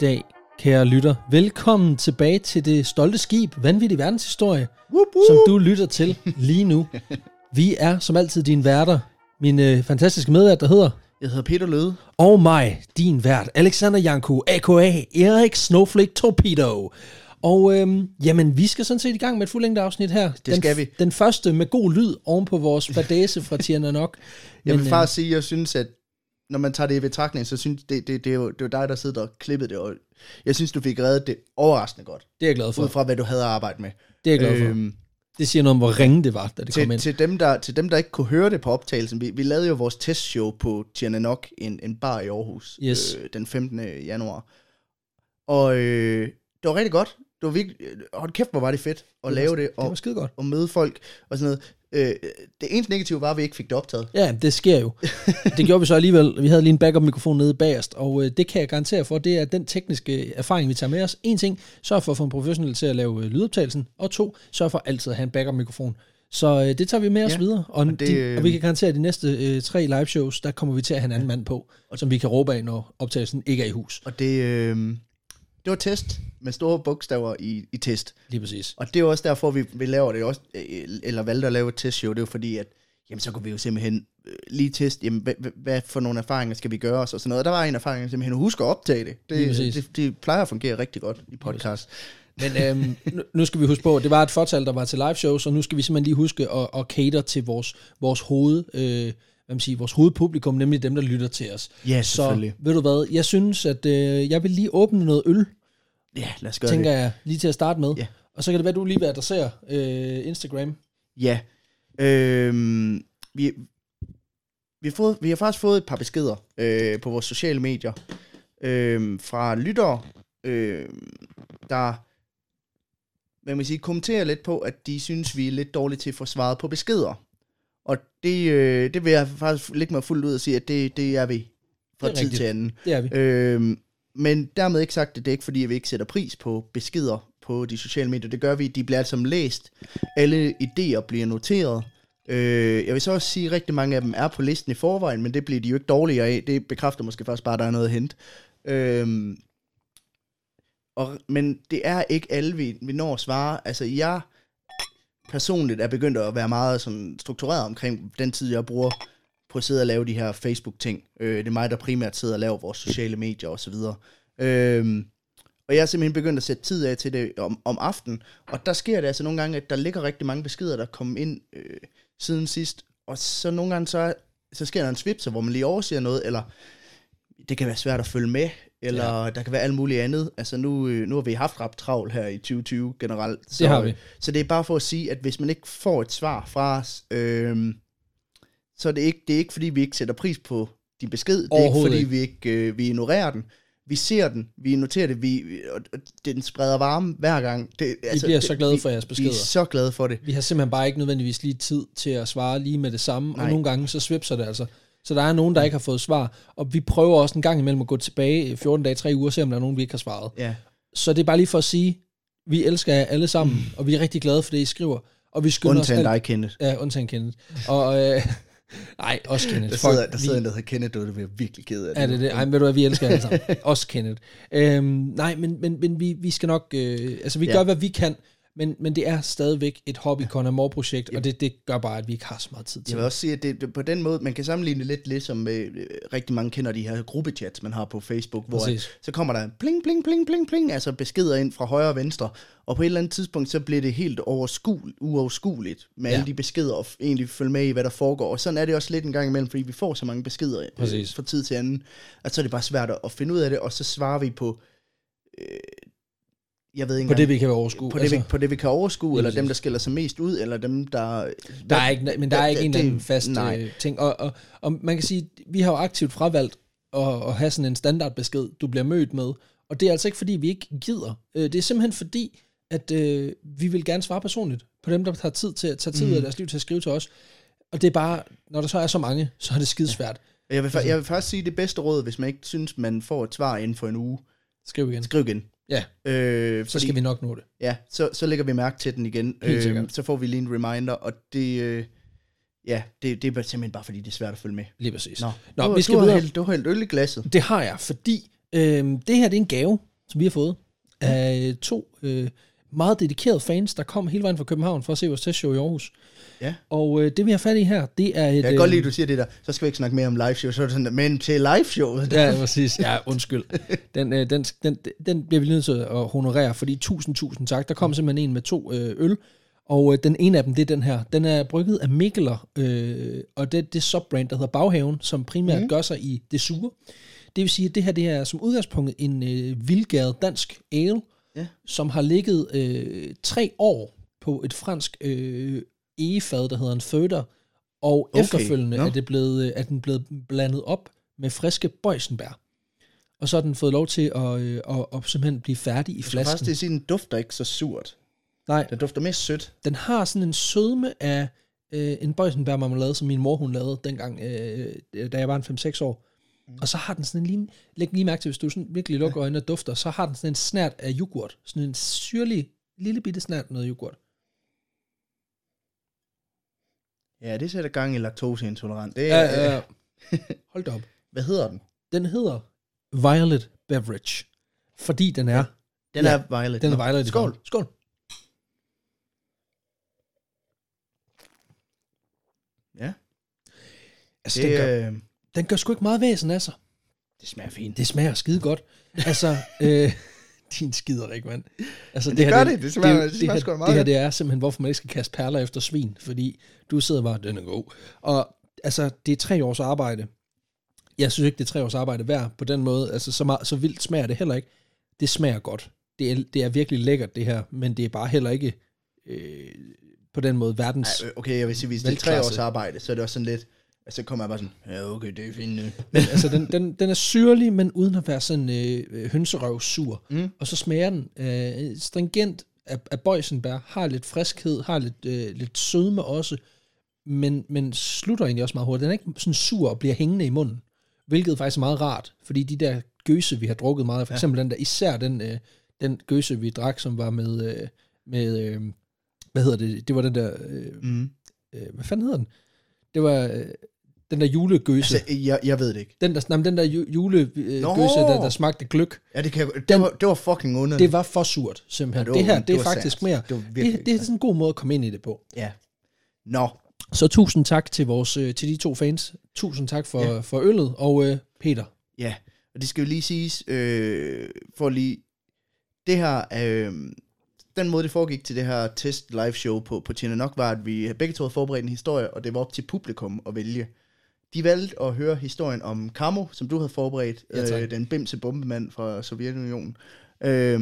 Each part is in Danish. dag, kære lytter. Velkommen tilbage til det stolte skib, Vanvittig Verdenshistorie, Whoop, som du lytter til lige nu. Vi er som altid dine værter. Min øh, fantastiske medvært, der hedder Jeg hedder Peter Løde. og mig, din vært, Alexander Janko, a.k.a. Erik Snowflake Torpedo. Og øhm, jamen, vi skal sådan set i gang med et fuldlængde afsnit her. Det den, skal vi. Den første med god lyd oven på vores fadæse fra Tierna Nok. øh, Jeg vil faktisk sige, at jeg synes, at når man tager det i betragtning, så synes det, det, det, er jo, det er jo dig, der sidder og klippede det. Og jeg synes, du fik reddet det overraskende godt, det er jeg glad for. ud fra hvad du havde at arbejde med. Det er jeg glad for. Øhm, det siger noget om, hvor ringe det var, da det kom til, ind. til, dem, der, til dem, der ikke kunne høre det på optagelsen, vi, vi lavede jo vores testshow på Tjernanok, en, en bar i Aarhus, Yes. øh, den 15. januar. Og øh, det var rigtig godt. Det var virkelig, øh, hold kæft, hvor var det fedt at lave det, Det var og, skide godt. og møde folk og sådan noget. Øh, det eneste negative var, at vi ikke fik det optaget. Ja, det sker jo. Det gjorde vi så alligevel. Vi havde lige en backup-mikrofon nede bagerst, og øh, det kan jeg garantere for, det er den tekniske øh, erfaring, vi tager med os. En ting, sørg for at få en professionel til at lave øh, lydoptagelsen, og to, sørg for altid at have en backup-mikrofon. Så øh, det tager vi med os Ja, videre, og, og, og det, det, de, øh, og vi kan garantere, at de næste øh, tre live-shows, der kommer vi til at have en anden mand på, som vi kan råbe af, når optagelsen ikke er i hus. Og det, øh, det var test med store bogstaver i, i test. Lige præcis. Og det er jo også derfor, vi, vi laver det også, øh, eller valgte at lave et testshow. Det er jo fordi, at jamen, så kunne vi jo simpelthen øh, lige teste, jamen, hvad, hvad- hvad for nogle erfaringer skal vi gøre os og sådan noget. Og der var en erfaring, jeg simpelthen husk at optage det. Lige Det, præcis. det, det, plejer at fungere rigtig godt i podcast. Men øhm, nu- nu skal vi huske på, at det var et fortal, der var til live shows, og nu skal vi simpelthen lige huske at, at cater til vores, vores hoved... Øh, hvad man siger, vores hovedpublikum, nemlig dem, der lytter til os. Ja, Så selvfølgelig. ved du hvad, jeg synes, at øh, jeg vil lige åbne noget øl, Ja, lad os gøre tænker det. jeg, lige til at starte med. Ja. Og så kan det være, at du lige vil adressere øh, Instagram. Ja. Øhm, vi, vi, har fået, vi har faktisk fået et par beskeder øh, på vores sociale medier øh, fra lyttere, øh, der hvad kan man sige, kommenterer lidt på, at de synes, vi er lidt dårlige til at få svaret på beskeder. Og det, øh, det vil jeg faktisk lægge mig fuldt ud og sige, at det, det er vi fra Det er tid rigtigt. til anden. Det er vi. Øh. Øhm, men dermed ikke sagt, at det er ikke fordi, at vi ikke sætter pris på beskeder på de sociale medier. Det gør vi, de bliver alt sammen læst. Alle idéer bliver noteret. Øh, jeg vil så også sige, at rigtig mange af dem er på listen i forvejen, men det bliver de jo ikke dårligere af. Det bekræfter måske faktisk bare, at der er noget at hente. Øhm, og, men det er ikke alle, vi, vi når at svare. Altså, jeg personligt er begyndt at være meget sådan, struktureret omkring den tid, jeg bruger på at sidde og lave de her Facebook-ting. Øh, det er mig, der primært sidder og laver vores sociale medier osv. Øhm, og jeg er simpelthen begyndt at sætte tid af til det om, om aftenen. Og der sker det altså nogle gange, at der ligger rigtig mange beskeder, der kommer ind øh, siden sidst. Og så nogle gange, så, så sker der en svipser, hvor man lige overser noget, eller det kan være svært at følge med, eller ja. der kan være alt muligt andet. Altså nu, øh, nu har vi haft ret travlt her i 2020 generelt. Så, har vi. Så det er bare for at sige, at hvis man ikke får et svar fra os, øh, så er det ikke, det er ikke fordi, vi ikke sætter pris på din besked. Det er ikke Overhovedet fordi, ikke. vi ikke øh, vi ignorerer den. Vi ser den, vi noterer det, vi, vi- og og den spreder varme hver gang. Det, altså, Vi bliver det, så glade vi- for jeres Vi beskeder. er så glade for det. Vi har simpelthen bare ikke nødvendigvis lige tid til at svare lige med det samme, Nej. og Nej. nogle gange så svipser det altså. Så der er nogen, der ikke har fået svar, og vi prøver også en gang imellem at gå tilbage øh, 14 dage, 3 uger, og se om der er nogen, vi ikke har svaret. Ja, Så det er bare lige for at sige, vi elsker jer alle sammen, og vi er rigtig glade for det, I skriver. Og vi skynder os Mm. undtagen alt dig, Kenneth. Ja, undtagen Kenneth. Og, øh, nej, også Kenneth. Der sidder, der Fuck, sidder en, vi, der hedder Kenneth, og det bliver virkelig ked af det. er det det? Ej, men ved du hvad, vi elsker alle sammen. Også Kenneth. Øhm, nej, men, men, men vi, vi skal nok... Øh, altså, vi ja. Ja. gør, hvad vi kan, men, men det er stadigvæk et hobby Conor projekt og det, det gør bare, at vi ikke har så meget tid til Jeg vil også sige, at det, det, på den måde, man kan sammenligne det lidt ligesom øh, øh, rigtig mange kender de her gruppechats, man har på Facebook, hvor Præcis. at, så kommer der en pling, pling, pling, pling, pling, altså beskeder ind fra højre og venstre, og på et eller andet tidspunkt, så bliver det helt overskuel, uoverskueligt med Ja. ja. alle de beskeder, og f- egentlig følge med i, hvad der foregår, og sådan er det også lidt en gang imellem, fordi vi får så mange beskeder øh, Præcis. fra tid til anden, at så er det bare svært at, at finde ud af det, og så svarer vi på, øh, jeg ved ikke På det, engang- vi kan Altså. overskue. på, det, vi, på det, vi kan overskue, eller dem, præcis. der skiller sig mest ud, eller dem, der... Der er ikke, men der er ikke en eller anden fast Nej, øh, ting. Og, og, og man kan sige, vi har jo aktivt fravalgt at, at have sådan en standardbesked, du bliver mødt med. Og det er altså ikke, fordi vi ikke gider. Øh, Det er simpelthen fordi, at øh, vi vil gerne svare personligt på dem, der tager tid, til, tager tid mm. ud af deres liv til at skrive til os. Og det er bare, når der så er så mange, så er det skidesvært. Jeg Altså- vil, fa- jeg vil faktisk sige det bedste råd, hvis man ikke synes, man får et svar inden for en uge. Skriv igen. Skriv igen. Ja, Øh, så skal vi nok nå det. Ja, så, så lægger vi mærke til den igen. Øhm, Helt sikkert. så får vi lige en reminder, og det... Øh, ja, det, det er bare- simpelthen bare, fordi det er svært at følge med. Lige præcis. Nå, Nå du, vi skal du, har videre. hældt, du har hældt øl i glasset. Det har jeg, fordi øh, det her det er en gave, som vi har fået Mm. af to øh, meget dedikerede fans, der kom hele vejen fra København for at se vores testshow i Aarhus. Ja. Og øh, det, vi har fat i her, det er et... Jeg kan godt øh, lide, at du siger det der. Så skal vi ikke snakke mere om live show. Så er det sådan, men til live showet. Ja, præcis. Ja, undskyld. Den, øh, den, den, den bliver vi nødt til at honorere, fordi tusind, tusind tak. Der kom simpelthen en med to øh, øl, og øh, den ene af dem, det er den her. Den er brygget af Mikkeler, øh, og det er det subbrand, der hedder Baghaven, som primært mm. gør sig i det sure. Det vil sige, at det her det er som udgangspunkt en øh, vildgæret dansk ale, Ja. som har ligget øh, tre år på et fransk øh, egefad, der hedder en føder, og Okay, okay. efterfølgende nå. er, det blevet, øh, er den blevet blandet op med friske bøjsenbær. Og så har den fået lov til at, øh, at, at simpelthen blive færdig i Jeg faktisk flasken. til at sige, den dufter ikke så surt. Nej, Den dufter mest sødt. den har sådan en sødme af øh, en bøjsenbærmarmelade, som min mor hun lavede dengang, øh, da jeg var en 5-6 år. Mm. Og så har den sådan en lige, læg lige mærke til, hvis du sådan virkelig lukker øjnene og dufter, så har den sådan en snært af yoghurt. Sådan en syrlig, lille bitte snært af noget yoghurt. Ja, det sætter gang i laktoseintolerant. Det, Ja, er, øh, ja, ja. Øh, Hold da op. Hvad hedder den? Den hedder Violet Beverage, fordi den er, Den Ja, er violet. den er Nå, violet. i Skål. farven. Skål. Ja. Altså, Det, den, gør, øh, den gør sgu ikke meget væsen af sig. det smager fint. Det smager skide godt. Altså, øh, din skider ikke, mand. Altså, det, det her, gør det. Det smager- det smager her, sgu da meget det her, godt. det er simpelthen, hvorfor man ikke skal kaste perler efter svin, fordi du sidder bare, den er god. Og altså, det er tre års arbejde. Jeg synes ikke, det er tre års arbejde værd på den måde. Altså, så, meget, så vildt smager det heller ikke. Det smager godt. Det er, det er virkelig lækkert, det her, men det er bare heller ikke øh, på den måde verdens... Ej, øh, okay, jeg vil sige, hvis det er tre Velklasse. års arbejde, så er det også sådan lidt, og så kommer jeg bare sådan, ja okay, det er fint nu. Men altså, den, den, den er syrlig, men uden at være sådan øh, øh, hønserøvsur. Mm. Og så smager den øh, stringent af, af bøjsenbær, har lidt friskhed, har lidt, øh, lidt sødme også, men, men slutter egentlig også meget hurtigt. Den er ikke sådan sur og bliver hængende i munden, hvilket faktisk er meget rart, fordi de der gøse, vi har drukket meget, af, for Ja. eksempel den der, især den, øh, den gøse, vi drak, som var med, øh, med øh, hvad hedder det, det var den der, øh, Mm. øh, hvad fanden hedder den? Det var øh, den der julegøse. Altså, jeg, jeg ved det ikke. Den der, nej, men den der ju- julegøse, Nå! der, der smagte gløk, Ja, det, kan jeg, det, Den- var, det var fucking underligt. det var for surt, simpelthen. Ja, Ja, det det, var- her, det det er var faktisk sandt. mere. Det var virkelig det, det er sådan en god måde at komme ind i det på. Ja. Nå, Så tusind tak til vores øh, til de to fans. Tusind tak for, Ja. ja. for øllet, og øh, Peter. ja. Og det skal jo lige siges, øh, for lige, det her, øh, den måde det foregik til det her test live show på, på Tjena Nok, var, at vi begge to havde forberedt en historie, og det var op til publikum at vælge. De valgte at høre historien om Kamo, som du havde forberedt, Ja, tak. øh, den bimse bombemand fra Sovjetunionen. Øh,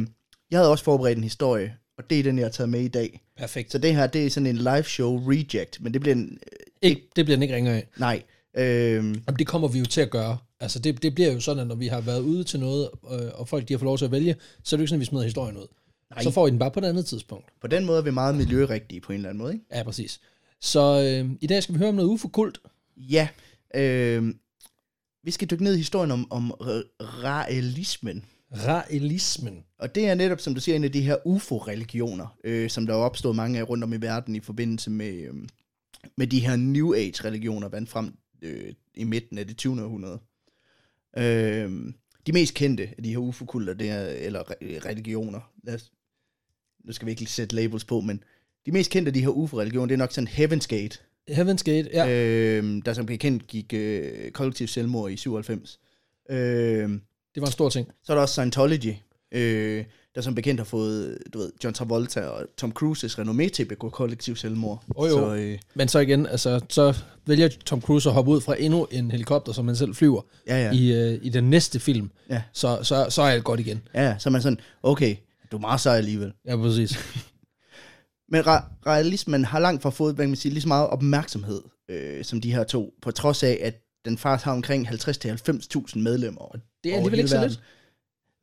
jeg havde også forberedt en historie, og det er den, jeg har taget med i dag. Perfekt. Så det her, det er sådan en live show reject, men det bliver en... øh, Ikke, det bliver den ikke ringere af. Nej. Øh, Jamen, det kommer vi jo til at gøre. Altså, det, det bliver jo sådan, at når vi har været ude til noget, øh, og folk de har fået lov til at vælge, så er det jo ikke sådan, at vi smider historien ud. Nej. Så får I den bare på et andet tidspunkt. På den måde er vi meget miljørigtige på en eller anden måde, ikke? Ja, præcis. Så øh, i dag skal vi høre om noget uforkult. Ja. Øh, vi skal dykke ned i historien om, om ra- raelismen. Raelismen. Og det er netop, som du siger, en af de her UFO-religioner, øh, som der er opstået mange af rundt om i verden i forbindelse med, øh, med de her New Age-religioner, vandt frem øh, i midten af det 20. århundrede. Øh, de mest kendte af de her UFO-kulter, det er, eller re- øh, religioner, lad os, nu skal vi ikke sætte labels på, men de mest kendte af de her UFO-religioner, det er nok sådan Heaven's Gate, Heaven's Gate, ja. ja. øh, der som bekendt gik øh, kollektiv selvmord i 97. Øh, Det var en stor ting. så er der også Scientology, øh, der som bekendt har fået, du ved, John Travolta og Tom Cruises renommé til at begå kollektiv selvmord. Åh, jo. Så, øh, Men så igen, altså, så vælger Tom Cruise at hoppe ud fra endnu en helikopter, som han selv flyver, ja, ja. ja. i, øh, i den næste film. Ja. Så, så, så er alt godt igen. ja, så er man sådan, okay, du er meget sej alligevel. Ja, præcis. Men ra- realismen har langt fra fået, hvad kan man sige, lige så meget opmærksomhed, øh, som de her to, på trods af, at den faktisk har omkring 50-90.000 medlemmer. over Det er hele alligevel ikke så verden. lidt.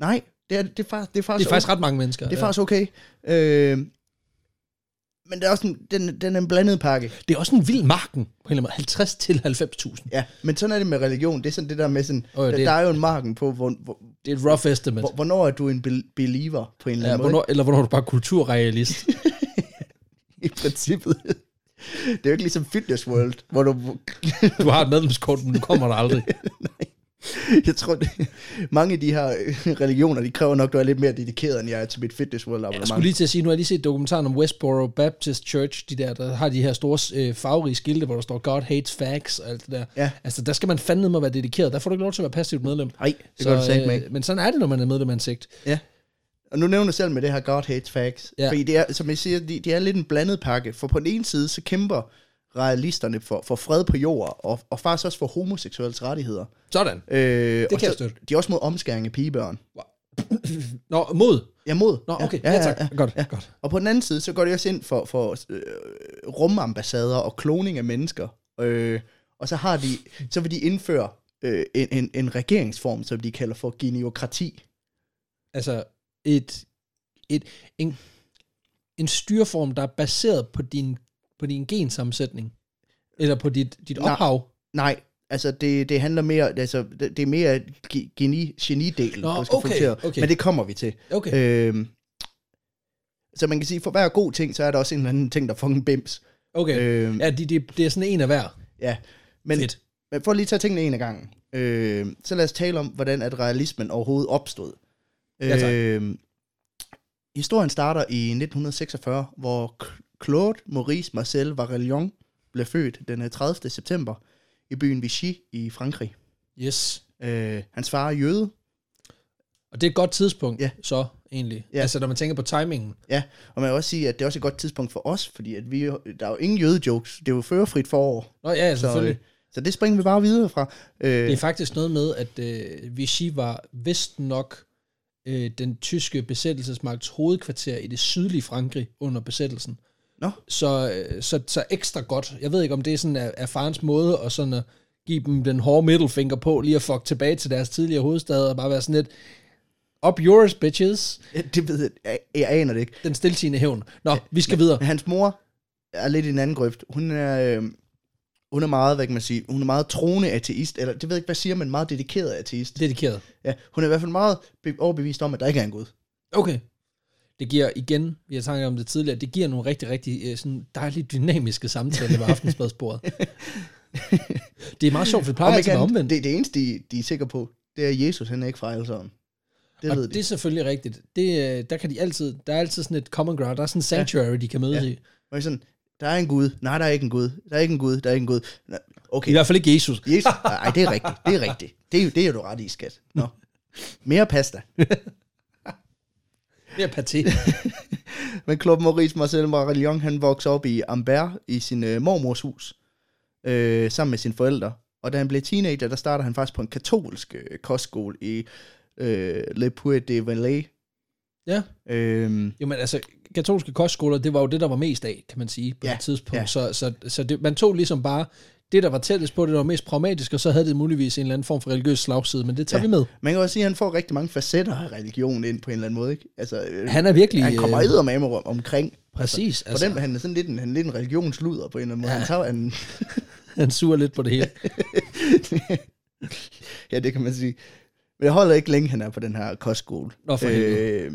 Nej, det er, det er, faktisk, det er faktisk, Det er faktisk ret mange mennesker. Det er ja. faktisk okay. Øh, men det er også en, den, den er en blandet pakke. det er også en vild marken, på en eller anden måde. 50 til 90.000. Ja, men sådan er det med religion. Det er sådan det der med sådan, Åh, oh, ja, det, det- der er jo en marken på, hvor, hvor, Det er et rough estimate. hvor, hvornår er du en bel- believer på en eller ja, anden måde. hvornår, eller hvornår er du bare kulturrealist. I princippet. det er jo ikke ligesom Fitness World, hvor du... Du har et medlemskort, men du kommer der aldrig. jeg tror, det, mange af de her øh, religioner, de kræver nok, at du er lidt mere dedikeret, end jeg er til mit fitness world Jeg skulle abonnement. lige til at sige, nu har jeg lige set dokumentaren om Westboro Baptist Church, de der, der har de her store øh, farverige skilte, hvor der står, God hates facts og alt det der. Ja. Altså, der skal man fandme med at være dedikeret. Der får du ikke lov til at være passivt medlem. Nej, det gør du sagt, ikke. øh, men sådan er det, når man er medlem af en sekt. Og nu nævner jeg selv med det her God Hates Facts. Ja. Ja. Fordi det er, som jeg siger, det, det er lidt en blandet pakke. For på den ene side, så kæmper realisterne for, for fred på jord, og, og faktisk også for homoseksuelles rettigheder. Sådan. Øh, det kan jeg støtte. De er også mod omskæring af pigebørn. Nå, mod. Ja, mod. Nå, okay. Ja, ja, ja, tak. ja. Godt, godt. Og på den anden side, så går det også ind for, for øh, rumambassader og kloning af mennesker. Øh, og så, har de, så vil de indføre øh, en, en, en regeringsform, som de kalder for geniokrati. Altså, et, et, en, en styreform, der er baseret på din, på din gensammensætning. Eller på dit, dit Nej. ophav. Nej, altså det, det handler mere, altså det, det er mere ge- geni, genidelen, Nå, du okay, fokusere. okay. men det kommer vi til. Okay. Øh, Øhm, så man kan sige, for hver god ting, så er der også en eller anden ting, der fucking bims. okay. Øh, Øhm, ja, det, det, det er sådan en af hver. ja. Men, Fedt. men for lige at tage tingene en af gangen, øh, så lad os tale om, hvordan at realismen overhovedet opstod. Ja, tak. Øh, historien starter i 1946, hvor Cl- Claude Maurice Marcel Varelion blev født den 30. september i byen Vichy i Frankrig. Yes. Øh, hans far er jøde, Og det er et godt tidspunkt, Ja. så egentlig. Ja. Altså, når man tænker på timingen. ja, og man kan også sige, at det er også et godt tidspunkt for os, fordi at vi, der er jo ingen jødejokes, det er jo førerfrit forår, Nå ja, så, selvfølgelig. øh, Så, så det springer vi bare videre fra. øh, det Øh, er faktisk noget med, at øh, Vichy var vist nok øh, den tyske besættelsesmagts hovedkvarter i det sydlige Frankrig under besættelsen. Nå. Så, øh, så, så ekstra godt. Jeg ved ikke, om det er sådan er, er farens måde at, sådan at give dem den hårde middelfinger på, lige at fuck tilbage til deres tidligere hovedstad og bare være sådan lidt, up yours, bitches. det ved jeg, jeg, jeg aner det ikke. Den stiltigende hævn. Nå, vi skal videre. Men hans mor er lidt i en anden grøft. Hun er, øh, hun er meget, hvad kan man sige, hun er meget troende ateist, eller det ved jeg ikke, hvad siger man, meget dedikeret ateist. Dedikeret. Ja, hun er i hvert fald meget be- overbevist om, at der ikke er en Gud. Okay. Det giver igen, vi har snakket om det tidligere, det giver nogle rigtig, rigtig øh, sådan dejligt dynamiske samtaler ved aftensmadsbordet. det er meget sjovt, for det plejer Om altid ikke at være andet, omvendt. Det, det, det eneste, de, de er sikre på, det er, at Jesus han er ikke fejlsom. Det og ved det, de. er selvfølgelig rigtigt. Det, øh, der, kan de altid, der er altid sådan et common ground, der er sådan en sanctuary, ja. de kan mødes ja. Ja. i. Og sådan, der er en Gud. Nej, der er ikke en Gud. Der er ikke en Gud. Der er ikke en Gud. Nå, I Okay, hvert fald ikke Jesus. Jesus. Nej, det er rigtigt. Det er rigtigt. Det er, jo- det er jo du ret i, skat. Nå. Mere pasta. Det er paté. Men Claude Maurice Marcel Marillon, han voksede op i Amber i sin øh, mormors hus, øh, sammen med sine forældre. Og da han blev teenager, der starter han faktisk på en katolsk øh, kostskole i øh, Le Puy de Valais. Ja. Øh, Jo, men altså, katolske kostskoler, det var jo det, der var mest af, kan man sige, på Ja, ja. et tidspunkt. Ja. ja. Så, så, så det, man tog ligesom bare det, der var tættest på, det der var mest pragmatisk, og så havde det muligvis en eller anden form for religiøs slagside, men det tager ja. Ja. vi med. man kan også sige, at han får rigtig mange facetter af religion ind på en eller anden måde. Ikke? Altså, øh, han, Han er virkelig... han kommer øh, eddermame om, omkring. Præcis. Altså, altså, den, han er sådan lidt en, han er lidt en religionsluder på en eller anden måde. Ja. Han tager en, Han suger lidt på det hele. ja, det kan man sige. Men jeg holder ikke længe, han er på den her kostskole. Øh, Nå, for helvede.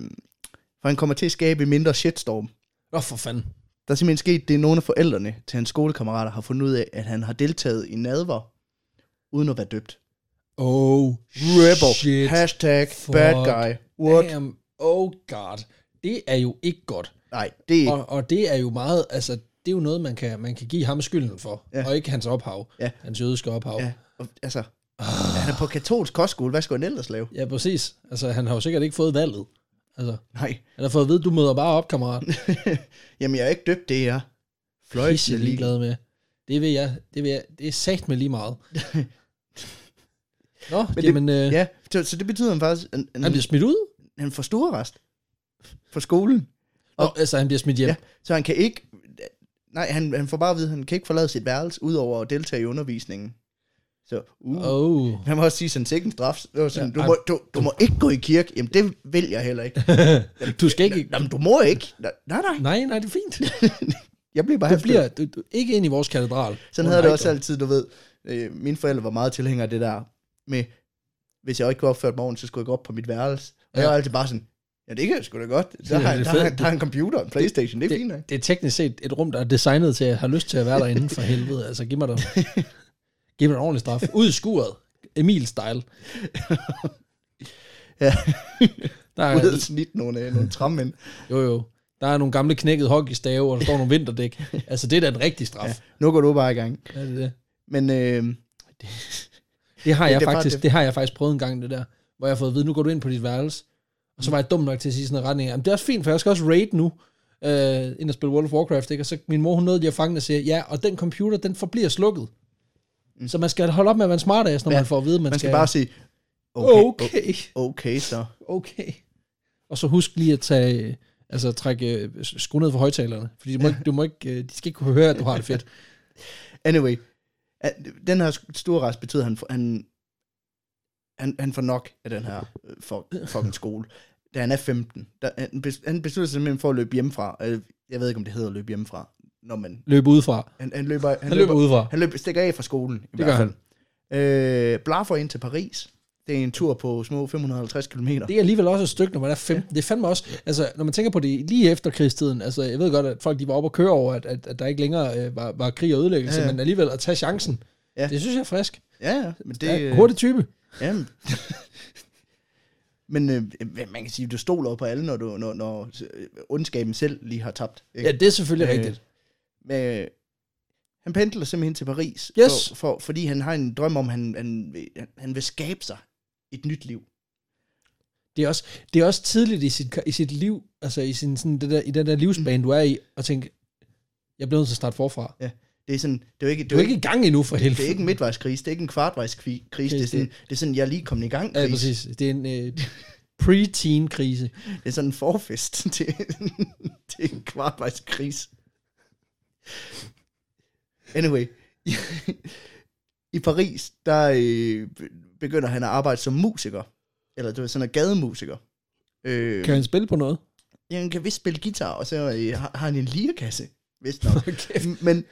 for han kommer til at skabe en mindre shitstorm. Nå for fanden. Der er simpelthen sket det, at nogle af forældrene til hans skolekammerater har fundet ud af, at han har deltaget i nadver, uden at være døbt. Oh, Rebel. shit. Hashtag Fuck. bad guy. What? Damn. Oh god. Det er jo ikke godt. Nej, det er Og, ikke. og det er jo meget, altså, det er jo noget, man kan, man kan give ham skylden for. Ja. Ja. Og ikke hans ophav. Ja. Hans jødiske ophav. Ja. Ja, og, altså, han er på katolsk kostskole. Hvad skulle han ellers lave? ja, præcis. Altså, han har jo sikkert ikke fået valget. Altså, Nej. han har fået at vide, du møder bare op, kammerat. Jamen, jeg er ikke døbt, det er jeg. Pisse Fløjtende ligeglad. ligeglad med. Det vil jeg, det vil jeg, det er sagt med lige meget. Nå, Men det- jamen, øh, Ja, så, så det betyder han faktisk, at han, han bliver smidt ud. han får stuerrest fra skolen. Nå, altså, han bliver smidt hjem. Ja, så han kan ikke... Nej, han, han får bare at vide, at han kan ikke forlade sit værelse, udover at deltage i undervisningen. Så, uh. Oh. Han må også sige sådan, sikke en straf. Det var sådan, Ja, ja, du, ej. må, du, du må ikke gå i kirke. Jamen, det vil jeg heller ikke. Du skal ikke... Jamen, du må ikke. Nej, nej. nej. Nej, nej, det er fint. Jeg bliver bare Du hæftet. bliver du, du, ikke ind i vores katedral. Sådan Oh, havde nej, jeg det også dog. altid, du ved. Øh, mine forældre var meget tilhængere af det der med, hvis jeg ikke kunne opføre mig ordentligt, så skulle jeg gå op på mit værelse. Og Ja. jeg var altid bare sådan, ja, det kan jeg sgu da godt. Der, er har, det der, har, fedt. der har en computer, en Playstation, det er fint, ikke? Det er teknisk set et rum, der er designet til at have lyst til at være derinde for helvede. Altså, giv mig da, giv mig da en ordentlig straf. Ud i skuret. Emil-style. Ja. Der Du havde er, snit nogle, øh, nogle trammænd. jo, jo. Der er nogle gamle knækkede hockeystave, og der står nogle vinterdæk. Altså, det er da en rigtig straf. Ja. Ja. Nu går du bare i gang. Ja, det, er det. Men øh, det har Det- jeg det er bare faktisk, det. det. har jeg faktisk prøvet en gang, det der. Hvor jeg har fået at vide, nu går du ind på dit værelse. Og så var jeg dum nok til at sige sådan en retning. Jamen, det er også fint, for jeg skal også raid nu. Øh, ind og spille World of Warcraft, ikke? Og så min mor, hun nåede lige at fange det og siger, ja, og den computer, den forbliver slukket. Mm. Så man skal holde op med at være en smart ass, når Ja. man får at vide, man, man skal bare sige, okay, Okay. okay, okay. okay så. Okay. Og så husk lige at tage, øh, altså trække øh, skrue ned for højtalerne, fordi du må, ikke- du må ikke, øh, de skal ikke kunne høre, at du har det fedt. Anyway, at den her store rest betyder, at han, får- han, han, han får nok af den her øh, fuck- fucking skole. Da han er 15, der, han, bes- han beslutter sig simpelthen for at løbe hjemmefra. Øh, Jeg ved ikke, om det hedder at løbe hjemmefra. Når man, Løb udefra. han, han, løber, han, Han løber udefra. han løber, stikker af fra skolen, i Det hvert gør fald. Øh, blaffer ind til Paris. Det er en tur på små 550 km. Det er alligevel også et stykke, når man er 15. Det er fandme også, altså når man tænker på det lige efter krigstiden, altså jeg ved godt, at folk de var oppe og køre over, at, at, at der ikke længere øh, var, var krig og ødelæggelse, Ja, ja, ja. men alligevel at tage chancen, Ja. ja. det synes jeg er frisk. Ja, ja, men det... øh, Det, ja, hurtig type. Jamen. Men øh, man kan sige, du stoler jo på alle, når, du, når, når øh, ondskaben selv lige har tabt. Ikke? Ja, det er selvfølgelig øh, Øh, rigtigt. Men, øh, han pendler simpelthen til Paris, Yes. for, for, fordi han har en drøm om, at han, han, vil- han vil skabe sig et nyt liv. Det er også, det er også tidligt i sit, i sit liv, altså i, sin, sådan, det der, i den der Mm. livsbane, du er i, at tænke, jeg bliver nødt til at starte forfra. Det er sådan, det er jo ikke, det Du er er jo ikke i gang endnu for helvede. det er ikke en midtvejskrise, det er ikke en kvartvejskrise, det, er det- sådan, det er sådan, jeg er lige kommet i gang Ja, krise. præcis. Det er en øh, pre-teen-krise. Det er sådan en forfest til, til en kvartvejskris. Anyway. I Paris, der øh, begynder han at arbejde som musiker. Eller det var sådan en gademusiker. Øh, Kan han spille på noget? ja, han kan vist spille guitar, og så øh, har har han en lirekasse. Vist nok. Okay. men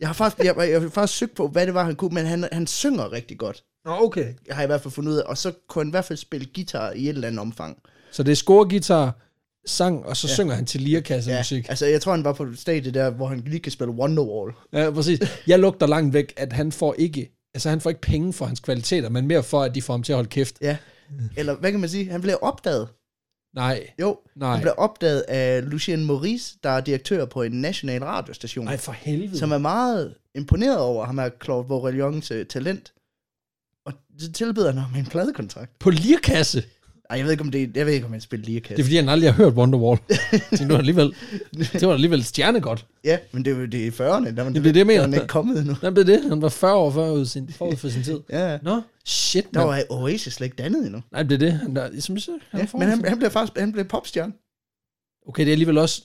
jeg har faktisk, jeg, jeg har faktisk søgt på, hvad det var, han kunne, men han, han synger rigtig godt. Nå, okay. Jeg har i hvert fald fundet ud af, og så kunne han i hvert fald spille guitar i et eller andet omfang. Så det er scoreguitar, sang, og så ja. synger han til Ja, lirkassemusik. Ja. altså jeg tror, han var på et stadie der, hvor han lige kan spille Wonderwall. ja, præcis. Jeg lugter langt væk, at han får ikke, altså han får ikke penge for hans kvaliteter, men mere for, at de får ham til at holde kæft. Ja. Eller hvad kan man sige? Han blev opdaget. Nej, Jo, nej. han blev opdaget af Lucien Maurice, der er direktør på en national radiostation, Nej, for helvede. som er meget imponeret over ham her Claude Vorelions øh, talent. Og så tilbyder han ham en pladekontrakt. På lirkasse. Ej, jeg ved ikke, om det jeg ved ikke, om han spiller Det er ligekasse. fordi, han aldrig har hørt Wonderwall. Så nu er han alligevel, det var alligevel stjernegodt. Ja, men det, er jo- det er i 40'erne, der, man, Det altså. er det, jeg der mener. er man ikke kommet endnu. Jamen, det er det. Han var 40 år forud, sin, forud for sin tid. Ja, ja. Nå, shit, der man. var Oasis slet ikke dannet endnu. Nej, det er det. Han, der, som, så, han Ja, er forud men han, for- han blev faktisk han blev popstjerne. Okay, det er alligevel også...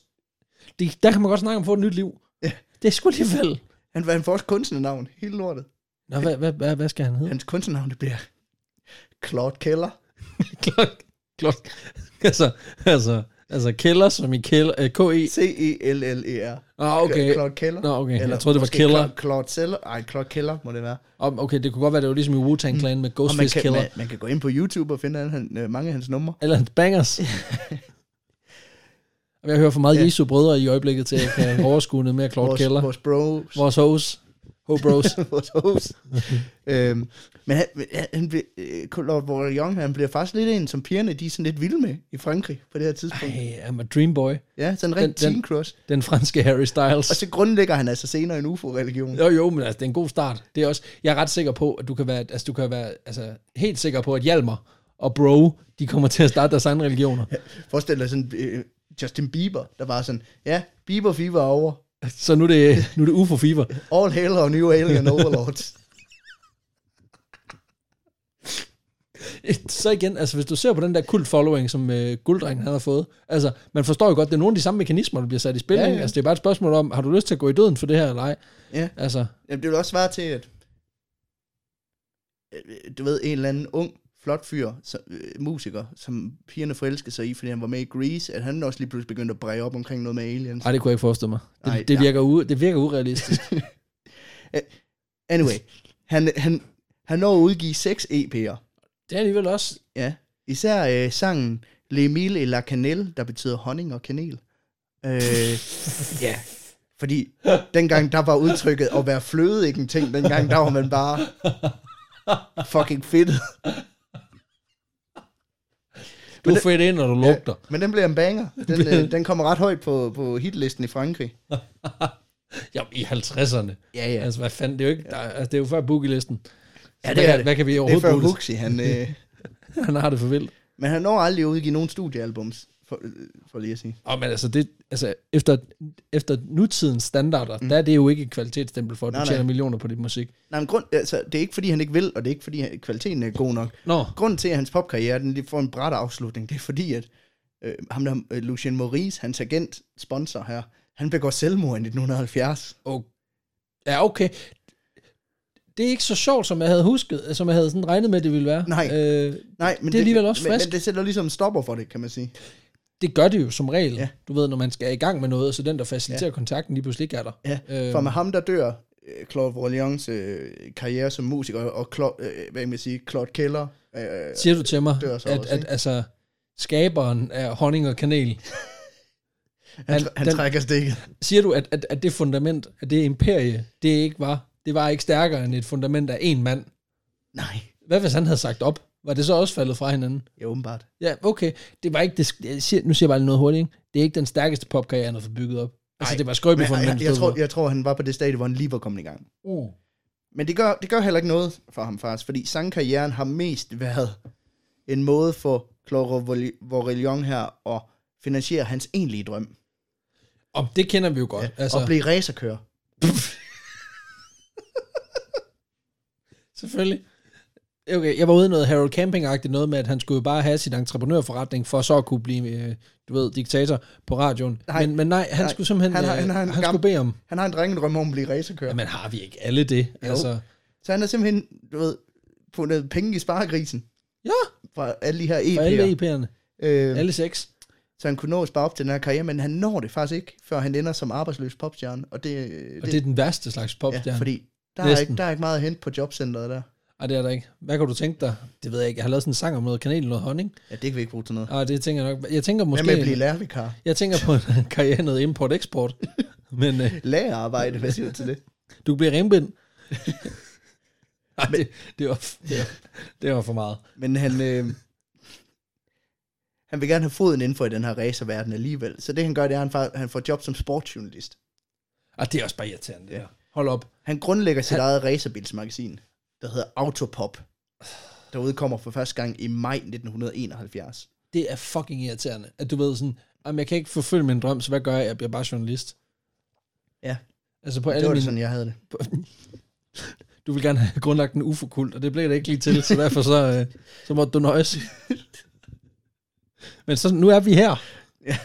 Det, der kan man godt snakke om at få et nyt liv. Ja. Det er sgu alligevel... Han, han får også kunstnernavn, hele lortet. Nå, hvad, hvad, hvad, hvad skal han hedde? Hans kunstnernavn, det bliver Claude Keller. Klok. Klok. Altså, altså, altså kælder som i kælder... Øh, K-E. E C-E-L-L-E-R. Ah, okay. Claude Keller. Nå, okay. Jeg troede, det var måske Keller. Cla- Claude Keller. Ej, Claude Keller må det være. Om, okay, det kunne godt være, det var ligesom i Wu-Tang Clan med Og Mm. man Ghostface kan, Killer. man, man kan gå ind på YouTube og finde alle, han, øh, mange af hans numre. Eller hans bangers. Jamen, Jeg hører for meget Ja. Jesu brødre i øjeblikket til, at jeg kan overskue noget mere Claude vores, Keller. vores bros. Vores hos. Ho bros. vores host. øhm, men han, men han- han bliver, øh, Lord Warrior, han bliver faktisk lidt en, som pigerne, de er sådan lidt vilde med i Frankrig på det her tidspunkt. Ej. Hey, I'm a dream boy. Ja, sådan en Den- rigtig den- teen crush. Den franske Harry Styles. Og så grundlægger han altså senere en UFO-religion. Jo, jo, men altså, det er en god start. Det er også, jeg er ret sikker på, at du kan være, altså, du kan være altså, helt sikker på, at Hjalmar og Bro, de kommer til at starte deres egne religioner. Forestil dig sådan øh, Justin Bieber, der var sådan, ja, Bieber fever er over. Så nu er det, nu er det ufo fever. All hail our new alien overlords. Så igen, altså, hvis du ser på den der kult following, som øh, gulddrengen han har fået, altså, man forstår jo godt, det er nogle af de samme mekanismer, der bliver sat i spil. Ja, ja. Ja, ja. Altså, det er bare et spørgsmål om, har du lyst til at gå i døden for det her, eller ej? Ja. Altså, Jamen, det vil også svare til, at øh, du ved, en eller anden ung, flot fyr, som, øh, musiker, som pigerne forelskede sig i, fordi han var med i Grease, at han også lige pludselig begyndte at bræge op omkring noget med aliens. ej, det kunne jeg ikke forestille mig. Det, Nej, Ej, det, ja. virker, u, det virker urealistisk. Anyway, han, han, han når at udgive seks EP'er. det er alligevel også, Ja. Især øh, sangen Les Mille et la Canel, der betyder honning og kanel. Øh, ja, fordi dengang der var udtrykket at være fløde ikke en ting, dengang der var man bare fucking fedt. Du er fedt ind, og du lugter. Men den bliver en banger. Den, øh, den kommer ret højt på, på hitlisten i Frankrig. Ja, i 50'erne. Ja, ja. Altså, hvad fanden, det er jo, ikke, der, altså, det er jo før boogie-listen. Ja, det hvad, er kan- det. Hvad kan vi Det er overhovedet før bruge Huxi, han... Øh, det? Han har det for vildt. men han når aldrig at udgive nogen studiealbums, for, øh, for lige at sige. Og men altså, det, altså efter, efter nutidens standarder, mm. der er det jo ikke et kvalitetsstempel for, at Nej, du nej. tjener millioner på dit musik. Nej, men grund, altså, det er ikke, fordi han ikke vil, og det er ikke, fordi han, kvaliteten er god nok. Nå, Grunden til, at hans popkarriere den lige får en bræt afslutning, det er fordi, at øh, ham der, øh, Lucien Maurice, hans agent, sponsor her, han begår selvmord i 1970. oh. ja okay. Det er ikke så sjovt, som jeg havde husket, som jeg havde sådan regnet med, det ville være. Nej. Øh, Nej, men Det er alligevel også men, frisk. men det sætter ligesom en stopper for det, kan man sige. det gør det jo som regel. Ja. Ja. Du ved, når man skal i gang med noget, så den, der faciliterer ja. kontakten, lige pludselig ikke er der. Ja, Øhm. for med ham, der dør øh, Claude Vorleans øh, karriere som musiker, og Claude, øh, hvad kan man sige, Claude Keller, øh, Siger du til mig, dør så at, også, at ikke? altså, skaberen af honning og kanel, han, han- han den- trækker stikket. siger du, at, at, at det fundament, at det imperie, det ikke var, det var ikke stærkere end et fundament af en mand? Nej, Hvad hvis han havde sagt op? Var det så også faldet fra hinanden? ja, åbenbart. Ja, okay. Det var ikke det, jeg siger, nu siger jeg bare lige noget hurtigt, ikke? Det er ikke den stærkeste popkarriere, han har fået bygget op. Altså, Nej, det var skrøbeligt for Men, en jeg, jeg, mand. jeg, tror, jeg tror, han var på det stadie, hvor han lige var kommet i gang. uh. Men det gør, det gør heller ikke noget for ham faktisk, fordi sangkarrieren har mest været en måde for Claude Vorelion her at finansiere hans egentlige drøm. Og det kender vi jo godt. Ja, Altså. altså, At blive racerkører. selvfølgelig. Okay, jeg var ude i noget Harold Camping-agtigt, noget med, at han skulle jo bare have sin entreprenørforretning, for så at kunne blive, øh, du ved, diktator på radioen. Nej. Nej, men, men nej, han Nej. nej, skulle simpelthen, Han han, har- han, han, han har en han, han gam- skulle bede om, Han har en drengedrøm om at blive racerkører. jamen har vi ikke alle det? Altså, Så han har simpelthen, du ved, fundet penge i sparegrisen ja, fra alle de her for alle EP'er. EP'erne, Øh, alle seks. så han kunne nå at spare op til den her karriere, men han når det faktisk ikke, før han ender som arbejdsløs popstjerne. Og det, øh, det, Og det er den værste slags popstjerne. ja, fordi der er, Næsten. ikke, der er ikke meget at hente på jobcentret der. Ej, det er der ikke. Hvad kan du tænke dig? Det ved jeg ikke. Jeg har lavet sådan en sang om noget kanel og noget honning. Ja, det kan vi ikke bruge til noget. Ej, det tænker jeg nok. Jeg tænker Hvad måske... med at blive lærervikar? Jeg tænker på en karriere i noget import-eksport. Men øh, Lagerarbejde, hvad siger du til det? du bliver rembind. Ej, det, det, var, det, var, det var for meget. Men han, øh, han vil gerne have foden inden for i den her racerverden alligevel. Så det han gør, det er, at han, fa- han får job som sportsjournalist. Ej, Ah, det er også bare irriterende. Ja. Ja. Hold op. Han grundlægger sit eget racerbilsmagasin, der hedder Autopop, der udkommer for første gang i maj 1971. Det er fucking irriterende. At du ved sådan, jamen, jeg kan ikke forfølge min drøm, så hvad gør jeg? Jeg bliver bare journalist. Ja, Altså på det alle var det mine... sådan, jeg havde det. Du vil gerne have grundlagt en ufokult, og det blev det ikke lige til, så derfor så, øh, så måtte du nøjes. Men så, nu er vi her. Ja.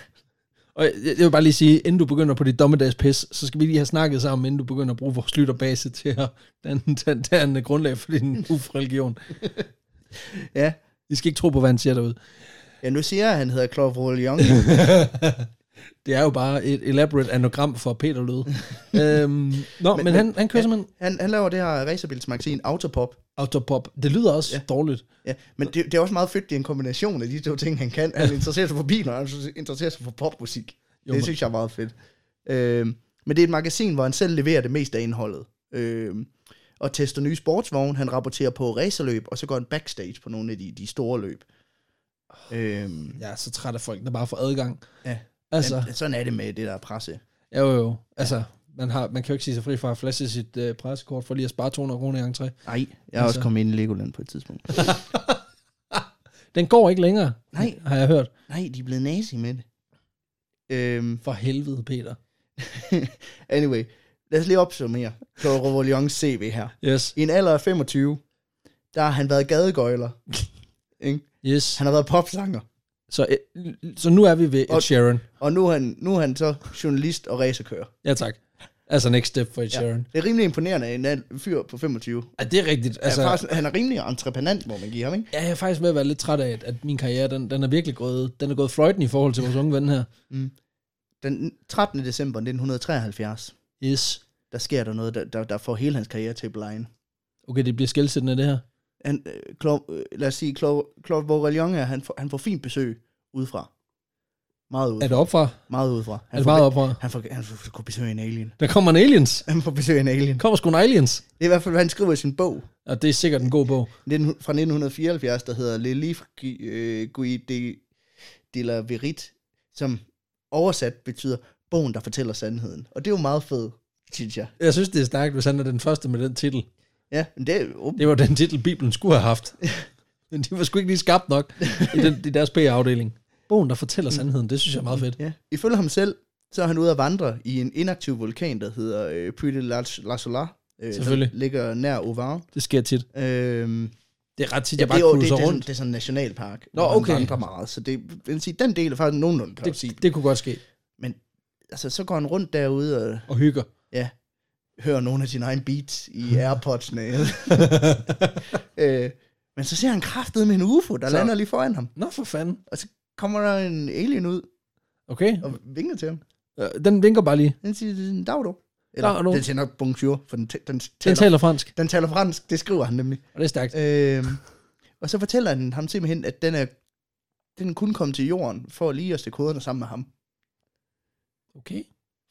Og jeg, jeg vil bare lige sige, inden du begynder på dit dommedagspis, så skal vi lige have snakket sammen, inden du begynder at bruge vores lytterbase til at danne, danne, danne grundlag for din ufreligion. Ja. I skal ikke tro på, hvad han siger derude. Ja, nu siger jeg, at han hedder Claude Rollion. Det er jo bare et elaborate anagram for Peter Lød. øhm, nå, men, men han, han kører ja. simpelthen Han, han laver det her racerbilsmagasin Autopop. autopop. Det lyder også ja. dårligt. Ja, men det, det, er også meget fedt, det er en kombination af de to ting, han kan. Han interesserer sig for biler, og han interesserer sig for popmusik. Jo, Jo, det men- synes jeg er meget fedt. Øhm, men det er et magasin, hvor han selv leverer det meste af indholdet. Øhm, og tester nye sportsvogne. Han rapporterer på racerløb, og så går han backstage på nogle af de, de store løb. Øhm, Jeg er så træt af folk, der bare får adgang. ja. Altså, Altså. Sådan er det med det der presse. Ja, jo, jo. Altså, man, har, man kan jo ikke sige sig fri fra at flashe sit øh, pressekort for lige at spare 200 kroner i entré. Nej, jeg har altså. også Altså. kommet ind i Legoland på et tidspunkt. Den går ikke længere, Nej. har jeg hørt. Nej, de er blevet nazi med det. Øhm, For helvede, Peter. anyway, lad os lige opsummere på Revolutions CV her. Yes. I en alder af 25, der har han været gadegøjler. Ikke? Yes. Han har været popsanger. Så, øh, så nu er vi ved Ed Og- Sheeran. Og nu er han, nu er han så journalist og racerkører. Ja, tak. Altså, next step for Ed Sheeran. Det er rimelig imponerende, at en al- fyr på 25. Ja, det er rigtigt. Altså, Altså, er faktisk, han er rimelig entreprenant, må man give ham, ikke? ja, jeg er faktisk ved at være lidt træt af, at, at min karriere, den, den er virkelig gået, den er gået fløjten i forhold til vores unge ven her. Den 13. december 1973, Yes. der sker der noget, der, der, der får hele hans karriere til at blege. Okay, det bliver skældsættende, det her. Han, øh, Claude, øh, lad os sige, Claude, Claude Vorelion, han, får- han får fint besøg udefra. Meget ud, Er det opfra? meget udefra. Er Altså, det meget får- opfra? Han får, han får, får besøg af en alien. Der kommer en aliens. Han får besøg af en alien. Der kommer sgu en aliens. Det er i hvert fald, hvad han skriver i sin bog. Og det er sikkert en god bog. nitten- fra 1974, der hedder Le Livre Gui- øh, Gui de, de la Verite, som oversat betyder bogen, der fortæller sandheden. Og det er jo meget fedt, synes jeg. Jeg synes, det er stærkt, hvis han er den første med den titel. Ja, men det er jo... Det var den titel, Bibelen skulle have haft. Men de var sgu ikke lige skabt nok Mm. i, den, i deres PR-afdeling. Bogen, der fortæller sandheden, det synes jeg er meget fedt. Ja. Ifølge ham selv, så er han ude at vandre i en inaktiv vulkan, der hedder øh, Puy de la, la Solar, øh, Selvfølgelig. som ligger nær Ovan. Det sker tit. Øhm, Det er ret tit, ja, jeg det, er bare jo, det, det, cruiser er sådan, rundt. det er sådan en nationalpark, Nå, hvor okay. han vandrer meget. Så det vil sige, den del er faktisk nogenlunde plausibel. Det, det kunne godt ske. Men altså, så går han rundt derude og Og hygger. ja, hører nogle af sine egne beats i Airpods'ene. øh, men så ser han kraftet med en UFO, der Så- så. lander lige foran ham. Nå for fanden. Og så kommer der en alien ud Okay. og vinker til ham. Øh, Den vinker bare lige. Den siger, dag du. Eller, Dag du. den siger nok bonjour, for den, t- Den den, taler, den, taler. taler fransk, den taler fransk, det skriver han nemlig. og det er stærkt. Øh, og så fortæller han ham simpelthen, at den er den kun kom til jorden for lige at stikke koderne sammen med ham. Okay.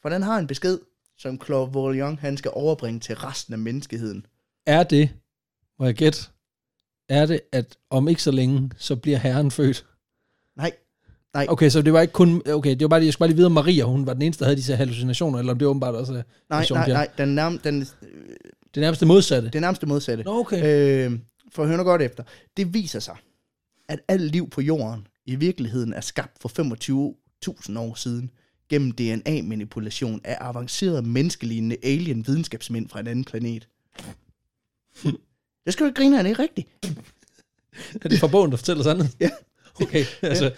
For den har en besked, som Claude Volion, han skal overbringe til resten af menneskeheden. Er det, må jeg gætte, er det, at om ikke så længe, så bliver herren født? Nej, Okay, så det var ikke kun... Okay, det var bare, jeg skulle bare lige vide, om Maria, hun var den eneste, der havde disse hallucinationer, eller om det åbenbart også er... nej, Jean nej, Pierre. nej, den, nærm, den, Det er nærmest det modsatte. Det er nærmest det modsatte. Nå, okay. Øh, for hør nu godt efter. Det viser sig, at alt liv på jorden i virkeligheden er skabt for 25.000 år siden gennem DNA-manipulation af avancerede menneskelignende alien videnskabsmænd fra en anden planet. Det skal du ikke grine af, det er rigtigt. Er det fra bogen, der fortæller sandheden? Ja. Okay, altså,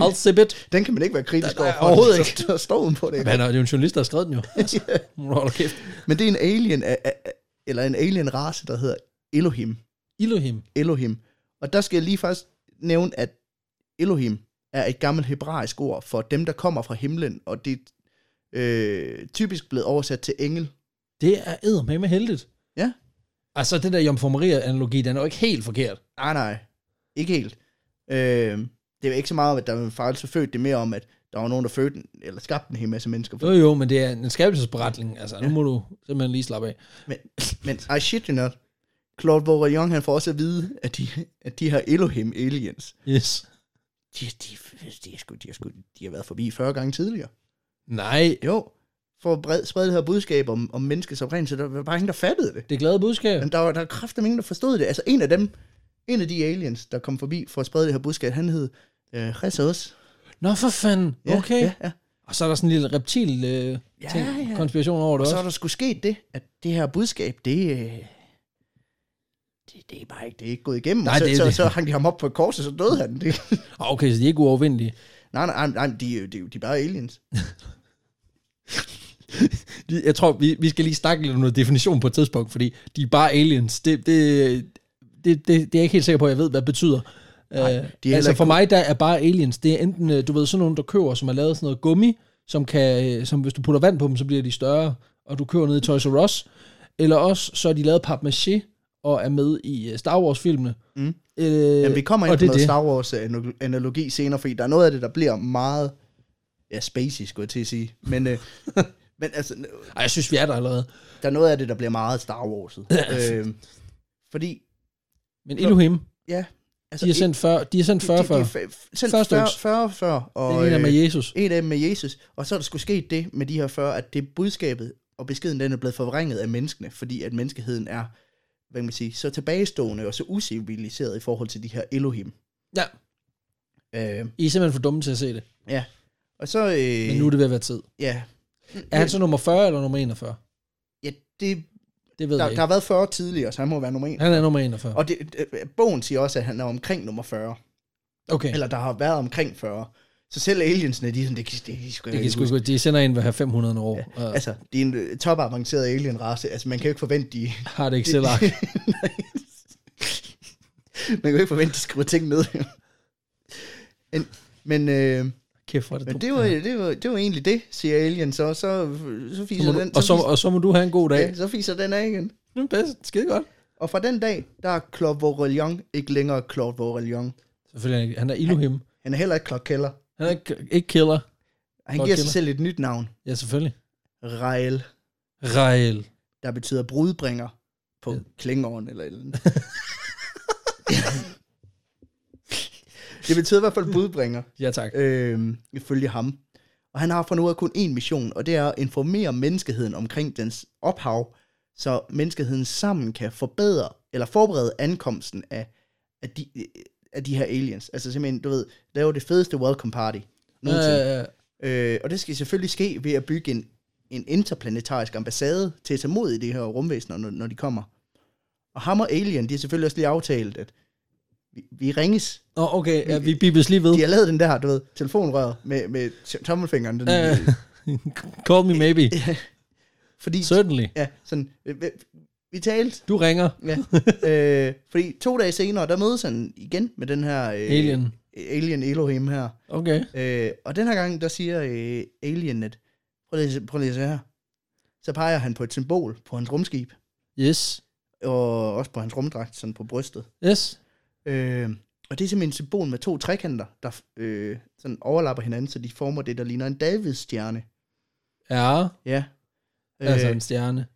I'll zip it. Den kan man ikke være kritisk Nej, over. nej, overhovedet ikke. Der står uden på det. Men han er det er jo en journalist, der har skrevet den jo. Altså, hun holder kæft. Men det er en alien, af, af, af- eller en alien race, der hedder Elohim. Elohim. Elohim. Og der skal jeg lige først nævne, at Elohim er et gammelt hebraisk ord for dem, der kommer fra himlen, og det er øh, typisk blevet oversat til engel. Det er eddermame heldigt. Ja. Altså, den der Jomfru Maria-analogi, den er jo ikke helt forkert. Nej, nej, ikke helt. Øh, det er jo ikke så meget, om, at der var en fejl, så fødte det mere om, at der var nogen, der fødte den, eller skabte en hel masse mennesker. Jo, jo, men det er en skabelsesberetning. Altså, nu må du simpelthen lige slappe af. Men, men I shit you not, Claude Vaureillon, han får også at vide, at de, at de her Elohim aliens, Yes. de, de, de, er sgu, de, er sgu, de har været forbi 40 gange tidligere. Nej, Jo, for at bred, sprede det her budskab om, om menneskets oprindelse, der var bare ingen, der fattede det. det er glade budskab. Men der var, der var kraftigt ingen, der forstod det. Altså en af dem, en af de aliens, der kom forbi for at sprede det her budskab, han hed øh, Jesus. Nå, for fanden. Ja, Okay. Ja, ja. Og så er der sådan en lille reptil øh, Ja, ting, ja. konspiration over det Og så også. er der skulle ske det, at det her budskab, det, øh, det, det er bare ikke, det er ikke gået igennem. Nej, så, det er så, det. så, hang de ham op på et kors, og så døde han. Det, Ah, Okay, så de er ikke uovervindelige. nej, nej, nej, nej de, er jo- de, er jo- de er bare aliens. De- Jeg tror, vi, vi skal lige snakke lidt om noget definition på et tidspunkt, fordi de er bare aliens. Det, det, det, det, det er jeg ikke helt sikker på, at jeg ved, hvad det betyder. Nej, heller altså ikke for mig, der er bare aliens. Det er enten, øh, du ved, sådan nogle, du køber, som er lavet af sådan noget gummi, som, kan, øh, som hvis du putter vand på dem, så bliver de større, og du kører ned i Toys R Us. Eller også, så er de lavet papmaché og er med i øh, Star Wars-filmene. Mm. Øh, Jamen, vi kommer ind og på det er noget det. Star Wars-analogi senere, fordi der er noget af det, der bliver meget... Ja, spacey, skulle jeg til at sige. Men, øh, men altså, Ej, jeg synes, vi er der allerede. der er noget af det, der bliver meget Star Warset. øh, fordi, Men Elohim, ja... altså, de har sendt 40, de har sendt 40 før. Sendt Første 40, øks. 40 før, og Den ene er med øh, Jesus. en af dem med Jesus. Og så er der skulle ske det med de her 40, at det budskabet og beskeden, den er blevet forvrænget af menneskene, fordi at menneskeheden er, hvad kan man sige, så tilbagestående og så usiviliseret i forhold til de her Elohim. Ja, Øh, I er simpelthen for dumme til at se det. ja. Og så... Øh, Men nu er det ved at være tid. Ja. Er han så nummer 40 eller nummer 41? ja det, Det ved der, jeg der ikke. har været 40 tidligere, så han må være nummer 1. Han er nummer 41. Og det, øh, bogen siger også, at han er omkring nummer 40. Okay. Eller der har været omkring 40. Så selv aliensene, de er sådan, det, det, det, de skal Det kan sgu, de sender en hver 500 år. Ja. Og Altså, de er en øh, topavanceret alien-race. Altså, man kan jo ikke forvente, de... har det ikke selv ark. man kan jo ikke forvente, de skriver ting ned. en, men, øh, Kæft, hvor er det men dumt. det, var, det, var, det var egentlig det, siger alien. Så, så, så så må fiser du, den, og, så, fiser- og så må du have en god dag. ja, så fiser den af igen. Det er bedst. Skide godt. Og fra den dag, der er Claude Vaureillon ikke længere Claude Vaureillon. Selvfølgelig, han er Elohim. Han er heller ikke Clark Keller. Han er ikke, ikke killer. Han Godt giver sig kender. selv et nyt navn. Ja, selvfølgelig. Rael, Rael. der betyder brudbringer på Ja. klingården eller et eller andet. det betyder i hvert fald brudbringer. Ja, tak. øh, ifølge ham. Og han har for nu kun én mission, og det er at informere menneskeheden omkring dens ophav, så menneskeheden sammen kan forbedre eller forberede ankomsten af, af, de, af de her aliens. Altså simpelthen, du ved, lave det fedeste welcome party. Øh. Øh, Øh, og det skal selvfølgelig ske ved at bygge en, en interplanetarisk ambassade til at tage mod i de her rumvæsener, når, når de kommer. Og ham og Alien, de har selvfølgelig også lige aftalt, at vi, vi ringes Nå, okay, ja, vi bibes lige ved. de har lavet den der, du ved, telefonrøret med, med t- tommelfingeren. Den, Øh, øh. Call me maybe. Fordi, så... Certainly. ja, sådan, øh, øh, vi talte, Du ringer. ja. øh, fordi to dage senere, der mødes han igen med den her... Øh, Alien. Alien Elohim her. Okay. Øh, og den her gang, der siger øh, Alien, at prøv lige, at se- prøv lige at se her. Så peger han på et symbol på hans rumskib, Yes. og også på hans rumdragt, sådan på brystet. Yes. Øh, og det er simpelthen et symbol med to trekanter, der øh, sådan overlapper hinanden, så de former det, der ligner en Davids-stjerne. Ja. Ja. Øh, Altså en stjerne.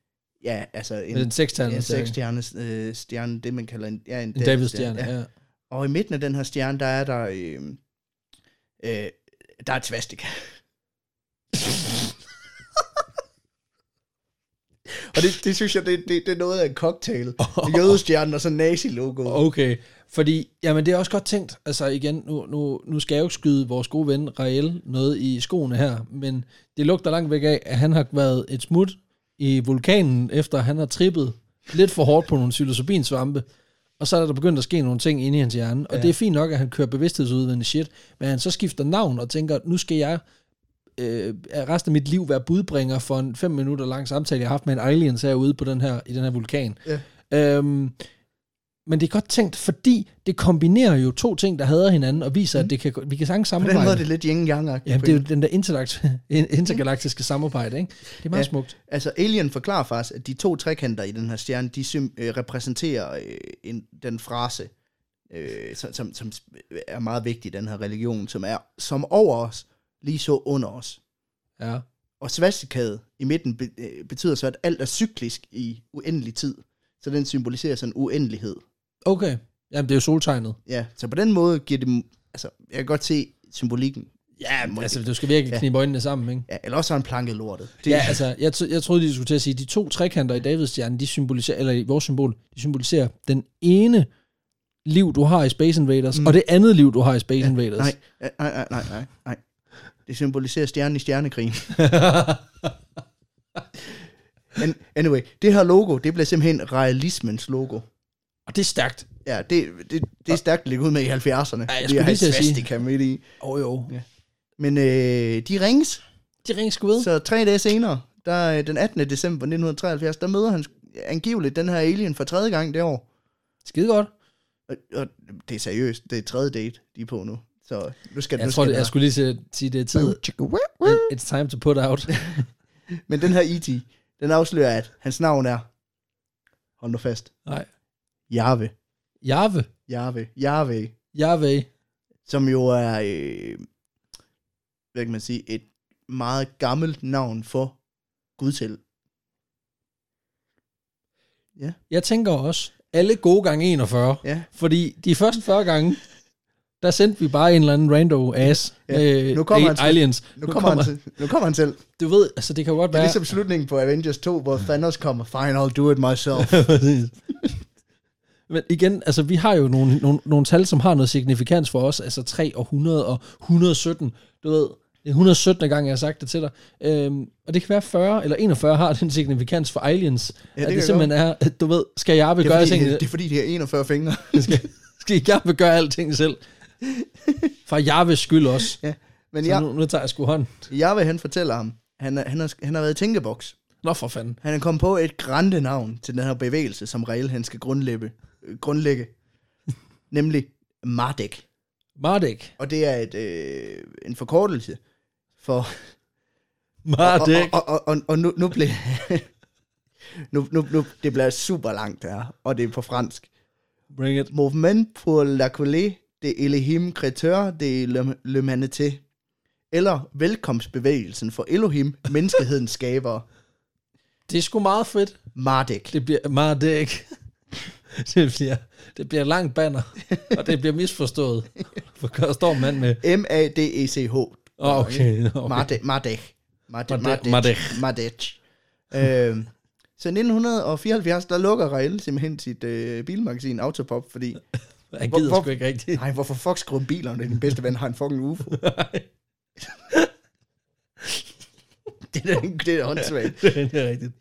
Ja, altså en, En, en sekstallet en stjerne. seksstjernes øh, stjerne, det man kalder en, ja, en, En Davids-stjerne, David-stjerne, Ja. ja. Og i midten af den her stjerne, der er der, øh, øh, der er et svastika. og det, det synes jeg, det, det, det er noget af en cocktail. Jødestjernen og så nazi-logoet. Okay, fordi, jamen det er også godt tænkt, altså igen, nu, nu, nu skal jeg jo ikke skyde vores gode ven Rael noget i skoene her, men det lugter langt væk af, at han har været et smut i vulkanen, efter han har trippet lidt for hårdt på nogle psilocybinsvampe, og så er der begyndt at ske nogle ting inde i hans hjerne, og ja. det er fint nok, at han kører bevidsthedsudvidende shit, men han så skifter navn og tænker, nu skal jeg øh, resten af mit liv være budbringer for en fem minutter lang samtale, jeg har haft med en aliens herude på den her, i den her vulkan. Ja. Øhm, men det er godt tænkt, fordi det kombinerer jo to ting, der hader hinanden, og viser, mm. at det kan, vi kan sagtens På samarbejde. den måde er det lidt yin yang Jamen, det er jo den der intergalakt- intergalaktiske samarbejde, ikke? Det er meget Ja. ja. smukt. Altså, Alien forklarer faktisk, at de to trekanter i den her stjerne, de sym- øh, repræsenterer øh, en, den frase, øh, som, som, som er meget vigtig i den her religion, som er som over os, lige så under os. Ja. Og svastikaet i midten be- øh, betyder så, at alt er cyklisk i uendelig tid. Så den symboliserer sådan uendelighed. Okay. Jamen, det er jo soltegnet. Ja, så på den måde giver det... m- Altså, jeg kan godt se symbolikken. Ja, må- altså, du skal virkelig Ja. ja. knibe øjnene sammen, ikke? Ja, eller også har han planket lortet. Det... Ja, altså, jeg, tro- jeg troede, de skulle til at sige, at de to trekanter i Davidstjernen, de symboliserer, eller i vores symbol, de symboliserer den ene liv, du har i Space Invaders, mm. og det andet liv, du har i Space ja, Invaders. Nej, nej, nej, nej, nej, nej. Det symboliserer stjernen i stjernekrigen. An- anyway, det her logo, det blev simpelthen realismens logo. Og det er stærkt. Ja, det, det, det er stærkt ligget ud med i Ja, 70'erne. jeg Vi skulle har lige til at sige. svastika midt i. Åh oh, jo. Ja. Men øh, de rings, De ringer sgu ved. så tre dage senere, der, øh, den 18. december 1973, der møder han angiveligt den her alien for tredje gang det år. Skide godt. Og, og det er seriøst, det er tredje date, de er på nu. Så nu skal nu Jeg tror, skal det, jeg skulle lige til at sige, det er tid. It- It's time to put out. Men den her E.T., den afslører, at hans navn er, hold nu fast, Nej. Jave. Jave. Jave. Jave. Jave. som jo er, øh, hvad kan man sige, et meget gammelt navn for Gud selv. Jeg tænker også, alle gode gange 41. Ja. Fordi de første 40 gange, der sendte vi bare en eller anden rando ass. Ja, Øh, nu kommer a- han- aliens. Nu, nu, kommer, han til, nu kommer han selv. Det Du ved, altså det kan jo godt er være... ligesom slutningen på Avengers 2, hvor Thanos kommer, fine, I'll do it myself. Præcis. Men igen, altså vi har jo nogle, nogle, nogle tal, som har noget signifikans for os, altså 3 og 100 og 117, du ved, det er 117. gang, jeg har sagt det til dig. Øhm, og det kan være 40 eller 41 har den signifikans for aliens. Ja, det det at kan det simpelthen er, at du ved, skal jeg Det er, gøre fordi, tingene, det, det er fordi, de har 41 fingre. skal, skal jeg vil gøre alting selv. For jeg vil skyld også. ja. Men Ja. ja, Nu, nu tager jeg sgu hånd. Jave, han fortæller ham, han, er, han, har, han har været i tænkeboks. Nå for fanden. Han er kommet på et grande navn til den her bevægelse, som Rael han skal grundlægge, øh, grundlægge. nemlig Mardek. Mardek. Og det er et, øh, en forkortelse for... Mardek. Og, og, og, og, og nu, nu blev... nu, nu, nu, det bliver super langt det her, og det er på fransk. Bring it. Mouvement pour la colée de Elohim Créateur de l'hum- l'humanité. eller velkomstbevægelsen for Elohim, menneskehedens skaber, Det er sgu meget fedt. Mardek. Det bliver meget dæk. Det bliver, det bliver langt banner, og det bliver misforstået. For står en mand med, M-A-D-E-C-H. Åh, Ah, okay, okay. E Mardek. Mardek. Mardek. Mardek. Mardek. Mardek. Øhm, så i 1974, der lukker Rael simpelthen sit øh, bilmagasin Autopop, fordi, han Hvor- gider hvor- sgu ikke rigtigt. nej, hvorfor fuck skriver om biler, når din bedste ven har en fucking UFO? det er da det er da åndssvagt. det er rigtigt.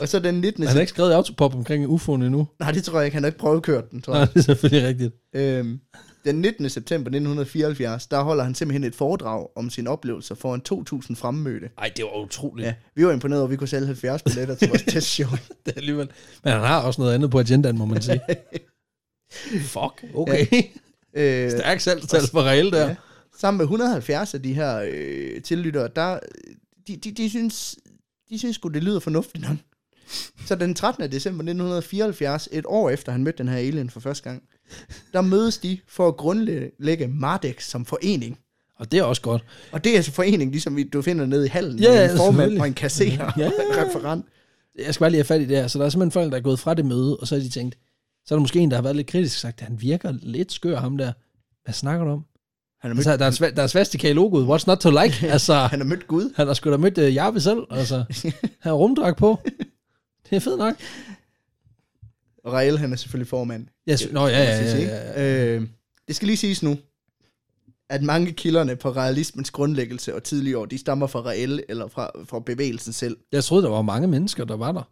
Og så den 19. Han har ikke skrevet i autopop omkring UFO'en endnu. Nej, det tror jeg ikke. Han har ikke prøvekørt den, tror jeg. Nej, det er selvfølgelig rigtigt. Øhm, den 19. september 1974, der holder han simpelthen et foredrag om sine oplevelser foran 2.000 fremmødte. Nej, det var utroligt. Ja, vi var imponeret over, at vi kunne sælge 70 billetter til vores testshow. Det er alligevel. Men han har også noget andet på agendaen, må man sige. Fuck, okay. Øh, Stærk salgstal for reelt der. Ja. sammen med 170 af de her øh, tillyttere, der, de, de, de synes, de synes sgu, det lyder fornuftigt nok. Så den 13. december 1974, et år efter han mødte den her alien for første gang, der mødes de for at grundlægge Mardex som forening. Og det er også godt. Og det er altså foreningen, ligesom vi- du finder nede i hallen, Ja, med ja, en formand selvfølgelig. og en kasserer Ja, ja, ja, og en referent. Jeg skal bare lige have fat i det her. Så der er simpelthen folk, der er gået fra det møde, og så har de tænkt, så er der måske en, der har været lidt kritisk og sagt, han virker lidt skør, ham der. Hvad snakker du om? Han har mødt, Altså, der er, sva- der er svastika i logoet. What's not to like? Altså, han har mødt Gud. han har sgu da mødt uh, Jarve selv. Altså, han har rumdrag på. Det er fedt nok. Og Rael, han er selvfølgelig formand. Jeg sy- Nå, ja, ja, ja, ja, ja. ja. Øh, det skal lige siges nu, at mange kilderne på realismens grundlæggelse og tidlige år, de stammer fra Rael eller fra, fra bevægelsen selv. Jeg troede, der var mange mennesker, der var der.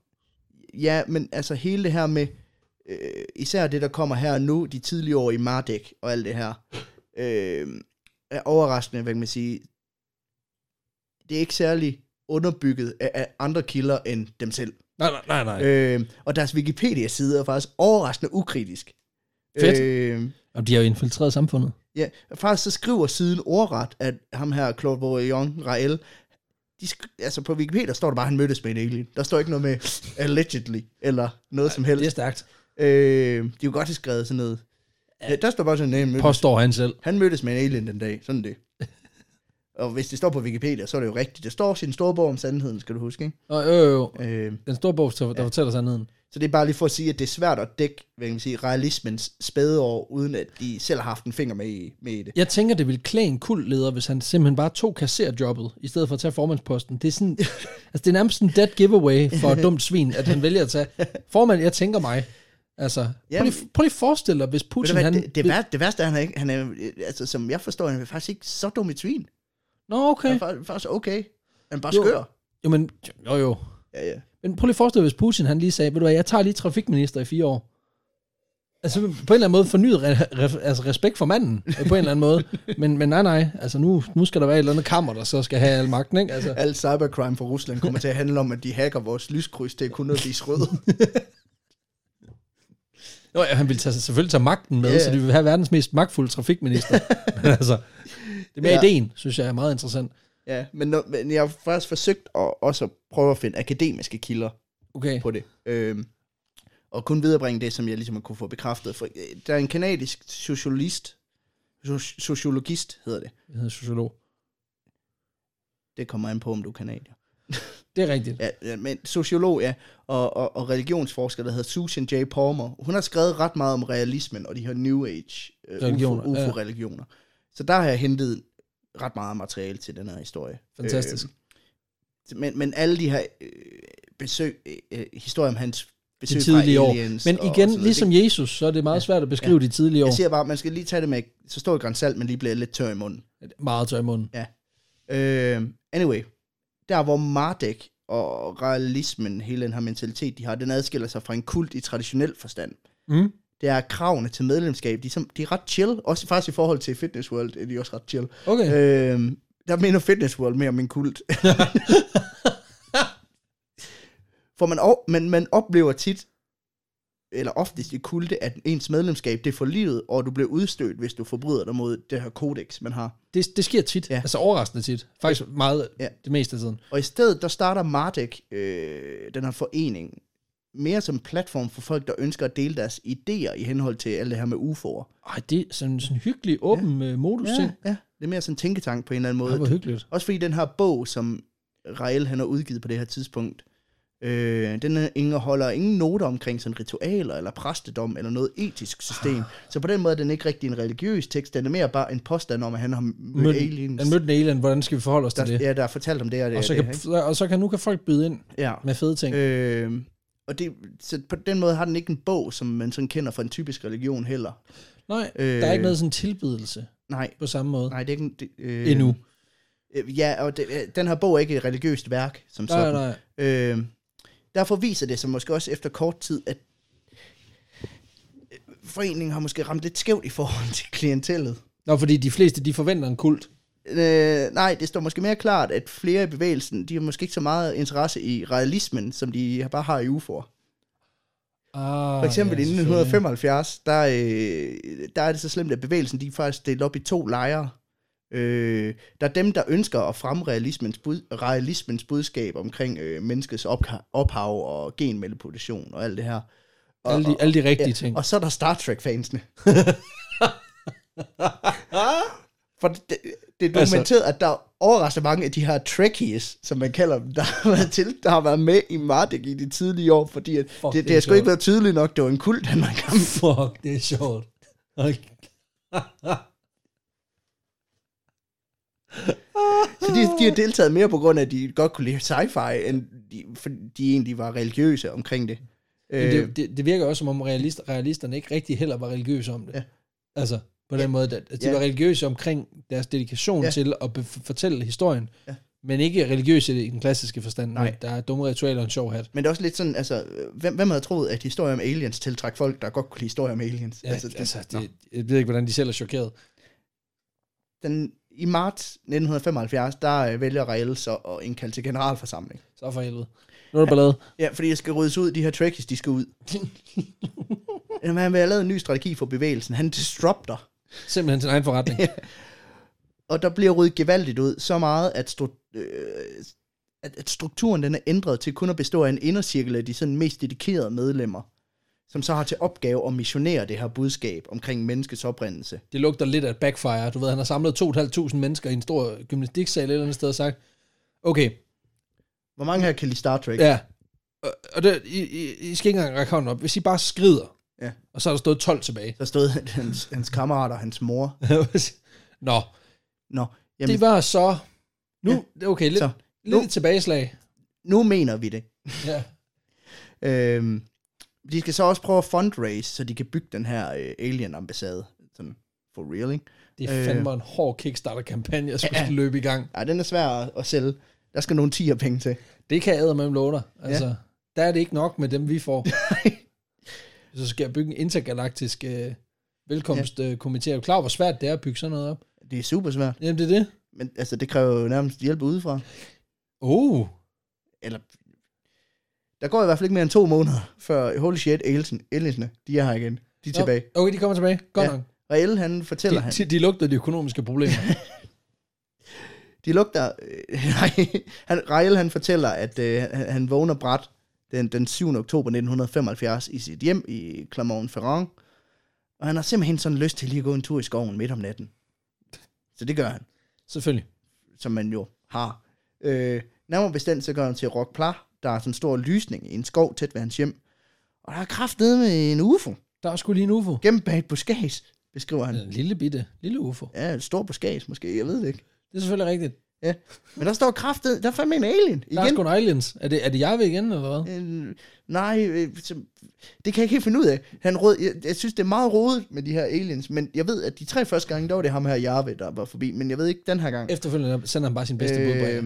Ja, men altså hele det her med, øh, især det, der kommer her nu, de tidlige år i Mardek og alt det her, øh, er overraskende, hvad kan man sige. Det er ikke særlig underbygget af, af andre kilder end dem selv. Nej, nej, nej. nej. Øh. Øh, og deres Wikipedia-side er faktisk overraskende ukritisk. Fedt. Øh, Og de har jo infiltreret samfundet. ja, faktisk så skriver siden ordret, at ham her, Claude Bourgeon, Rael, de sk- altså på Wikipedia står der bare, at han mødtes med en alien. Der står ikke noget med allegedly, eller noget som helst. Det er stærkt. Øh, de kunne godt have skrevet sådan noget. Ja, der står bare sådan, at han mødtes, Påstår han selv. han mødtes med en alien den dag. Sådan er det. Og hvis det står på Wikipedia, så er det jo rigtigt. Det står sin store bog om sandheden, skal du huske, ikke? Og øh, øh, Øh, den store bog, der ja. fortæller sandheden. så det er bare lige for at sige, at det er svært at dække, hvad kan man sige, realismens spædeår, uden at de selv har haft en finger med i, med i det. Jeg tænker, det ville klæde en kuldleder, hvis han simpelthen bare tog kasserjobbet, i stedet for at tage formandsposten. Det er, sådan, altså, det er nærmest en dead giveaway for et dumt svin, at han vælger at tage formand, jeg tænker mig. Altså, prøv, Jamen- lige, prøv lige at forestille dig, hvis Ved du Putin... hvad, han, det, det, værste, det værste er, at han er, ikke, han er, øh, altså som jeg forstår, han er faktisk ikke så dum i tvin. Nå, Han okay. er fa- faktisk okay. Han er bare Jo. skør. Jo, men, jo, jo. Ja, ja. Men prøv lige at forestille dig, hvis Putin han lige sagde, ved du hvad, jeg tager lige trafikminister i fire år. Altså på en eller anden måde fornyet re- re- altså, respekt for manden, øh, på en eller anden måde. Men, men nej, nej, altså nu, nu skal der være et eller andet kammer, der så skal have al magten, ikke? Altså, Al cybercrime fra Rusland kommer til at handle om, at de hacker vores lyskryds til kun at blive rød. jo, ja, han ville tage, selvfølgelig tage magten med, Ja, ja. yeah. så de vil have verdens mest magtfulde trafikminister. men altså, det med Ja. ja. ideen, synes jeg er meget interessant. ja, men, når, men jeg har faktisk forsøgt at, også at prøve at finde akademiske kilder Okay, på det. Øhm, og kun viderebringe det, som jeg ligesom har kunne få bekræftet. For, øh, der er en kanadisk socialist, so- sociologist hedder det. jeg hedder sociolog. Det kommer an på, om du er kanadier. Det er rigtigt. Ja, ja, men sociolog, ja, og, og, og religionsforsker, der hedder Susan J. Palmer. Hun har skrevet ret meget om realismen og de her New Age øh, Religioner, UFO, UFO-religioner. Så der har jeg hentet ret meget materiale til den her historie. Fantastisk. Øh, men, men alle de her øh, besøg, øh, historier om hans besøg De tidlige fra år. aliens Men og- og sådan igen, noget, ligesom det, Jesus, så er det meget svært at beskrive de tidlige år. Jeg siger bare, man skal lige tage det med, så står et salt, men lige bliver lidt tør i munden. Meget tør i munden. Øh, anyway, der hvor Mardek og realismen, hele den her mentalitet, de har, den adskiller sig fra en kult i traditionel forstand. Mm. Det er kravene til medlemskab, de er, som, de er ret chill, også faktisk i forhold til Fitness World, er de også ret chill. Okay. Øh, der minder Fitness World mere om en kult. For man, o- man, man oplever tit, eller oftest i kulte, at ens medlemskab, det er for livet, og du bliver udstødt, hvis du forbryder dig mod det her kodex, man har. Det, det sker tit. Ja. Ja. Altså overraskende tit. Faktisk meget Ja. ja. det meste af tiden. Og i stedet, der starter Mardek, øh, den her forening, mere som platform for folk, der ønsker at dele deres idéer i henhold til alt det her med UFO'er. Ej, det er sådan sådan en hyggelig, åben ja. modus ting. ja. Det er mere sådan en tænketank på en eller anden måde. Ja, hvor hyggeligt. Også fordi den her bog, som Rael han har udgivet på det her tidspunkt, øh, den indeholder ingen noter omkring sådan ritualer eller præstedom eller noget etisk system. Ah. Så på den måde er den ikke rigtig en religiøs tekst, den er mere bare en påstand om, at han har mødt Mød, aliens. han mødte en alien, hvordan skal vi forholde os til det? der, ja, der er fortalt om det og det. Og så, det kan, her, ikke? og så kan, nu kan folk byde ind ja. med fede ting. Øh, og det, så på den måde har den ikke en bog, som man sådan kender fra en typisk religion heller. Nej, øh, der er ikke noget sådan tilbydelse Nej, på samme måde nej, det er ikke... en- Det, øh, endnu. Øh, ja, og det, øh, den her bog er ikke et religiøst værk, som Nej, sådan. nej. Øh, derfor viser det sig måske også efter kort tid, at øh, foreningen har måske ramt lidt skævt i forhold til klientellet. Nå, fordi de fleste, de forventer en kult. Øh, nej, det står måske mere klart, at flere i bevægelsen, de har måske ikke så meget interesse i realismen, som de bare har i UFO'er. Ah, For eksempel ja, ja, i 1975, der, øh, der er det så slemt, at bevægelsen de er faktisk delt op i to lejre. Øh, der er dem, der ønsker at fremme realismens, bud, realismens budskab omkring øh, menneskets opka- ophav og genmanipulation og alt det her. Og, Alle de, alle de rigtige ting. og så er der Star Trek-fansene. For det, det, det er Altså- dokumenteret, altså, at der er overraskende mange af de her Trekkies, som man kalder dem, der har været, til, der har været med i Marduk i de tidlige år, fordi at det, det, det er har sgu ikke sjovt. været tydeligt nok, det var en kult, han var i gang med. Fuck, det er sjovt. Okay. Så de, de har deltaget mere på grund af, at de godt kunne lide sci-fi, end de, fordi de egentlig var religiøse omkring det. Men Øh, det, det, det virker også, som om realist, realisterne ikke rigtig heller var religiøse om det. Ja. Altså, på den ja. måde, at at de Ja. ja. var religiøse omkring deres dedikation Ja. ja. til at bef- fortælle historien, Ja. ja. men ikke religiøse i den klassiske forstand. Nej. Nej. Der er dumme ritualer og en sjov hat. men det er også lidt sådan, altså, hvem, hvem havde troet, at historier om aliens tiltræk folk, der godt kunne lide historier om aliens? Ja, altså, det, altså, nå. det, jeg ved ikke, hvordan de selv er chokeret. den, I marts 1975, der øh, vælger Rael så at indkalde til generalforsamling. Så for helvede. Nu er der ballade. Ja, fordi jeg skal ryddes ud, de her trekkies, de skal ud. Jamen, han vil have lavet en ny strategi for bevægelsen. Han disrupter. Simpelthen sin egen forretning. Og der bliver ryddet gevaldigt ud, så meget, at, stru- øh, at, at strukturen den er ændret til kun at bestå af en indercirkel af de sådan mest dedikerede medlemmer, som så har til opgave at missionere det her budskab omkring menneskets oprindelse. Det lugter lidt af et backfire. Du ved, han har samlet 2.500 mennesker i en stor gymnastiksal et eller andet sted og sagt, okay, Hvor mange her kan lide Star Trek? Ja. Og, og det, I, I, I skal ikke engang række hånden op. Hvis I bare skrider, Ja. og så er der stået 12 tilbage. Der stod hans, hans kammerater og hans mor. Nå, Nå, jamen, det var så... Nu, ja. okay, lidt, Så, så, nu- lidt et tilbageslag. nu mener vi det. Ja. Øhm, de skal så også prøve at fundraise, så de kan bygge den her øh, alien-ambassade. Sådan, for real, ikke? Det er fandme en hård Kickstarter-kampagne, jeg skulle Øh. Ja. ja. løbe i gang. Ej, den er svær at, at sælge. Der skal nogle tiger penge til. Det kan jeg med låner. Altså, ja. Der er det ikke nok med dem, vi får. så skal jeg bygge en intergalaktisk øh, velkomstkomité. Ja. Er du klar, hvor svært det er at bygge sådan noget op? Det er super svært. Jamen, det er det. Men altså, det kræver jo nærmest hjælp udefra. Oh, Eller, der går i hvert fald ikke mere end to måneder, før holy shit, aliensen, aliensene, de er her igen. De er tilbage. Okay, de kommer tilbage. Godt Ja, ja, nok. Og El, han fortæller, han, De, de, de lugter de økonomiske problemer. de lugter... Øh, nej, han, Rael, han fortæller, at øh, han, han vågner bræt den, den 7. oktober 1975 i sit hjem i Clermont-Ferrand. Og han har simpelthen sådan lyst til lige at gå en tur i skoven midt om natten. Så det gør han, Selvfølgelig. som man jo har. Øh, nærmere bestemt, så går han til Rock Pla, der er sådan en stor lysning i en skov tæt ved hans hjem. Og der er kraft nede med en ufo, Der er sgu lige en ufo. gennem bag et buskads, beskriver han. En lille bitte, lille ufo. Ja, et stort buskads måske, jeg ved det ikke. Det er selvfølgelig rigtigt. Ja. Men der står kraft nede, der er fandme en alien. Der er sgu en aliens. Er det, er det jeg ved igen, eller hvad? Øh, nej, øh, så, det kan jeg ikke helt finde ud af. Han rød, jeg, jeg synes, det er meget rodet med de her aliens, men jeg ved, at de tre første gange, der var det ham her Jarve, der var forbi, men jeg ved ikke den her gang. Øhm, Efterfølgende sender han bare sin bedste øh, bud på jer.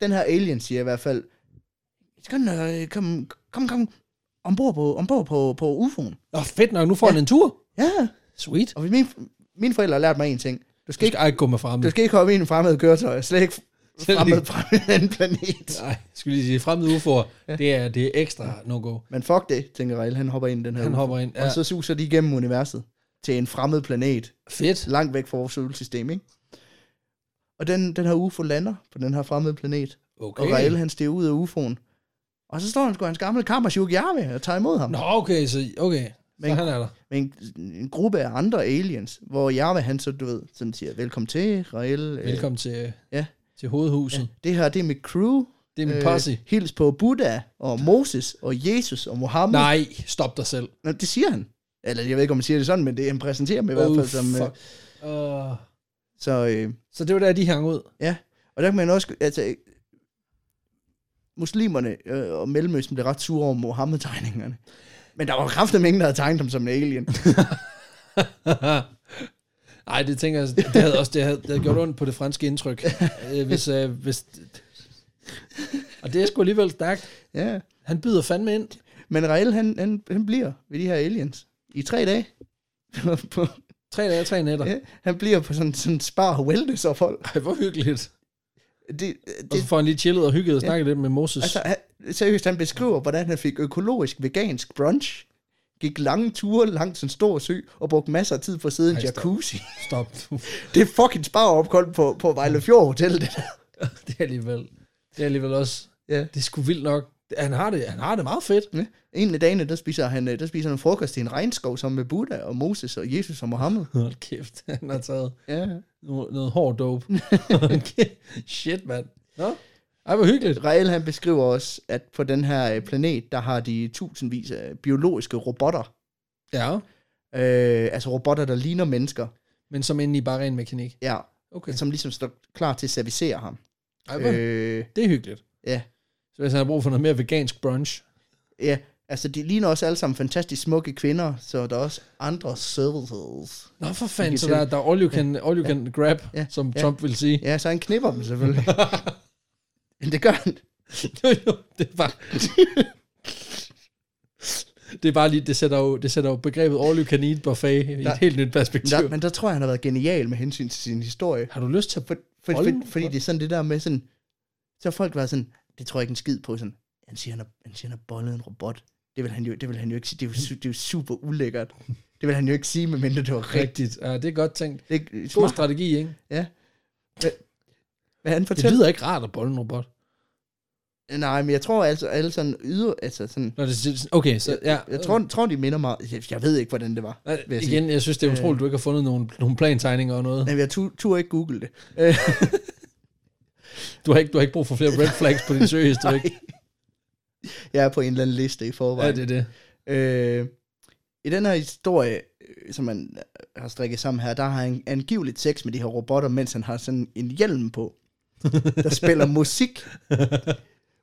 den her alien siger i hvert fald, Skynd dig, øh, kom, kom, kom, ombord på, ombord på, på UFO'en. Nå, fedt nok, nu får han en tur. Ja, Sweet. og min, mine forældre har lært mig en ting. Du Du skal ikke, skal ej, ikke gå med fremmede. du skal ikke hoppe ind i en fremmed køretøj, slet ikke Selv fremmed ikke. fra en anden planet. Nej, jeg skulle lige sige, fremmede ufoer, det er, det er ekstra no-go. Men fuck det, tænker Rael. Han hopper ind i den her Han UFO. hopper ind, Ja. ja. Og så suser de igennem universet til en fremmed planet, Fedt. langt væk fra vores solsystem, ikke? Og den, den her UFO lander på den her fremmede planet. Okay. Okay. Og Rael, han stiger ud af UFO'en. Og så står han sgu hans gamle kammer Shugiawe og tager imod ham. Nå, okay, så, okay. Men, så Men- han er der. med en, en gruppe af andre aliens, hvor Jarve han så, du ved, sådan siger, velkommen til, Rael. øh, Velkommen til, ja. til hovedhuset. Ja. Det her, det er mit crew. Det er min posse. Øh. hils på Buddha, og Moses, og Jesus, og Mohammed. Nej, stop dig selv. Nå, det siger han. Eller jeg ved ikke, om han siger det sådan, men det han præsenterer dem i hvert Oh, fald. Som, øh, fuck. Uh, så, øh, så det var der, de hang ud. ja. Og der kan man også, altså, øh, muslimerne øh, og Mellemøsten blev ret sure over Mohammed-tegningerne. Men der var kraftigt ingen, der havde tegnet dem som en alien. Nej, det tænker jeg, det havde også det havde, det havde gjort ondt på det franske indtryk. øh, hvis, øh, hvis, og det er sgu alligevel stærkt. ja. Han byder fandme ind. Men Rael, han, han, han bliver ved de her aliens i tre dage. på, Tre dage og tre nætter. ja, han bliver på sådan en spar wellness-ophold. Ej, hvor hyggeligt. Det, Og så det, får han lige chillet og hygget og snakket lidt med Moses. altså, han, seriøst, han beskriver, hvordan han fik økologisk vegansk brunch, gik lange ture langs en stor sø, og brugte masser af tid på at sidde i en Ej, stop. jacuzzi. Stop nu. Det er fucking sparopkold på, på Vejle Fjord Hotel, det der. det er alligevel, det er alligevel også, Ja. det er sgu vildt nok. Han har det, han har det meget fedt. Ja. En af dagene, der spiser han, øh, der spiser han frokost i en regnskov sammen med Buddha og Moses og Jesus og Mohammed. Hold kæft, han har taget Ja. noget, noget hård dope. okay. Shit, mand. Nå? Ej, hvor hyggeligt. Rael han beskriver også, at på den her øh, planet, der har de tusindvis af biologiske robotter. Ja, Øh, altså robotter, der ligner mennesker. men som inde i bare ren mekanik. Altså, Ja, Okay. som ligesom står klar til at servicere ham. Ej, hvor, Øh, det er hyggeligt. ja, Så hvis han har brug for noget mere vegansk brunch. ja. Altså, de ligner også alle sammen fantastisk smukke kvinder, så der er også andre services. Nå, for fanden, kan så til- der, der er all you can, all you can grab, Ja. som Ja. Trump vil sige. Ja, så han knipper dem selvfølgelig. Men det gør han. Jo, jo, det er bare... det er bare lige, det sætter jo, det sætter jo begrebet all you can eat buffet i Der- et helt nyt Men perspektiv. der, men der tror jeg, han har været genial med hensyn til sin historie. Har du lyst til at... For, for, for, Hold nu fordi op. det er sådan det der med sådan, så har folk var sådan, det tror jeg ikke en skid på, sådan, han siger, han har, han siger, han har bollet en robot. Det vil han jo, det vil han jo ikke sige, det er jo, su- det er jo super ulækkert. Det vil han jo ikke sige, medmindre det var rigtigt. Rigtigt. Ja, det er godt tænkt. Det er ikke- God smart, strategi, ikke? hvad han Det fortæller. lyder ikke rart at bolle en robot. Nej, men jeg tror altså, alle sådan yder, altså sådan, Nå, det, det- okay, så ja. Jeg tror, tror, de minder mig. Jeg, jeg ved ikke, hvordan det var. Nej, vil jeg sige. igen, jeg synes, det er Øh. utroligt, du ikke har fundet nogle, nogle plantegninger og noget. Men jeg tur, tur ikke google det. Du har ikke, du har ikke brug for flere red flags på din søgehistorik. Jeg er på en eller anden liste i Ja, forvejen. det er det. Øh, I den her historie, øh, som man har strikket sammen her, der har han angiveligt sex med de her robotter, mens han har sådan en hjelm på, der spiller musik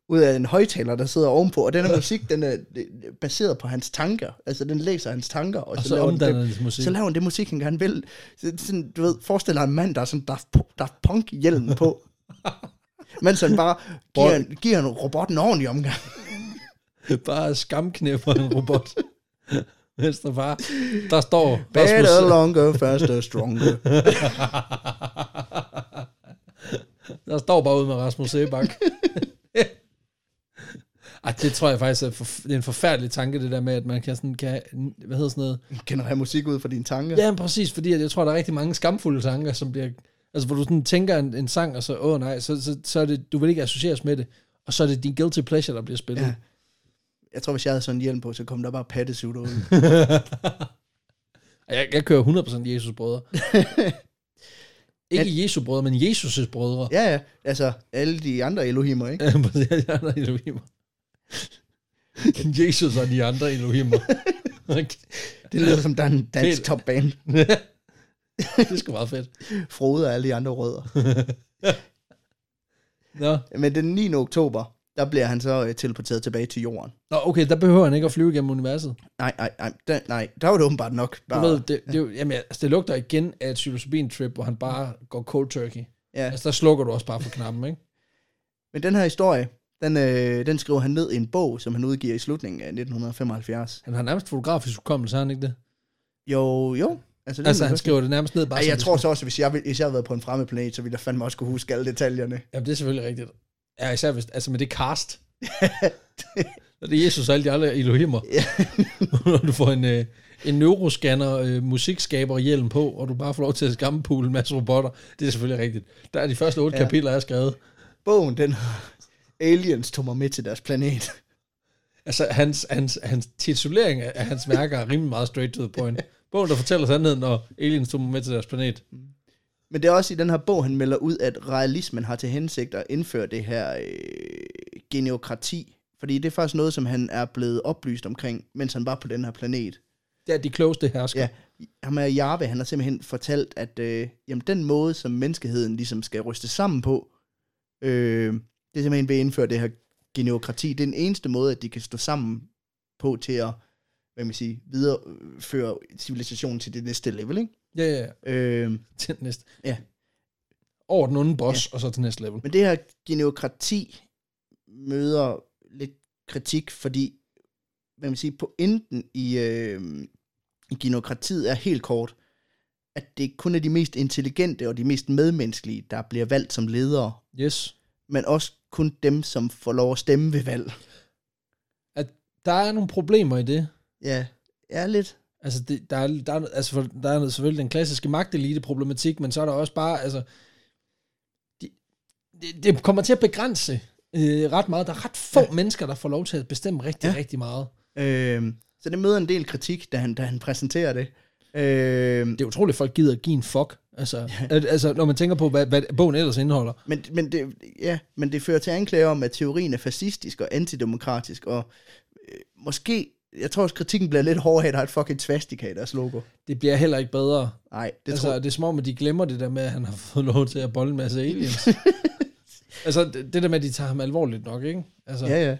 ud af en højtaler, der sidder ovenpå. Og den her musik, den er øh, baseret på hans tanker. Altså, den læser hans tanker, og, Og så, så laver den det. omdanner det til musik. Så laver han det musik, han gerne vil. Så, det er sådan, du ved, forestil dig en mand, der er sådan Daft, Pu- Daft Punk-hjelm på. mens han bare giver, en, giver en robot en ordentlig omgang. Bare skamknæpper en robot. Mens der bare, der står Better, Rasmus, longer, faster, stronger. der står bare ude med Rasmus Sebak. Ej, det tror jeg faktisk er, for, det er en forfærdelig tanke, det der med, at man kan sådan, kan, hvad hedder sådan noget, Generere musik ud fra dine tanker. Ja, men præcis, fordi at jeg tror, der er rigtig mange skamfulde tanker, som bliver... Altså, hvor du sådan tænker en, en sang, og så, åh nej, så, så, så er det, du vil ikke associeres med det, og så er det din guilty pleasure, der bliver spillet. Ja. Jeg tror, hvis jeg havde sådan en hjelm på, så kom der bare pattesuit ud. Og Jeg, jeg kører 100% Jesus brødre. ikke Jesu brødre, men Jesus' brødre. ja, ja. Altså, alle de andre Elohimer, ikke? Ja, præcis, de andre Elohimer. Jesus og de andre Elohimer. Okay. Det lyder som, der er en dansk Fedt. topband. det er sgu meget fedt. Frode og alle de andre rødder. Nå. Men den 9. oktober, der bliver han så øh, teleporteret tilbage til jorden. Nå, okay, der behøver han ikke at flyve gennem universet. Nej, nej, nej. Den, nej, der var det åbenbart nok. Du Bare, ved, det, det, er jo- jamen, altså, det lugter igen af et psilocybin-trip, hvor han bare går cold turkey. ja. Altså, der slukker du også bare for knappen, ikke? Men den her historie, den, øh, den skriver han ned i en bog, som han udgiver i slutningen af 1975. Han har nærmest fotografisk hukommelse, har han ikke det? Jo, jo. Altså, det Altså, er han skriver det nærmest ned bare Ej, som jeg det tror står. så også, hvis jeg, ville- hvis jeg havde været på en fremmed planet, så ville jeg fandme også kunne huske alle detaljerne. Jamen, det er selvfølgelig rigtigt. Ja, især hvis, altså med det cast. Og det er Jesus og alle de andre Elohimer. Ja. Når du får en, øh, en neuroscanner, øh, musikskaber hjelm på, og du bare får lov til at skammepule en masse robotter. Det er selvfølgelig rigtigt. Der er de første otte Ja. ja. kapitler, jeg har skrevet. Bogen, den har Aliens tog mig med til deres planet. Altså, hans, hans, hans titulering af af hans værker er rimelig meget straight to the point. Bogen, der fortæller sandheden, og aliens tog dem med til deres planet. Men det er også i den her bog, han melder ud, at realismen har til hensigt at indføre det her øh, geneokrati. Fordi det er faktisk noget, som han er blevet oplyst omkring, mens han var på den her planet. Det er de klogeste hersker. Ja, ham er Jarve, han har simpelthen fortalt, at øh, jamen, den måde, som menneskeheden ligesom skal ryste sammen på, øh, det er simpelthen ved at indføre det her geneokrati. Det er den eneste måde, at de kan stå sammen på til at, hvad kan man sige, videreføre civilisationen til det næste level, ikke? Ja, ja, ja. Øh, Til den næste. Ja. Over den onde boss, ja. og så til næste level. Men det her geneokrati møder lidt kritik, fordi hvad kan man sige, pointen i, øh, i geneokratiet er helt kort, at det kun er de mest intelligente og de mest medmenneskelige, der bliver valgt som ledere, Yes. men også kun dem, som får lov at stemme ved valg. Der er nogle problemer i det. Ja, er lidt. Altså, det, der, er, der, er, altså, for- der er selvfølgelig den klassiske magtelite-problematik, men så er der også bare, altså, det, det, det kommer til at begrænse øh, ret meget. Der er ret få ja. mennesker, der får lov til at bestemme rigtig, ja. Ja. rigtig meget. Øh, så det møder en del kritik, da han, da han præsenterer det. Øh, Det er utroligt, at folk gider at give en fuck. Altså, ja. altså når man tænker på, hvad, hvad bogen ellers indeholder. Men, men, det, ja, men det fører til anklager om, at teorien er fascistisk og antidemokratisk, og øh, måske, jeg tror også kritikken bliver lidt hård af, at der er et fucking svastika i deres logo. Det bliver heller ikke bedre. Nej, det Det altså, altså, tror det er som om, at de glemmer det der med, at han har fået lov til at bolle en masse aliens. altså, det, det der med, at de tager ham alvorligt nok, ikke? Altså, jeg. Ja, ja.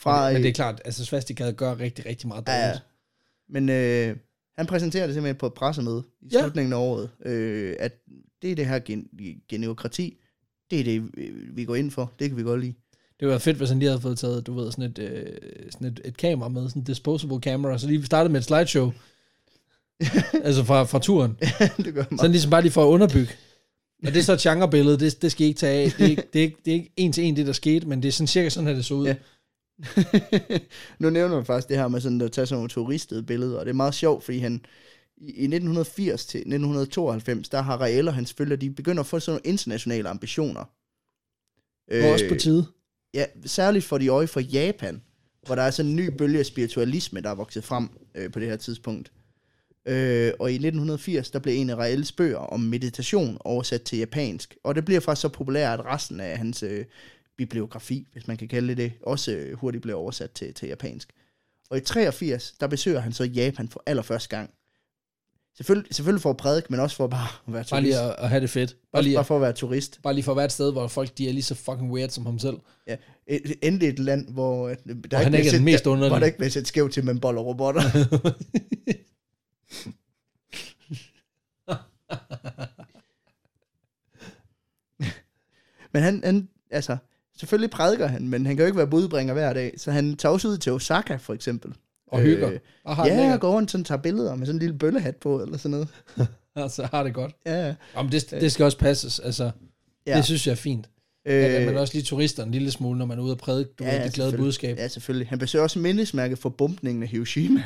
Fra, øh, men, men det er klart, altså svastikade gør rigtig, rigtig meget dårligt. ja, men øh, han præsenterer det simpelthen på et pressemøde i Ja. ja. slutningen af året, øh, at det er det her gen- geneokrati, det er det, øh, vi går ind for, det kan vi godt lide. Det var fedt, hvis han lige havde fået taget, du ved, sådan et, øh, sådan et, et kamera med, sådan et disposable camera, så lige startede med et slideshow, altså fra, fra turen. det gør mig. Sådan ligesom bare lige for at underbygge. Og det er så et genrebillede, det, det skal I ikke tage af. Det er ikke, det, er ikke, det er ikke en til en det, der skete, men det er sådan cirka sådan, at det så ud. Ja. Ja. nu nævner man faktisk det her med sådan at tage sådan nogle turistede billeder, og det er meget sjovt, fordi han i i 1980 til 1992, der har Rael og hans følger, de begynder at få sådan nogle internationale ambitioner. Øh. Også på tide. Ja, særligt for de øje fra Japan, hvor der er sådan en ny bølge af spiritualisme, der er vokset frem øh, på det her tidspunkt. Øh, og i 1980, der blev en af Raels bøger om meditation oversat til japansk. Og det bliver faktisk så populært, at resten af hans øh, bibliografi, hvis man kan kalde det det, også øh, hurtigt blev oversat til, til japansk. Og i 83, der besøger han så Japan for allerførste gang. Selvfølgelig, selvfølgelig for at prædike, men også for bare at være turist. Bare lige at, at have det fedt. Bare Også lige, bare at, for at være turist. bare lige for at være et sted, hvor folk de er lige så fucking weird som ham selv. Ja, et- endelig et land, hvor øh, der han ikke er set- den mest der, underlige. Hvor der ikke bliver set skævt til, men boller robotter. men han, han, altså, selvfølgelig prædiker han, men han kan jo ikke være budbringer hver dag, så han tager også ud til Osaka, for eksempel. Og hygger. Øh, Og har, Ja, det og går rundt sådan tager billeder med sådan en lille bøllehat på, eller sådan noget. altså, har det godt. Ja, ja. Jamen, det, det skal også passes. Altså, ja. Ja. Det synes jeg er fint. Øh. Ja, men også lige turister en lille smule, når man er ude og prædike. Du ja, ved, det glade selvfølgelig. budskab. Ja, selvfølgelig. Han besøger også mindesmærket for bumpningen af Hiroshima.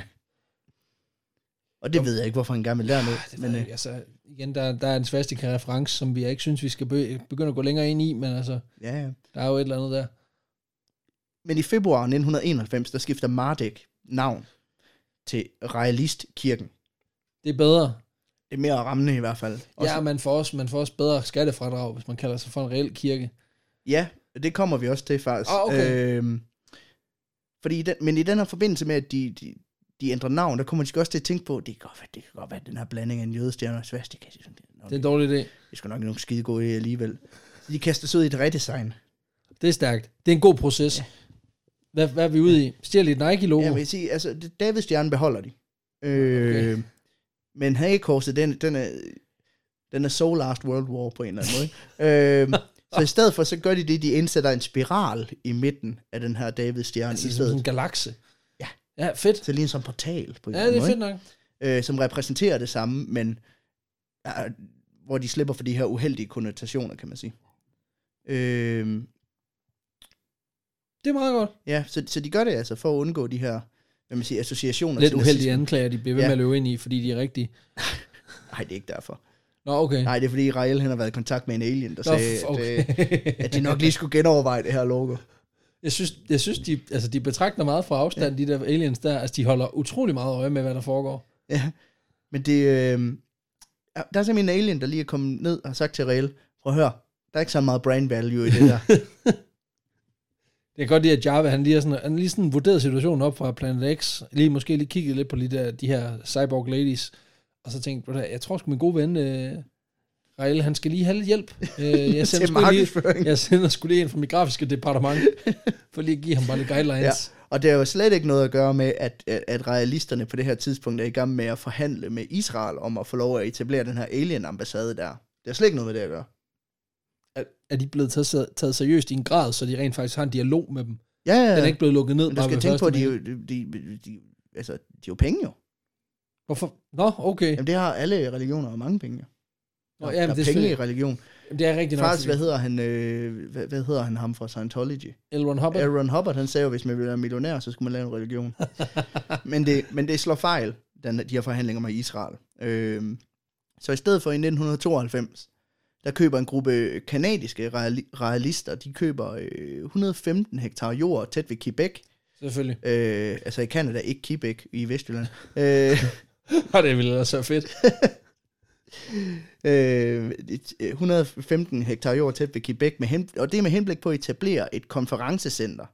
Og det ved jeg ikke, hvorfor han gerne vil lære noget. Det Men, men, øh, jeg, altså, igen, der, der er en svastika reference, som vi ikke synes, vi skal be- begynde at gå længere ind i, men altså, ja, ja. der er jo et eller andet der. men i februar 1991, der skifter Mardek navn til Realistkirken. Det er bedre. Det er mere rammende i hvert fald. Ja, man får, også, man får også bedre skattefradrag, hvis man kalder sig for en reel kirke. Ja, det kommer vi også til faktisk. Ah, okay. øhm, fordi i den, men i den her forbindelse med, at de, de, de ændrer navn, der kommer de også til at tænke på, det kan godt være, det kan godt være den her blanding af en jødestjerne og en svastika. Det er sådan, det er nok- Det er en dårlig idé. Det er sgu nok nogle skide gode idéer alligevel. Så de kaster sig ud i et redesign. Det er stærkt. Det er en god proces. Ja. Hvad, hvad er vi ude i? Stjæl et Nike-logo. Ja, men jeg siger, altså, det- David Stjerne beholder de. Øh, okay. Men hagekorset, den, den er, den er so last world war på en eller anden måde. øh, så i stedet for, så gør de det, de indsætter en spiral i midten af den her David Stjerne altså, altså, i som sådan stedet. en galakse. Ja. Ja, fedt. Så lige en sådan portal på en Ja, eller det anden er måde, fedt nok. ikke? øh, som repræsenterer det samme, men øh, hvor de slipper for de her uheldige konnotationer, kan man sige. Øh, Det er meget godt. ja, så, så de gør det altså for at undgå de her hvad man siger, associationer. Lidt til uheldige nazisme. anklager, de bliver ved Ja. med at løbe ind i, fordi de er rigtige. Nej, det er ikke derfor. Nå, okay. Nej, det er fordi Rael han har været i kontakt med en alien, der Nå, sagde, f- at, okay. øh, at de nok lige skulle genoverveje det her logo. Jeg synes, jeg synes de, altså, de betragter meget fra afstand, ja. de der aliens der. Altså, de holder utrolig meget øje med, hvad der foregår. Ja, men det... Øh, ja, der er simpelthen en alien, der lige er kommet ned og har sagt til Rael, prøv at høre, der er ikke så meget brain value i det der. Det er godt lide, at Java, han lige, er sådan, han lige sådan vurderet situationen op fra Planet X, lige måske lige kigget lidt på lige der, de her cyborg ladies, og så tænkte, "Ved du hvad, jeg tror sgu min gode ven, øh, Rael, han skal lige have lidt hjælp. Øh, jeg, sender til sgu lige, markedsføring. jeg sender sgu lige en fra mit grafiske departement, for lige at give ham bare lidt guidelines. Og det har jo slet ikke noget at gøre med, at, at, at realisterne på det her tidspunkt er i gang med at forhandle med Israel om at få lov at etablere den her alien-ambassade der. Det har slet ikke noget med det at gøre. Ja. Er, er de blevet taget, taget seriøst i en grad, så de rent faktisk har en dialog med dem? Ja, ja, Den er ja. ikke blevet lukket ned. Men du bare skal ved tænke på, første at de, er mail. jo- de, de, de, altså, de er jo penge jo. Hvorfor? Nå, okay. Jamen, det har alle religioner og mange penge jo. Nå, Der- ja, men der det er er penge i selvfølgelig- religion. Jamen, det er rigtigt nok. Faktisk, fordi hvad hedder han, øh, hvad, hvad hedder han ham fra Scientology? L. Ron Hubbard, Aaron Hubbard, han sagde jo, hvis man ville være millionær, så skulle man lave en religion. men, det, men det slår fejl, den, de her forhandlinger med Israel. Øhm, så i stedet for i 1992, der køber en gruppe kanadiske reali- realister, de køber øh, 115 hektar jord tæt ved Quebec, selvfølgelig. øh, altså i Kanada, ikke Quebec, i Vestjylland. Øh, Og det ville ellers være fedt. øh, et- øh, 115 hektar jord tæt ved Quebec, med hen, og det er med henblik på at etablere et konferencecenter.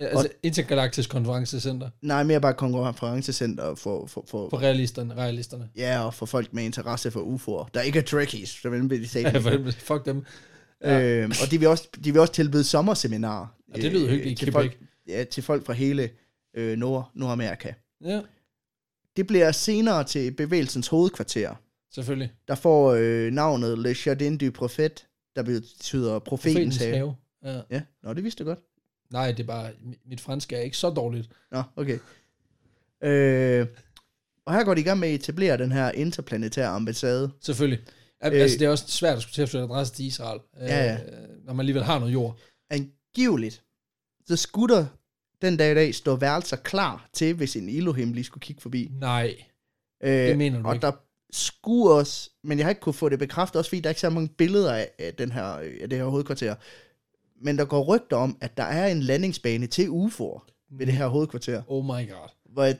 Altså, intergalaktisk konferencecenter Nej, mere bare et konferencecenter for, for, for, for realisterne, realisterne. Ja, og for folk med interesse for UFO'er, der ikke er trickies, så vil de sige. Ja, for helvede. fuck dem. øhm, og de vil, også, de vil også tilbyde sommerseminarer. Ja, det lyder hyggeligt i til Quebec. folk, ja, til folk fra hele øh, Nord, Nordamerika. Ja, Det bliver senere til bevægelsens hovedkvarter, selvfølgelig. der får øh, navnet Le Jardin du Prophet, der betyder profetens Profetens have. have. Ja. Ja, nå, det vidste du godt. Nej, det er bare, mit- mit fransk er ikke så dårligt. Nå, okay. Øh, og her går de i gang med at etablere den her interplanetære ambassade. Selvfølgelig. Al- Øh. Altså, det er også svært at skulle til at flytte adresse til Israel, øh, Ja, ja. når man alligevel har noget jord. angiveligt, så skulle der den dag i dag stå værelser klar til, hvis en Elohim lige skulle kigge forbi. Nej. Øh, mener du og ikke. der skulle også, men jeg har ikke kunne få det bekræftet, også fordi der er ikke så mange billeder af, af, den her, af det her hovedkvarter. Men der går rygter om, at der er en landingsbane til UFO'er ved det her hovedkvarter, Oh my god. hvor jeg,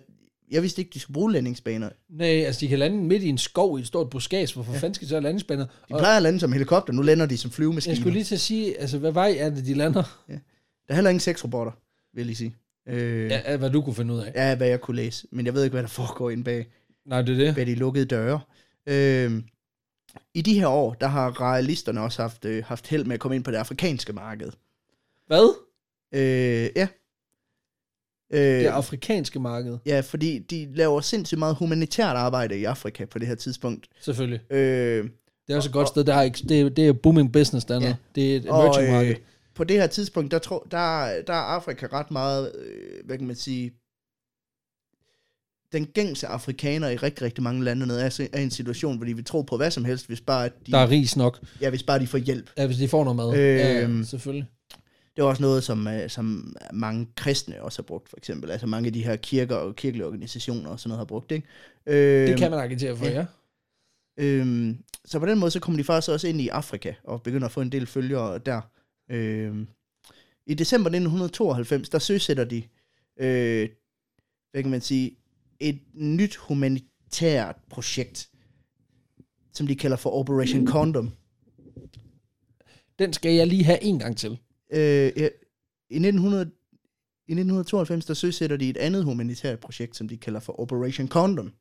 jeg vidste ikke, de skulle bruge landingsbaner. Nej, altså, de kan lande midt i en skov i et stort buskads, hvorfor ja. fanden skal de så have landespænder? De Og plejer at lande som helikopter, nu lander de som flyvemaskiner. jeg skulle lige til at sige, altså, hvad vej er det, de lander? Der er heller ingen sexrobotter, vil jeg lige sige. Øh, Ja, ja. af hvad du kunne finde ud af. ja, hvad jeg kunne læse, men jeg ved ikke, hvad der foregår inde bag. Nej, det er det. bag de lukkede døre. Øh, I de her år, der har realisterne også haft, øh, haft held med at komme ind på det afrikanske marked. Hvad? Øh, ja. Øh, Det afrikanske marked, ja, fordi de laver sindssygt meget humanitært arbejde i Afrika på det her tidspunkt. selvfølgelig. Øh, Det er også et godt sted. Der er, ikke- det, er, det er booming business dernede. Ja. Ja. Det er et emerging og, market. øh, på det her tidspunkt, der, tror, der, der er Afrika ret meget, øh, hvad kan man sige, den gængse afrikaner i rigtig, rigtig mange lande nede er er i en situation, hvor de vil tro på hvad som helst, hvis bare, at de, Der er ris nok, ja, hvis bare de får hjælp. ja, hvis de får noget mad. Øhm. ja, selvfølgelig. Det er også noget, som, øh, som mange kristne også har brugt, for eksempel. Altså mange af de her kirker og kirkelige organisationer og sådan noget har brugt, ikke? Øhm, Det kan man agitere for, ja. ja. Øhm, så på den måde, så kommer de faktisk også ind i Afrika og begynder at få en del følgere der. Øhm, I december 1992, der søsætter de, øh, hvad kan man sige, et nyt humanitært projekt, som de kalder for Operation Condom. Den skal jeg lige have en gang til. Øh, ja, i, 1900, I 1992, der søsætter de et andet humanitært projekt, som de kalder for Operation Condom.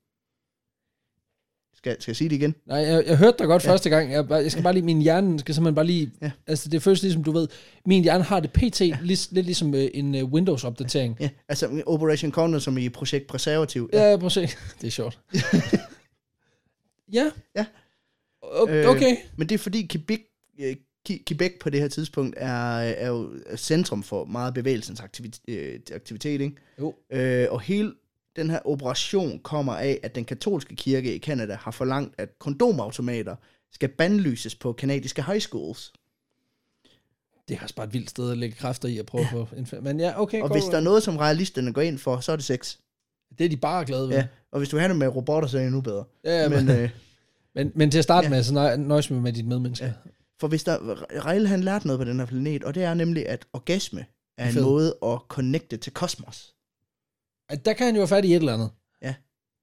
Skal, skal jeg sige det igen? Nej, jeg, jeg hørte dig godt ja. første gang. Jeg, bare- jeg skal bare lige, min hjerne skal simpelthen bare lige... Ja. Ja. Altså, det føles ligesom, du ved, min hjerne har det pt. Ja. Lidt, lidt ligesom øh, en øh, Windows-opdatering. Ja, altså Operation Condom, som i projekt Preservativ. Ja, ja prøv at se. Det er sjovt. ja. Ja. O- Okay. Øh, men det er fordi Quebec, øh, Ki- Quebec på det her tidspunkt er, er jo centrum for meget af bevægelsens aktivitet, øh, aktivitet ikke? Jo. Øh, og hele den her operation kommer af, at den katolske kirke i Kanada har forlangt, at kondomautomater skal bandlyses på kanadiske high schools. Det er også bare et vildt sted at lægge kræfter i at prøve ja. at få... en- Men ja, okay. Og godt. hvis der er noget, som realisterne går ind for, så er det sex. Det er de bare glade ved. Ja. Og hvis du har det med robotter, så er det endnu bedre. Ja, Men, men, øh, men, men til at starte ja. med, så nøj- nøjes med med dit medmenneske. Ja. for hvis der, Rejl han lærte noget på den her planet, og det er nemlig, at orgasme er en Fed. måde at connecte til kosmos. At der kan han jo være fat i et eller andet. Ja.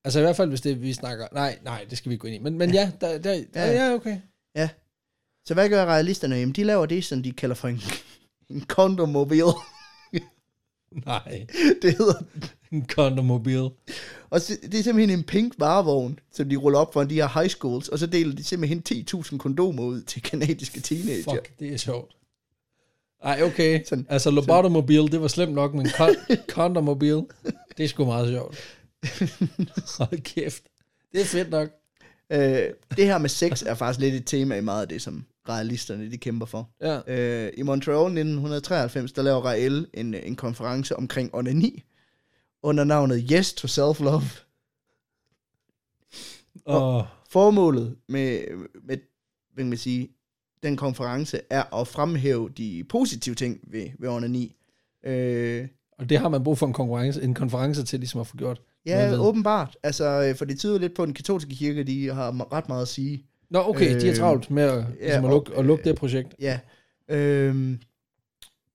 Altså i hvert fald, hvis det vi snakker... Nej, nej, det skal vi ikke gå ind i. Men, men ja, der, der, ja, Ja. ja, okay. Ja. Så hvad gør realisterne? Jamen, de laver det, som de kalder for en, en kondomobil. Nej, det hedder en kondomobil. Og så- det er simpelthen en pink varevogn, som de ruller op for de her high schools, og så deler de simpelthen 10.000 kondomer ud til kanadiske teenager. Fuck, det er sjovt. Ej, okay. Sådan, Sådan- altså, Lobotomobil, det var slemt nok, men kon- kondomobil, det er sgu meget sjovt. Hold kæft. Det er fedt nok. Øh, det her med sex er faktisk lidt et tema i meget af det, som realisterne de kæmper for. Ja. Øh, I Montreal 1993, der laver Rael en, en konference omkring onani, under navnet Yes to Self-Love. Og, Formålet med, med hvad kan man sige, den konference er at fremhæve de positive ting ved, ved onani. Øh, og det har man brug for en, konkurrence, en konference til, ligesom at få gjort. Man Ja, ved. åbenbart. Altså, øh, for det tyder lidt på, at den katolske kirke, de har m- ret meget at sige. Nå, okay, øh, de er Øh, travlt med at, ligesom at, og- lukke, at lukke det projekt. Ja. Øhm,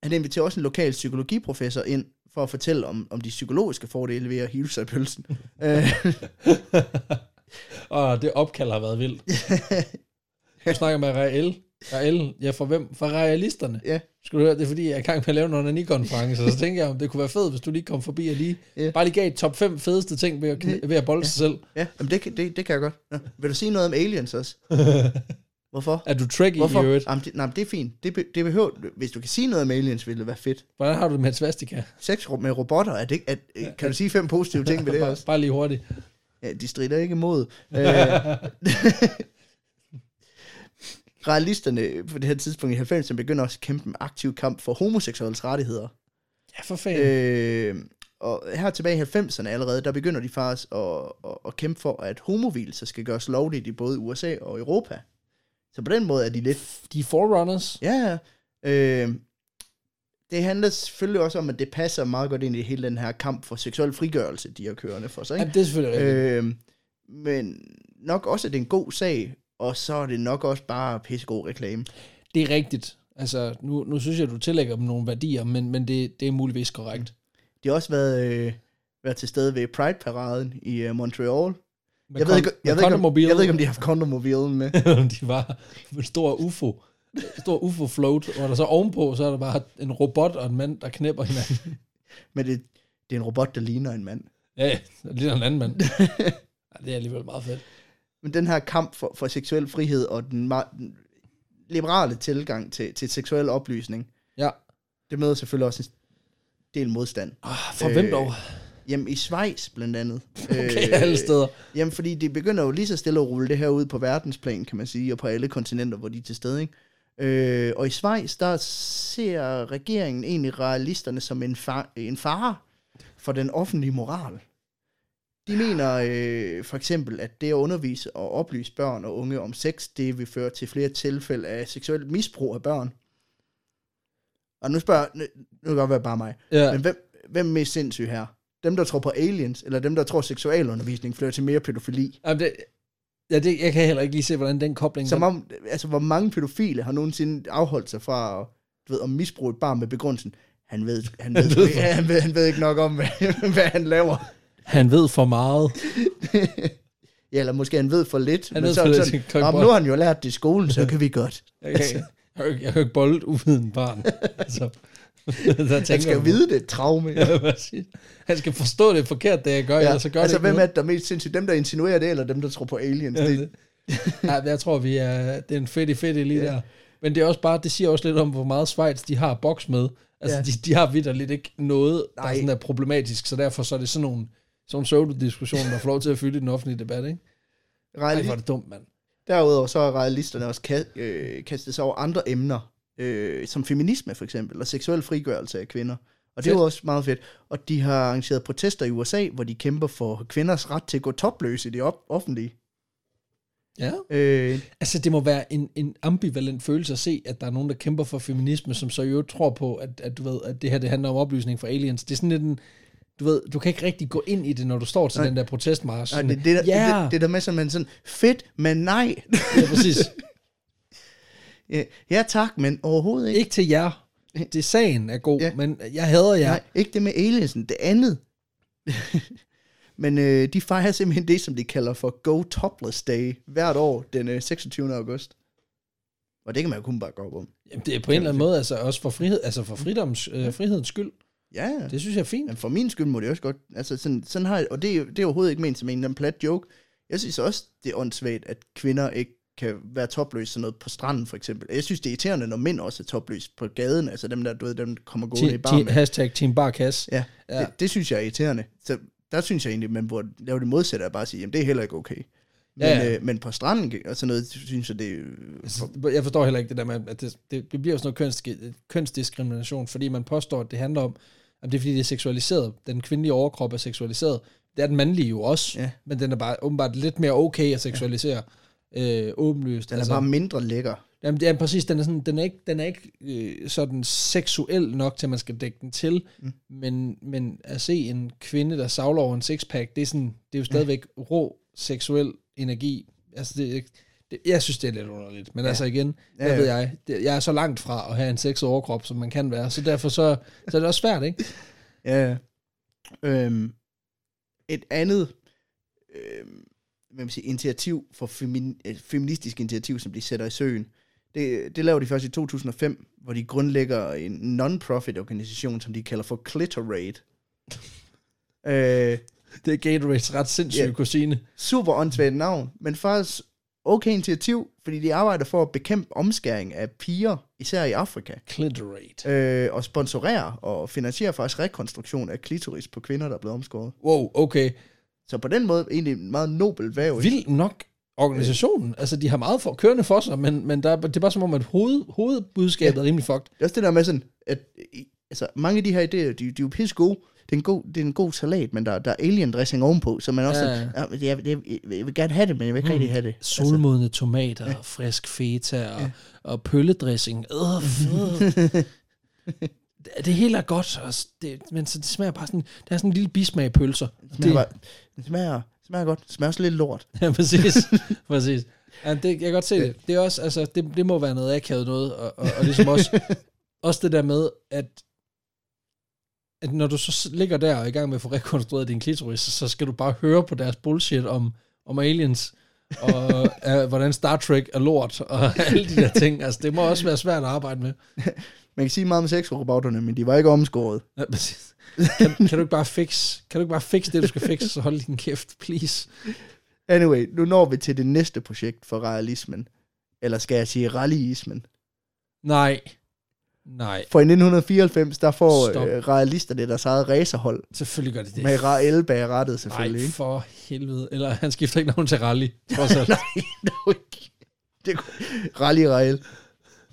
han inviterer også en lokal psykologiprofessor ind, for at fortælle om, om de psykologiske fordele ved at hive sig i pølsen. øh, Og det opkald har været vildt. Du snakker med Rael. Rael, ja, for hvem? For realisterne. ja, Skal du høre, det er fordi, jeg er i gang med at lave en onani-konference, så tænker jeg, om det kunne være fedt, hvis du lige kom forbi og lige, Ja. bare lige gav et top 5 fedeste ting ved at, kn- ved at bolde sig selv. ja. Jamen, det, kan- det, det kan jeg godt. Nå. Vil du sige noget om aliens også? Hvorfor? Er du trekkie i øvrigt? Hvorfor? Jamen, det, nej, men det er fint. Det, be- det behøver, hvis du kan sige noget om aliens, ville det være fedt. Hvordan har du det med et svastika? Sex med robotter, er det, er, kan du sige fem positive ting ved det også? Bare, bare lige hurtigt. Ja, de strider ikke imod. Øh, Realisterne på det her tidspunkt i 90'erne begynder også at kæmpe en aktiv kamp for homoseksuelles rettigheder. Ja, for fanden. Øh. Øh, og her tilbage i 90'erne allerede, der begynder de faktisk at, at, at kæmpe for, at homovilser skal gøres lovligt i både USA og Europa. Så på den måde er de lidt De er forerunners. Ja, ja. øh, det handler selvfølgelig også om, at det passer meget godt ind i hele den her kamp for seksuel frigørelse, de har kørende for sig. Ja, Ikke? det er selvfølgelig rigtigt. Øh, men nok også, at det er en god sag, og så er det nok også bare pissegod reklame. Det er rigtigt. Altså, nu, nu synes jeg, du tillægger dem nogle værdier, men, men det, det er muligvis korrekt. De har også været, øh, været til stede ved Pride-paraden i øh, Montreal. Med Jeg ved, ikke, jeg, ved ikke, om, kondomobilen. jeg ved ikke, om de har haft kondomobilen med. de var en stor ufo. En stor ufo-float, hvor der så ovenpå, så er der bare en robot og en mand, der knæpper hinanden. Men det, det er en robot, der ligner en mand. Ja, ja, det ligner en anden mand. Ja, det er alligevel meget fedt. Men den her kamp for, for seksuel frihed og den, meget- den liberale tilgang til, til seksuel oplysning, Ja. det møder selvfølgelig også en del modstand. Ah, for øh, hvem dog? Jamen i Schweiz blandt andet. Okay, alle steder. Jamen fordi de begynder jo lige så stille at rulle det her ud på verdensplan, kan man sige, og på alle kontinenter, hvor de er til stede. Ikke? Øh, og i Schweiz, der ser regeringen egentlig realisterne som en, far, en fare for den offentlige moral. De mener øh, for eksempel, at det at undervise og oplyse børn og unge om sex, det vil føre til flere tilfælde af seksuelt misbrug af børn. Og nu spørger, nu, nu kan det godt være bare mig, Ja. men hvem, hvem er mest sindssyg her? Dem, der tror på aliens, eller dem, der tror, at seksualundervisning fører til mere pædofili? Jamen, det, ja, det, jeg kan heller ikke lige se, hvordan den kobling... Som den, om, altså, hvor mange pædofile har nogensinde afholdt sig fra at, du ved, at misbruge et barn med begrundelsen? Han ved, han ved, ved for- ja, han ved, han ved ikke nok om, hvad, hvad han laver. han ved for meget. ja, eller måske han ved for lidt. Han men ved så, for lidt, sådan, så kan jeg "Nå, men prøve." nu har han jo lært det i skolen, så kan vi godt. Jeg kan, ikke- jeg, kan ikke- jeg kan ikke bolde uviden barn. Altså, der Han skal man- vide det, traume. Ja, præcis. Han skal forstå det er forkert, det jeg gør, ja. ellers så gør altså, det hvem ikke er det, der er mest sindssygt? Dem, der insinuerer det, eller dem, der tror på aliens? noget. Det, Ja, det- jeg tror, vi er, det er en fedt fedt lige der. Men det er også bare, det siger også lidt om, hvor meget Schweiz de har boks med. Altså, ja. de, Ja. de har vidderligt ikke noget, der Nej. sådan er problematisk, så derfor så er det sådan nogle, sådan nogle pseudo-diskussioner, der får lov til at fylde i den offentlige debat, ikke? Ej, Reali- hvor er det dumt, mand. Derudover så har realisterne også ka- øh, kastet sig over andre emner, øh, som feminisme for eksempel, og seksuel frigørelse af kvinder. Og det er jo Fedt. også meget fedt. Og de har arrangeret protester i USA, hvor de kæmper for kvinders ret til at gå topløse i det op- offentlige. Ja. Øh, Altså, det må være en, en ambivalent følelse at se, at der er nogen, der kæmper for feminisme, som så jo tror på, at, at, du ved, at det her det handler om oplysning for aliens. Det er sådan lidt en, du ved, du kan ikke rigtig gå ind i det, når du står til Nej. den der protestmarsch. og Sådan, det, det, der, ja, det, det der med, som man sådan, fedt, men nej. ja, præcis. ja, ja tak, men overhovedet ikke. Ikke til jer. det sagen er god, Ja. ja. men jeg hader Ja. jer. Nej, ikke det med aliensen, det andet. Men øh, de fejrer simpelthen det, som de kalder for Go Topless Day hvert år den øh, 26. august. Og det kan man jo kun bare gå op om. Jamen, det er på en eller anden måde altså også for frihed, altså for fridoms, øh, frihedens skyld. Ja, ja. Det synes jeg er fint. Jamen, for min skyld må det også godt. Altså, sådan, sådan har jeg, og det, er jo- det er overhovedet ikke ment som en eller anden plat joke. Jeg synes også, det er åndssvagt, at kvinder ikke kan være topløse sådan noget på stranden, for eksempel. Jeg synes, det er irriterende, når mænd også er topløse på gaden. Altså dem der, du ved, dem der kommer gående i Ti- bar ti- med. hashtag Team Barkas. Ja, Ja. ja. Det, det, synes jeg er irriterende. Så der synes jeg egentlig, man burde lave det modsatte og bare sige, jamen det er heller ikke okay. Men, Ja, ja, ja. Øh, men på stranden og sådan noget, synes jeg, det er... øh, For, Altså, Jeg forstår heller ikke det der med, at det, det, det bliver jo sådan noget køns, kønsdiskrimination, fordi man påstår, at det handler om, at det er fordi, det er seksualiseret. Den kvindelige overkrop er seksualiseret. Det er den mandlige jo også, Ja. men den er bare åbenbart lidt mere okay at seksualisere. Øh, åbenlyst. den er bare mindre lækker. Jamen, ja, præcis. Den er, sådan, den er ikke, den er ikke øh, sådan seksuel nok, til at man skal dække den til. Mm. Men, men at se en kvinde, der savler over en sixpack, det er, sådan, det er jo stadigvæk ja. rå seksuel energi. Altså, det, er ikke- det, jeg synes, det er lidt underligt. Men ja. altså igen, Ja, ja, ja. ja. ved jeg, det, jeg er så langt fra at have en sexet overkrop, som man kan være. Så derfor så, så er det også svært, ikke? Ja. Øhm, et andet øhm, hvad man siger, initiativ for femin, øh, feministisk initiativ, som de sætter i søen, det, det laver de først i 2005, hvor de grundlægger en non-profit organisation, som de kalder for Clitorate. øh, Det er Gatorades ret sindssyge Ja. yeah. kusine. super åndssvagt navn, men faktisk okay initiativ, fordi de arbejder for at bekæmpe omskæring af piger, især i Afrika, Clitorate. øh, og sponsorerer og finansierer faktisk rekonstruktion af klitoris på kvinder, der er blevet omskåret. Wow, okay. Så på den måde egentlig en meget nobel væv. Vild nok organisationen. Altså, de har meget for, kørende for sig, men, men der, er- det er bare som om, at hoved, hovedbudskabet ja. er rimelig fucked. Det er også det der med sådan, at i- altså, mange af de her idéer, de, de er jo pisse gode. Det er, en god, det er en god salat, men der, der er alien dressing ovenpå, så man også Ja, ja, ja. Sådan, "Ah, jeg, jeg, jeg, vil gerne have det, men jeg vil ikke mm. rigtig have det. Solmodne tomater, Altså. ja. frisk feta og, ja. og pølledressing. Øh, fed. Det- det hele er godt, og s- det, men så det smager bare sådan, der er sådan en lille bismag i pølser. Det smager, bare, det smager, smager godt. Det smager også lidt lort. ja, præcis. præcis. Ja, det, jeg kan godt se det. Det, er også, altså, det, det må være noget akavet noget, og, og, og ligesom også, også det der med, at, at når du så s- ligger der og er i gang med at få rekonstrueret din klitoris, så skal du bare høre på deres bullshit om, om aliens, og øh, hvordan Star Trek er lort, og alle de der ting. Altså, det må også være svært at arbejde med. Man kan sige meget om sexrobotterne, men de var ikke omskåret. Ja, præcis. Kan, kan, du ikke bare fix, kan du ikke bare fixe det, du skal fixe, så hold din kæft, please. Anyway, nu når vi til det næste projekt for realismen. Eller skal jeg sige rallyismen? Nej. Nej, For i 1994, der får Stop. øh, realisterne deres eget racerhold. selvfølgelig gør det det. Med Rael bag rattet selvfølgelig. Nej, ikke? for helvede. Eller han skifter ikke navn til Rally. Trods alt. Nej, dog ikke. Det kunne- Rally Rael.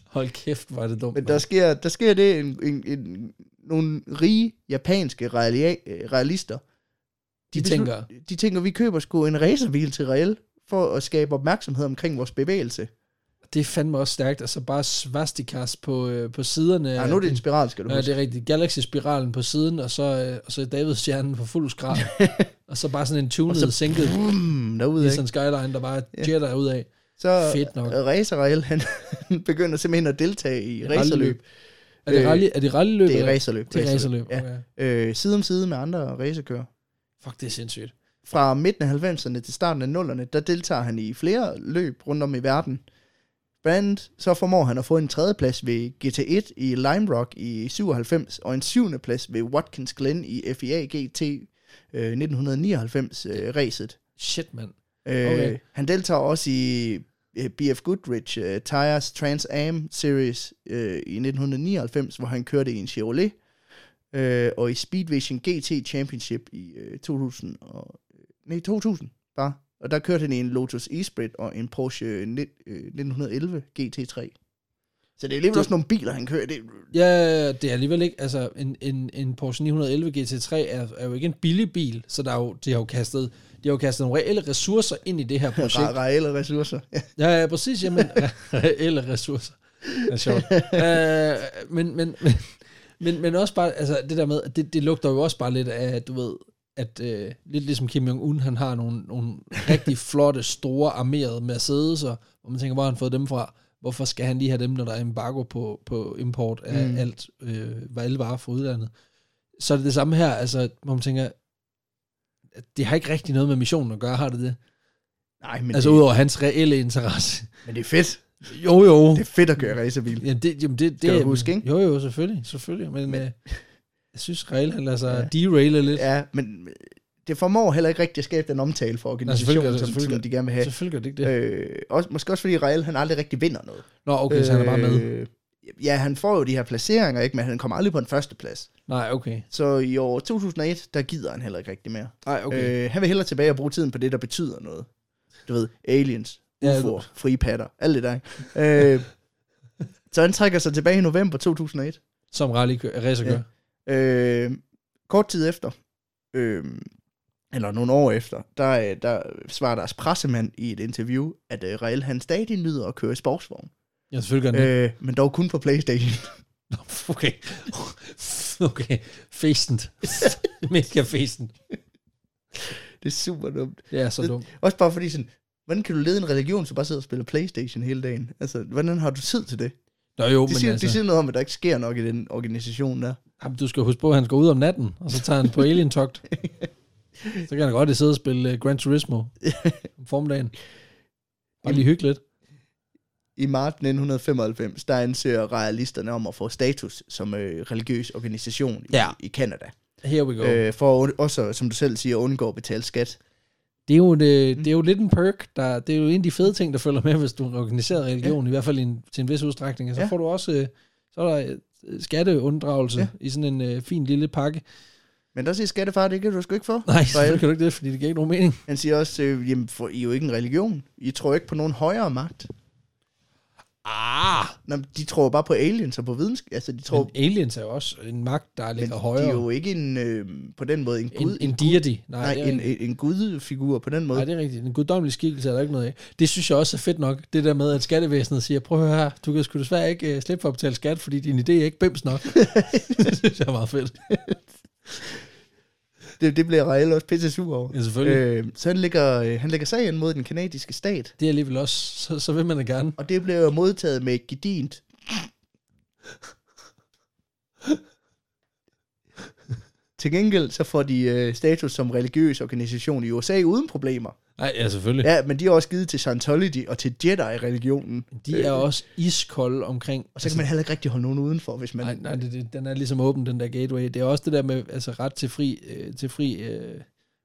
Hold kæft, hvor er det dumt. Men der sker, der sker det, en, en, en, nogle rige japanske realia- øh, realister, de beslut- tænker, de tænker, vi køber sgu en racerbil til Rael, for at skabe opmærksomhed omkring vores bevægelse. det er fandme også stærkt. Altså bare svastikas på, øh, på siderne. Ja, Ah, nu er det en spiral, skal du Ja, huske. det er rigtigt. Galaxy-spiralen på siden, og så, øh, og så David-stjernen på fuld skrald. og så bare sådan en tunet, så, sænket Brum, derude, ikke? Nissan Skyline, der bare jetter ud af. Så Fedt nok. Racer Rael, han begynder simpelthen at deltage i racerløb. Er det, Øh, rally, er det rallyløb? Det er eller- racerløb. Det er racerløb. Ja. Okay. Øh, side om side med andre racerkører. Fuck, det er sindssygt. Fra midten af 90'erne til starten af 0'erne, der deltager han i flere løb rundt om i verden. Blandt så formår han at få en tredjeplads ved GT1 i Lime Rock i 97, og en syvende plads ved Watkins Glen i FIA GT øh, 1999 øh, racet. Shit, mand. Øh, Okay. okay. Han deltager også i øh, BF Goodrich øh, Tires Trans Am Series øh, i 1999, hvor han kørte i en Chevrolet, øh, og i Speedvision GT Championship i øh, 2000, og, øh, nej, 2000 bare. Og der kørte han i en Lotus Esprit og en Porsche ni- øh, 1911 GT3. Så det er alligevel Det- også nogle biler, han kører. Det, Ja, det er alligevel ikke, altså en, en, en Porsche 911 GT3 er, er jo ikke en billig bil, så der er jo, de har jo kastet, de har jo kastet nogle reelle ressourcer ind i det her projekt. ra- reelle ressourcer. Ja. ja, ja, præcis, jamen, re- reelle ressourcer. Det er sjovt. Øh, men, men, men, men, men også bare, altså det der med, at det, det lugter jo også bare lidt af, du ved, at øh, lidt ligesom Kim Jong-un, han har nogle, nogle rigtig flotte, store, armerede Mercedes'er, og man tænker, hvor har han fået dem fra? Hvorfor skal han lige have dem, når der er embargo på, på import af mm. Mm. alt, øh, hvad alle varer fra udlandet? Så er det det samme her, altså, hvor man tænker, at det har ikke rigtig noget med missionen at gøre, har det det? Nej, men, altså det, udover hans reelle interesse. men det er fedt. Jo, jo. Det er fedt at køre racerbil. Ja, det, jamen det, det Skal du huske, ikke? Jo, jo, selvfølgelig, selvfølgelig. Men, men Men- øh, jeg synes, Rail han lader sig ja. Ja. deraile lidt. Ja, Ja, men øh, det formår heller ikke rigtig at skabe den omtale for organisationen, selvfølgelig, som, selvfølgelig. som de gerne vil have. selvfølgelig gør det ikke det. Øh, Øh, også, måske også fordi Real, han aldrig rigtig vinder noget. Nå, okay, så han er bare med. Øh, Ja, han får jo de her placeringer, ikke, men han kommer aldrig på en førsteplads. Nej, okay. Så i år 2001, der gider han heller ikke rigtig mere. Nej, okay. Øh, Okay. Øh, han vil hellere tilbage og bruge tiden på det, der betyder noget. Du ved, aliens, Ja, UFO'er, frie patter, alt det der. ikke? Øh, så han trækker sig tilbage i november 2001. som rally racer Ja. gør. Øh, kort tid efter, øh, eller nogle år efter, der, øh, der svarer deres pressemand i et interview, at øh, Rael han stadig nyder at køre i sportsvogn. Ja, selvfølgelig gør han det. Øh, men dog kun på Playstation. Øh. Nå, Okay. Okay. Fæstent. Mega fæstent. det er super dumt. Det er så dumt. Også bare fordi sådan, hvordan kan du lede en religion, som bare sidder og spiller Playstation hele dagen? Altså, hvordan har du tid til det? Nå jo, De men siger, altså... de altså, siger noget om, at der ikke sker nok i den organisation der. jamen, du skal huske på, at han skal ud om natten, og så tager han på alien-togt. Så kan han godt sidde og spille uh, Gran Turismo om formiddagen. Bare lige hygge lidt. I marts 1995, der ansøger realisterne om at få status som øh, religiøs organisation i, Ja. i Canada. Here we go. Øh, for at und- også, som du selv siger, at undgå at betale skat. Det er, jo en, Mm. øh, det er jo lidt en perk. Der, det er jo en af de fede ting, der følger med, hvis du er en organiseret religion, ja. i hvert fald i en, til en vis udstrækning. Og så ja. Ja. får du også øh, så er der øh, skatteunddragelse ja. Ja. i sådan en øh, fin lille pakke. Men der siger skattefar, det kan du sgu ikke få. Nej, For selvfølgelig alle. kan du ikke det, fordi det giver ikke nogen mening. Han siger også, øh, jamen, for, I er jo ikke en religion. I tror ikke på nogen højere magt. Ah! Nå, men de tror bare på aliens og på videnskab. Altså, de tror, Men aliens er jo også en magt, der men ligger de højere. er jo ikke en, øh, på den måde en en, gud. en deity. Nej, Nej, det er en, rigtigt. en, en gudfigur på den måde. Nej, det er rigtigt. En guddommelig skikkelse er der ikke noget af. Det synes jeg også er fedt nok. Det der med, at skattevæsenet siger, prøv at høre her, du kan sgu desværre ikke uh, slippe for at betale skat, fordi din idé er ikke bims nok. det synes jeg er meget fedt. Det, det bliver Rael også pisse sur over. Ja, selvfølgelig. Øh. Øh, så han lægger, øh, han lægger sag ind mod den kanadiske stat, Det er alligevel også, så, så vil man da gerne. og det bliver jo modtaget med et gedint. Til gengæld så får de øh, status som religiøs organisation i USA uden problemer. Nej, ja, selvfølgelig. Ja. Ja, men de er også givet til Scientology og til Jedi-religionen. De er også iskolde omkring. Øh, Altså, Og så kan man heller ikke rigtig holde nogen udenfor, hvis man... Nej, nej det, det, den er ligesom åben, den der gateway. Det er også det der med altså, ret til fri, øh, til fri øh,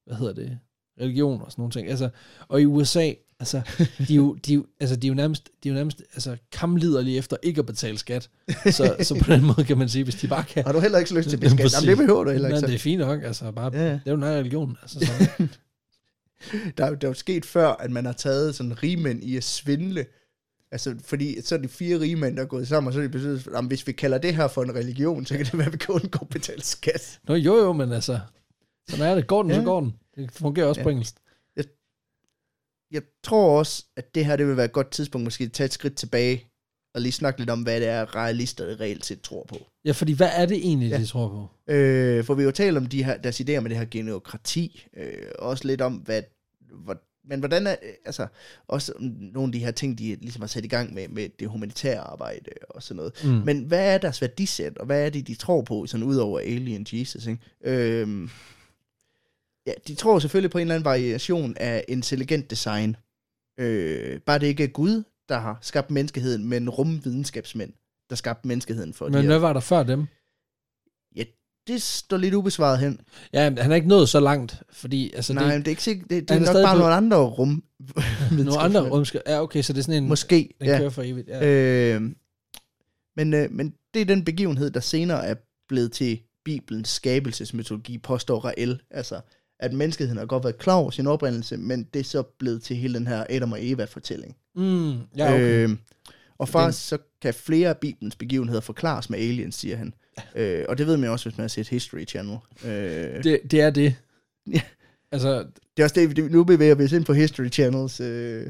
hvad hedder det, religion og sådan nogle ting. Altså, og i USA, altså, de er jo, de, er jo- altså, de er jo nærmest, de er jo nærmest altså, kamliderlige efter ikke at betale skat. Så, så på den måde kan man sige, hvis de bare kan. Har du heller ikke så lyst til Jamen, beskab? Jamen, det præcis. behøver du heller Men ikke. det Så. er fint nok, altså bare, Ja, ja. det er jo en egen religion. Altså, så, Der, er jo- der er jo sket før, at man har taget sådan rigmænd i at svindle. Altså, fordi så er de fire rigmænd, der er gået sammen, og så er de besluttet, at hvis vi kalder det her for en religion, så kan det være, at vi kan undgå at betale skat. nå jo jo, men altså, sådan er det. Går den, så Ja. går den. Det fungerer også ja. på engelsk. Jeg tror også, at det her det vil være et godt tidspunkt måske at tage et skridt tilbage og lige snakke lidt om, hvad det er, realister reelt set tror på. Ja, fordi hvad er det egentlig, ja. Ja. de tror på? Øh, for vi har jo talt om de her, deres idéer med det her genokrati, øh, også lidt om, hvad, hvor, men hvordan er, øh, altså, også om nogle af de her ting, de ligesom har sat i gang med, med det humanitære arbejde og sådan noget. Mm. Mm. Men hvad er deres værdisæt, og hvad er det, de tror på, sådan ud over Alien Jesus, ikke? Øh, ja, de tror selvfølgelig på en eller anden variation af intelligent design. Øh, bare det ikke er Gud, der har skabt menneskeheden, men rumvidenskabsmænd, der skabte menneskeheden for Men de her hvad var der før dem? det står lidt ubesvaret hen. Ja, men han er ikke nået så langt, fordi altså, Så Nej, Nej, det det, men det er ikke sikkert. Det, det Han er er nok stadig bare på- nogle andre rum. er nogle andre rumskab. Ja, okay, så det er sådan en, Måske, Måske, den ja. kører for evigt. Ja. Øh, men, øh, men det er den begivenhed, der senere er blevet til Bibelens skabelsesmytologi, påstår Rael. Altså, at menneskeheden har godt været klar over sin oprindelse, men det er så blevet til hele den her Adam og Eva-fortælling. Mm, ja, okay. Øh, øh, og faktisk så kan flere af Bibelens begivenheder forklares med aliens, siger han. Øh, og det ved man jo også, hvis man har set History Channel. Øh, det, det er det. Ja. altså, Det er også det, vi- nu bevæger vi os ind på History Channels. Øh,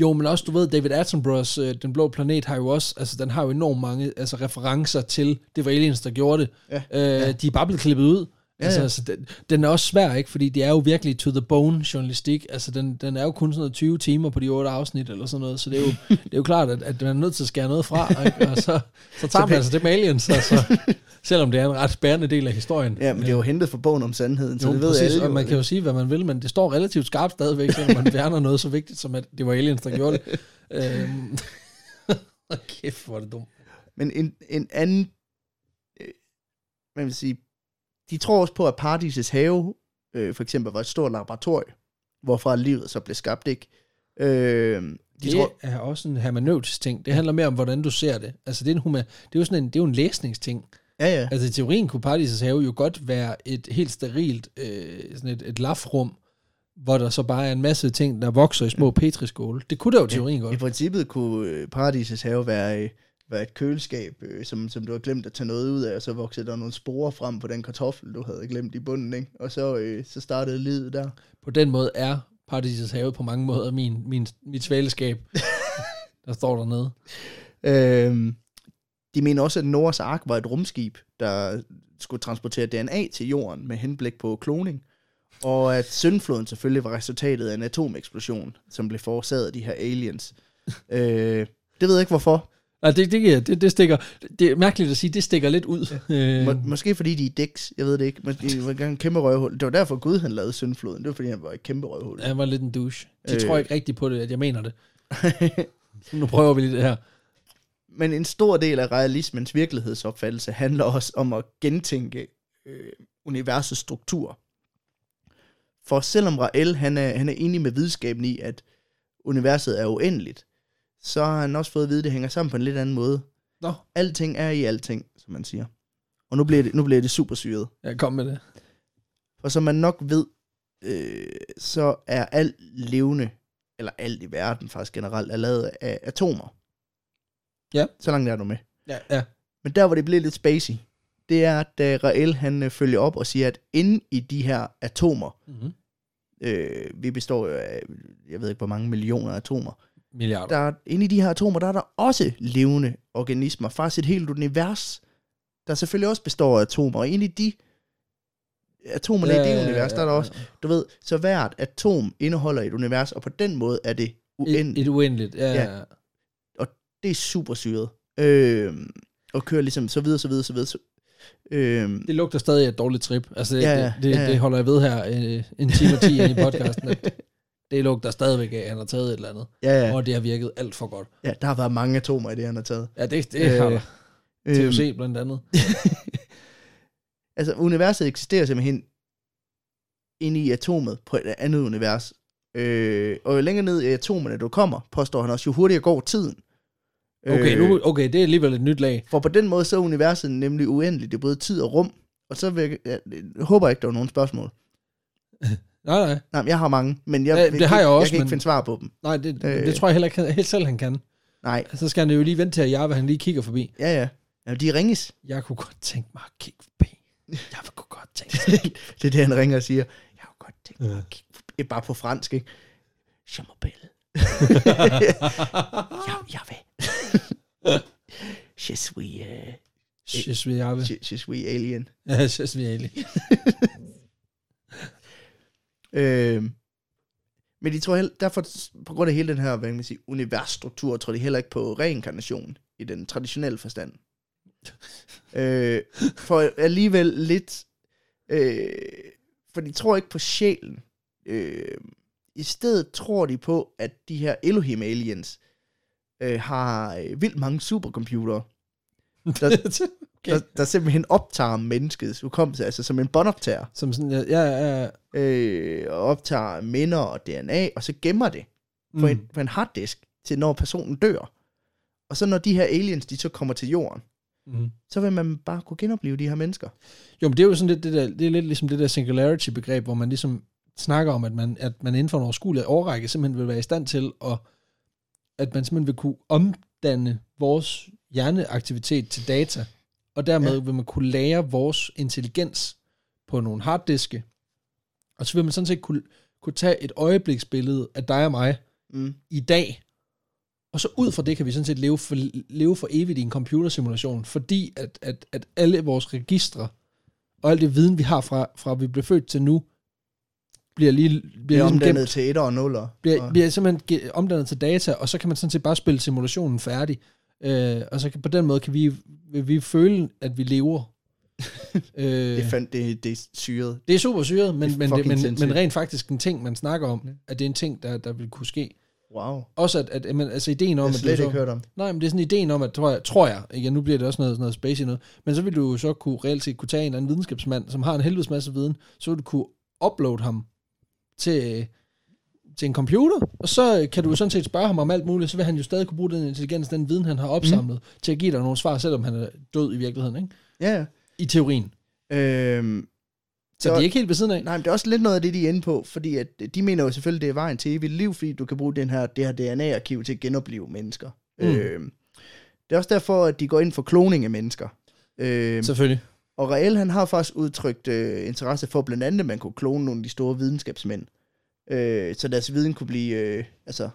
jo, men også, du ved, David Attenboroughs øh, Den Blå Planet har jo også, altså, den har jo enormt mange altså, referencer til, det var aliens, der gjorde det. Ja, Øh, De er bare blevet klippet ud. Ja, Ja, ja. altså, altså den, den er også svær, ikke? Fordi det er jo virkelig to the bone journalistik. Altså, den, den er jo kun sådan noget 20 timer på de otte afsnit eller sådan noget, så det er jo, det er jo klart, at, at man er nødt til at skære noget fra, ikke? Og så, så tager man altså det med aliens, altså, selvom det er en ret spærende del af historien. Ja, men det er jo hentet fra bogen om sandheden, så Jo, det ved præcis, alle og jo. man kan jo sige, hvad man vil, men det står relativt skarpt stadigvæk, selvom man værner noget så vigtigt, som at det var aliens, der gjorde det. Øhm. Kæft, hvor er det dumt. Men en, en anden, øh, man vil sige, de tror også på, at paradisets have, øh, for eksempel, var et stort laboratorium, hvorfra livet så blev skabt, ikke? Øh, de Det tror, er også en hermeneutisk ting. Det handler mere om, hvordan du ser det. Altså, det er, en huma, det er jo sådan en, det er jo en læsningsting. ja, ja, Altså, i teorien kunne Paradisets have jo godt være et helt sterilt, øh, sådan et, et lafrum, hvor der så bare er en masse ting, der vokser i små petriskåle. Det kunne da jo i teorien i godt. princippet kunne øh, paradisets have være, øh, være et køleskab, øh, som, som du har glemt at tage noget ud af, og så voksede der nogle sporer frem på den kartoffel, du havde glemt i bunden, ikke? Og så, øh, så startede livet der. På den måde er Paradisets have på mange måder min, min, mit svaleskab, der står dernede. Øhm, de mener også, at Noahs ark var et rumskib, der skulle transportere DNA til jorden med henblik på kloning. Og at syndfloden selvfølgelig var resultatet af en atomeksplosion, som blev forårsaget af de her aliens. øh, det ved jeg ikke hvorfor. Nej, det, det, det, det stikker, det er mærkeligt at sige, det stikker lidt ud. Øh, Må, måske fordi de er dicks, jeg ved det ikke. Måske de var gerne en kæmpe røvhul. Det var derfor Gud han lavede syndfloden. Det var fordi han var et kæmpe røvhul. han Øh, var lidt en douche. De Øh. øh. tror ikke rigtigt på det, at jeg mener det. nu prøver vi lige det her. Men en stor del af realismens virkelighedsopfattelse handler også om at gentænke øh, universets struktur. For selvom Rael han er, han er enig med videnskaben i, at universet er uendeligt, så har han også fået at vide, at det hænger sammen på en lidt anden måde. Nå, Alting er i alting, som man siger. Og nu bliver det, nu bliver det super syret. jeg kom med det. For som man nok ved, øh, så er alt levende, eller alt i verden faktisk generelt, er lavet af atomer. Ja. Så langt er du med. Ja, ja. Men der, hvor det bliver lidt spacey, det er, da Rael han øh, følger op og siger, at inde i de her atomer, Mm-hmm. øh, vi består jo af, jeg ved ikke, hvor mange millioner atomer, Milliarder. der, inde i de her atomer, der er der også levende organismer, faktisk et helt univers, der selvfølgelig også består af atomer, og inde i de atomerne ja, i det univers, der er der også, du ved, så hvert atom indeholder et univers, og på den måde er det Et, uendeligt. et uendeligt, ja. ja. Det er super syret. Øh, og kører ligesom så videre, så videre, så videre. Så, øh, Det lugter stadig af et dårligt trip. Altså, det, Ja, ja, ja, ja, det, ja, ja. det holder jeg ved her øh, en time og ti ind i podcasten. At det lugter stadigvæk af, at han har taget et eller andet. ja, ja. Ja. Og det har virket alt for godt. Ja, der har været mange atomer i det, han har taget. Ja, det, det øh, har Øh, der. TUC blandt andet. altså, universet eksisterer simpelthen inde i atomet på et andet univers. Øh, og jo længere ned i atomerne du kommer, påstår han også, jo hurtigere går tiden. Øh, Okay, nu, okay, det er alligevel et nyt lag. For på den måde, så er universet nemlig uendeligt. Det er både tid og rum. Og så vil jeg, jeg, jeg håber ikke, der er nogen spørgsmål. Nej, nej. Nej, men jeg har mange, men jeg, Ja, det kan har ikke- jeg også, jeg kan ikke men- finde svar på dem. Nej, det, Øh. øh. det tror jeg heller ikke, han- helt selv han kan. Nej, Så skal han jo lige vente til, at Jarve han lige kigger forbi. ja, ja. ja de ringes. Jeg kunne godt tænke mig at kigge forbi. Jeg kunne godt tænke mig. det er det, han ringer og siger. Jeg har godt tænkt mig Ja. at kigge forbi. Bare på fransk, ikke? Je m'appelle. jeg, jeg vil. je suis, uh, Sjæs ved Jarve. je, je suis alien. Ja, sjæs ved Ali. Øh, men de tror heller, derfor, på grund af hele den her, hvad kan man sige, universstruktur, tror de heller ikke på reinkarnation i den traditionelle forstand. øh, for alligevel lidt, øh, for de tror ikke på sjælen. Øh, I stedet tror de på, at de her Elohim aliens øh, har øh, vildt mange supercomputere, Okay. der, der simpelthen optager menneskets hukommelse, altså som en båndoptager. Som sådan, ja, ja, ja. øh, og optager minder og DNA, og så gemmer det på, mm. en, på en harddisk, til når personen dør. Og så når de her aliens, de så kommer til jorden, Mm. så vil man bare kunne genopleve de her mennesker. Jo, men det er jo sådan lidt det der, det er lidt ligesom det der singularity-begreb, hvor man ligesom snakker om, at man, at man inden for en overskuelig årrække simpelthen vil være i stand til, at, at man simpelthen vil kunne omdanne vores hjerneaktivitet til data, og dermed Ja. ja. vil man kunne lære vores intelligens på nogle harddiske, og så vil man sådan set kunne, kunne tage et øjebliksbillede af dig og mig Mm. i dag, og så ud fra det kan vi sådan set leve for, leve for evigt i en computersimulation, fordi at, at, at alle vores registre og alt det viden, vi har fra, fra vi blev født til nu, bliver lige Det bliver er ligesom gemt omdannet til 1 og 0. Og, bliver, bliver simpelthen ge- omdannet til data, og så kan man sådan set bare spille simulationen færdig. Øh, og så kan, på den måde kan vi, vil vi føle, at vi lever. øh, det, det, fandt, det, det er syret. det er super syret, men, Det er men, det, fucking men, sindssygt. men rent faktisk en ting, man snakker om, at det er en ting, der, der vil kunne ske. Wow. Også at, at men, altså ideen Nå, om, jeg har at slet du ikke så, hørt om. nej, men det er sådan ideen om, at tror jeg, tror jeg ikke, nu bliver det også noget, sådan noget space noget, men så vil du jo så kunne reelt set kunne tage en eller anden videnskabsmand, som har en helvedes masse viden, så vil du kunne uploade ham til, øh, til en computer, og så øh, kan du jo sådan set spørge ham om alt muligt, så vil han jo stadig kunne bruge den intelligens, den viden, Mhm. han har opsamlet, mm. til at give dig nogle svar, selvom han er død i virkeligheden, ikke? Ja, ja. I teorien. Øhm, Så Det det var- er ikke helt ved siden af. Nej, men det er også lidt noget af det, de er inde på, fordi at øh, de mener jo selvfølgelig, det er vejen til evigt liv, fordi du kan bruge den her, det her DNA-arkiv til at genopleve mennesker. Mm. Mm. Øh, det er også derfor, at de går ind for kloning af mennesker. Øh, Selvfølgelig. og Rael, han har faktisk udtrykt øh, interesse for blandt andet, at man kunne klone nogle af de store videnskabsmænd, øh, så deres viden kunne blive, øh, altså,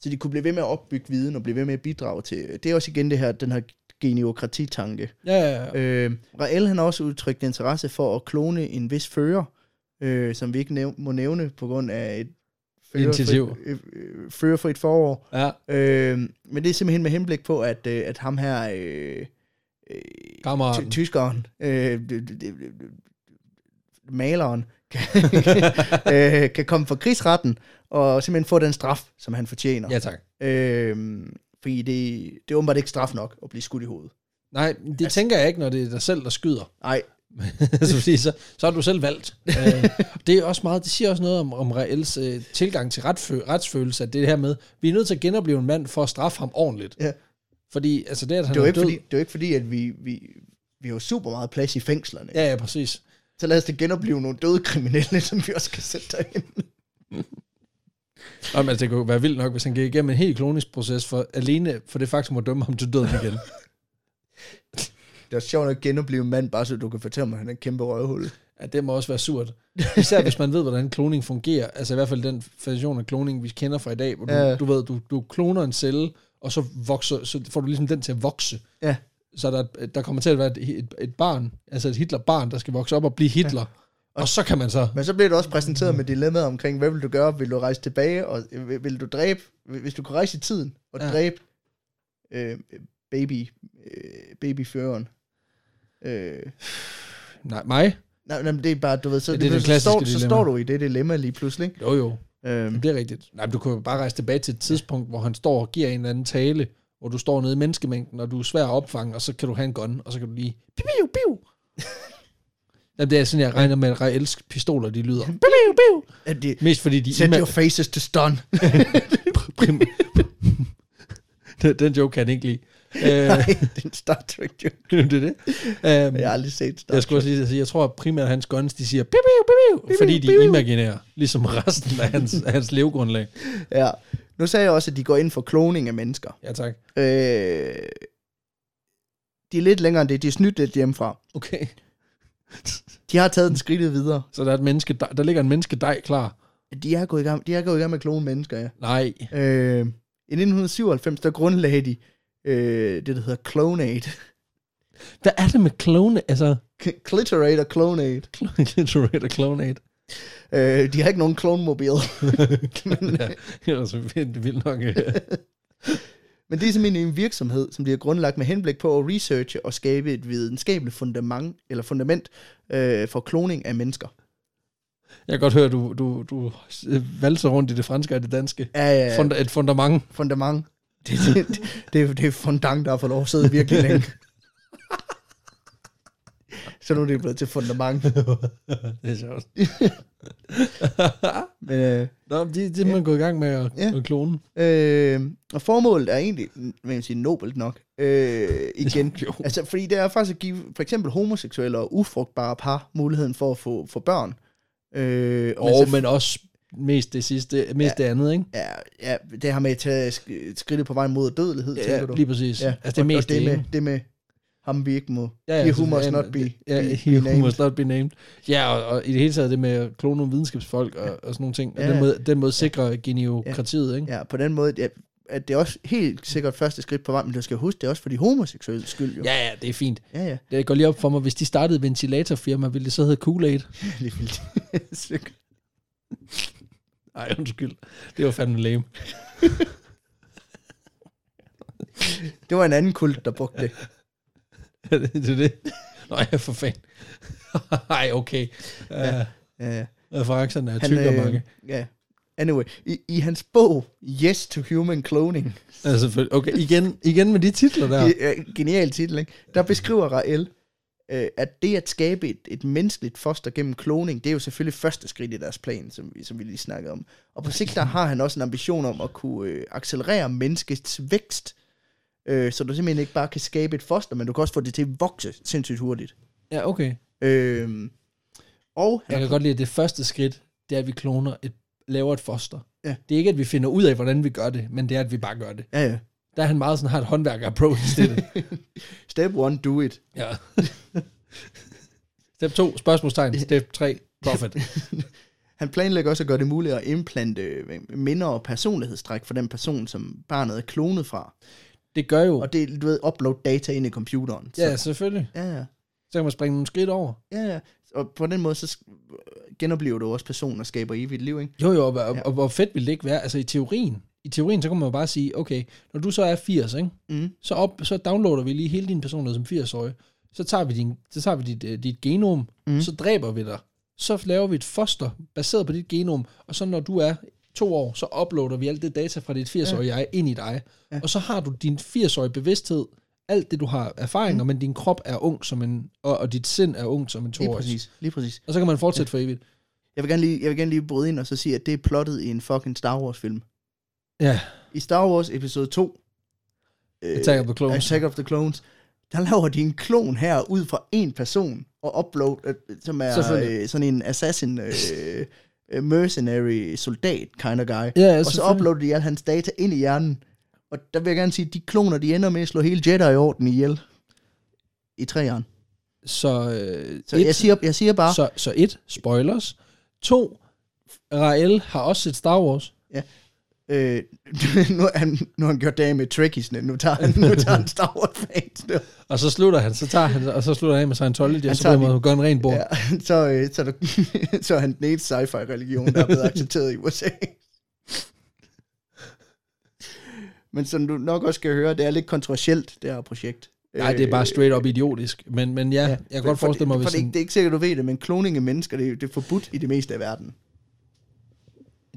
så de kunne blive ved med at opbygge viden og blive ved med at bidrage til. øh, Det er også igen det her, den her geniokratitanke. Ja, ja, ja. Øh, Rael han har også udtrykt interesse for at klone en vis fører, øh, som vi ikke næv- må nævne på grund af et Initiativ. øh, øh, førerfrit forår. ja. Øh, men det er simpelthen med henblik på, at, øh, at ham her, øh, øh, ty- Kammeraten. tyskeren, øh, d- d- d- d- maleren, kan, øh, kan komme for krigsretten og simpelthen få den straf, som han fortjener. Ja, tak. Øh, fordi det, det er åbenbart ikke straf nok at blive skudt i hovedet. Nej, det altså, tænker jeg ikke, når det er dig selv, der skyder. Nej, altså, fordi så, så har du selv valgt. Øh, det er også meget, det siger også noget om, om Raels øh, tilgang til retfø- retsfølelse, at det her med, vi er nødt til at genopleve en mand for at straffe ham ordentligt. Ja. Fordi, altså det, at han det er jo er, ikke, død... fordi, det er jo ikke fordi, at vi, vi, vi har jo super meget plads i fængslerne. Ja. Ja, ja, præcis. Så lad os da genopleve nogle døde kriminelle, som vi også kan sætte derind. Nå, men, altså, det kunne være vildt nok, hvis han gik igennem en helt kloningsproces for, alene for det faktum at dømme ham til døden igen. Det er sjovt at genopleve en mand, bare så du kan fortælle mig, at han er en kæmpe røvhul. Ja, det må også være surt. Især hvis man ved, hvordan kloning fungerer. Altså i hvert fald den version af kloning, vi kender fra i dag, hvor du, ja. Ja. du ved, du, du kloner en celle, og så, vokser, så får du ligesom den til at vokse. Ja. Så der, der kommer til at være et, et, et barn, altså et Hitler-barn, der skal vokse op og blive Hitler. Ja. Og så kan man så... Men så bliver du Mm. også præsenteret med dilemmaet omkring, hvad vil du gøre? Vil du rejse tilbage, og øh, vil, vil du dræbe? Hvis du kunne rejse i tiden og Ja. ja. dræbe øh, baby, øh, babyføreren. Øh, Nej, mig? nej, nej, men det er bare, du ved, så, Ja, ja, det er det det så, står, klassiske så dilemma. står du i det dilemma lige pludselig. ikke? Jo, jo. Øh, Det er rigtigt. Nej, men du kan jo bare rejse tilbage til et tidspunkt, hvor han står og giver en eller anden tale, hvor du står nede i menneskemængden, og du er svær at opfange, og så kan du have en gun, og så kan du lige... Piu, piu, piu. Jamen, det er sådan, jeg regner med, at reelsk pistoler, de lyder. Piu, piu, piu. at de, Mest fordi de... set your faces to stun. Prim- Den- Den joke kan han ikke lide. Øh, Nej, det er en Star Trek joke. det er det. Øhm, Jeg har aldrig set Star jeg Trek. skulle også lige sige, jeg tror at primært, hans guns, de siger... Piu, piu, piu, piu, fordi de er imaginære, ligesom resten af hans, af hans levegrundlag. Ja. Nu sagde jeg også, at de går ind for kloning af mennesker. Ja, tak. Øh, de er lidt længere end det. De er snydt lidt hjemmefra. Okay. De har taget den skridtet videre. Så der, er et menneske, der, der ligger en menneske dig klar. De er gået i gang, de er gået i gang med at klone mennesker, ja. Nej. Øh, I 1997, der grundlagde de øh, det, der hedder Clonate. Hvad er det med clone? Altså, K- Clitorate og Clonate. clitorate og clonate. Øh, de har ikke nogen klonmobil. ja, det er så vildt, vildt nok. øh. Men det er simpelthen en virksomhed, som de har grundlagt med henblik på at researche og skabe et videnskabeligt fundament, eller fundament øh, for kloning af mennesker. Jeg kan godt høre, du, du, du øh, valser rundt i det franske og det danske. Ja, ja, Funda, et fundament. fundament. Det, det, det, det, det er fundang, der har fået lov at sidde virkelig længe. Så nu er det blevet til fundament. det er sjovt. Men, øh, Nå, men det, det er man gået i gang med at, Ja. at klone. øh, og formålet er egentlig, vil jeg sige, nobelt nok. Øh, igen. Jo. Altså, fordi det er faktisk at give for eksempel homoseksuelle og ufrugtbare par muligheden for at få, få børn. Øh, Og, men, men også mest det sidste, mest ja. det andet, ikke? Ja, ja, det har med at tage sk- skridtet på vej mod dødelighed, ja, tænker du? lige præcis. Ja. Altså, det og- er mest og det, med, ene. det med ham, vi ikke må... Ja, ja, Ja, altså, så- ja, he who must ja, not be, Ja, be, he who named. must not be named. Ja, og, og i det hele taget det med at klone nogle videnskabsfolk og, og sådan nogle ting. Og ja. Ja. den, måde, den måde sikrer ja. geniokratiet, ikke? Ja, på den måde, ja, at det er også helt sikkert første skridt på vej, men du skal huske, det er også for de homoseksuelle skyld, jo. Ja, ja, det er fint. ja. ja. Det går lige op for mig, hvis de startede et ventilatorfirma, ville det så hedde Kool-Aid? Det er vildt. Nej, undskyld. Det var fandme lame. det var en anden kult, der brugte det. det er det. Nå ja, for fanden. Ej, okay. Ja. Ja, øh, ja. Uh, referencerne er tykke og mange. ja. Anyway, i, i hans bog, Yes to Human Cloning, Ja, selvfølgelig. Okay, igen, igen med de titler der. ja. genial titel, ikke? der beskriver Rael, øh, at det at skabe et, et menneskeligt foster gennem kloning, det er jo selvfølgelig første skridt i deres plan, som vi, som vi lige snakkede om. Og på sigt der har han også en ambition om at kunne øh, accelerere menneskets vækst, øh, så du simpelthen ikke bare kan skabe et foster, men du kan også få det til at vokse sindssygt hurtigt. Ja, okay. Øh, og Jeg han, kan godt lide, at det første skridt, det er, at vi kloner et, laver et foster. Ja. Det er ikke, at vi finder ud af, hvordan vi gør det, men det er, at vi bare gør det. ja, ja. Der er han meget sådan, har et håndværker-approach til det. Step one, do it. ja. Step 2, spørgsmålstegn. Step 3, profit. Han planlægger også at gøre det muligt at implante øh, minder og personlighedstræk for den person, som barnet er klonet fra. Det gør jo. Og det, du ved, upload data ind i computeren. Ja, selvfølgelig. ja, ja. Så kan man springe nogle skridt over. Ja, ja. Og på den måde, så sk- genoplever du også personen og skaber evigt liv, ikke? Jo, jo, og, og, og hvor fedt ville det ikke være? Altså i teorien, i teorien, så kunne man jo bare sige, okay, når du så er 80, ikke? Mm. Så, op, så downloader vi lige hele din personlighed som 80-årig. Så tager vi, din, så tager vi dit, øh, dit genom, mm. så dræber vi dig. Så laver vi et foster baseret på dit genom, og så når du er to år, så uploader vi alt det data fra dit 80-årige jeg ind i dig. Ja. Og så har du din 80-årige bevidsthed, alt det du har erfaringer, mm. men din krop er ung som en, og, og dit sind er ung som en Lige toårig. præcis, lige præcis. Og så kan man fortsætte for evigt. Jeg vil, gerne lige, jeg vil gerne lige bryde ind og så sige, at det er plottet i en fucking Star Wars-film. Ja, I Star Wars episode 2, øh, Attack of the Clones. Attack of the Clones, der laver de en klon her ud fra en person og upload, øh, som er Selvfølgelig. øh, sådan en assassin, øh, øh, mercenary, soldat kind of guy. ja og så uploader de alle hans data ind i hjernen. Og der vil jeg gerne sige, at de kloner, de ender med at slå hele Jedi-orden ihjel. I træerne. Så, øh, Så jeg siger, jeg siger bare, så. så, så et, spoilers. To, Rael har også set Star Wars. Øh, nu, har han, nu har han gjort det med trickiesne, nu tager han, nu tager han Star Wars fans. nu. Og så slutter han, så tager han, og så slutter han af med Scientology, og så tager bliver man gør en ren bord. Ja. Ja, så, øh, så, er der, så er han den eneste sci-fi-religion, der er blevet accepteret i USA. Men som du nok også skal høre, det er lidt kontroversielt, det her projekt. Nej, det er bare Øh, straight up idiotisk. Men, men ja, ja jeg kan For- godt for- forestille mig, for hvis det, er ikke- sådan, det er ikke sikkert, du ved det, men kloning af mennesker, det er, jo- det er forbudt i det meste af verden.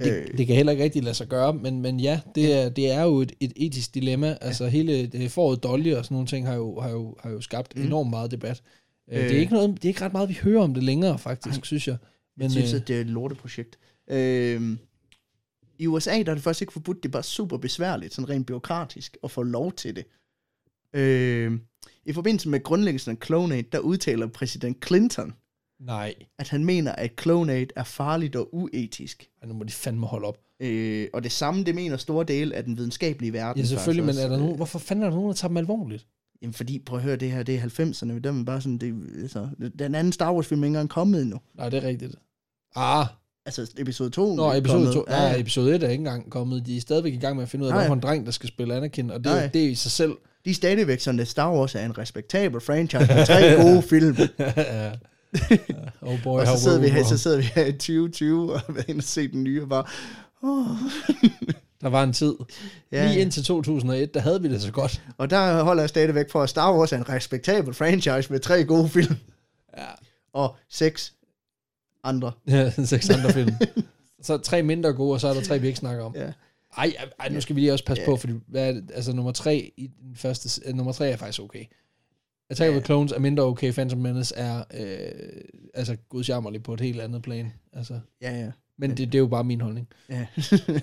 øh. det, det kan heller ikke rigtig lade sig gøre, men, men ja, det er, det er jo et, et etisk dilemma. Altså hele det foråret Dolly og sådan nogle ting har jo, har jo, har jo skabt mm. enormt meget debat. Øh. Det, Øh. er ikke noget, det er ikke ret meget, vi hører om det længere, faktisk, synes jeg. Men, Jeg synes, øh, at det er et lorteprojekt. Øh, I USA der er det faktisk ikke forbudt, det er bare super besværligt, sådan rent byråkratisk, at få lov til det. Øh, I forbindelse med grundlæggelsen af Clonate, der udtaler præsident Clinton, nej, at han mener, at Clonate er farligt og uetisk. Ej, nu må de fandme holde op. Øh, og det samme, det mener store dele af den videnskabelige verden. Ja, selvfølgelig, men faktisk er øh. der også. Øh, nogen, hvorfor fanden er der nogen, der tager dem alvorligt? Jamen fordi, prøv at høre, det her, det er 90'erne, men der er man bare sådan, det, altså, den anden Star Wars film er ikke engang kommet endnu. Nej, det er rigtigt. Ah, Altså episode 2. Nå, episode 2. Ja, episode 1 er ikke engang kommet. De er stadigvæk i gang med at finde ud af, Nej. hvorfor en dreng, der skal spille Anakin, og det, er Nej. jo- det er i sig selv. De er stadigvæk sådan, at Star Wars er en respektabel franchise med tre gode film. Ja. oh boy, og så how sidder, vi well her, we're så wrong. sidder vi her i 2020 og har været inde og set den nye og bare... Oh. Der var en tid. Ja. Lige indtil 2001, der havde vi det så godt. Og der holder jeg stadigvæk for, at Star Wars er en respektabel franchise med tre gode film. Ja. Og seks andre. Ja, seks andre film. Så tre mindre gode, og så er der tre, vi ikke snakker om. Ja. Ej, ej, ej nu skal vi lige også passe på, fordi hvad er det? altså nummer tre i den første, s- øh, nummer tre er faktisk okay. Attack of the Clones er mindre okay, Phantom Menace er øh, altså gudsjammerlig på et helt andet plan. Altså, Ja, ja. men det, det, er jo bare min holdning. ja.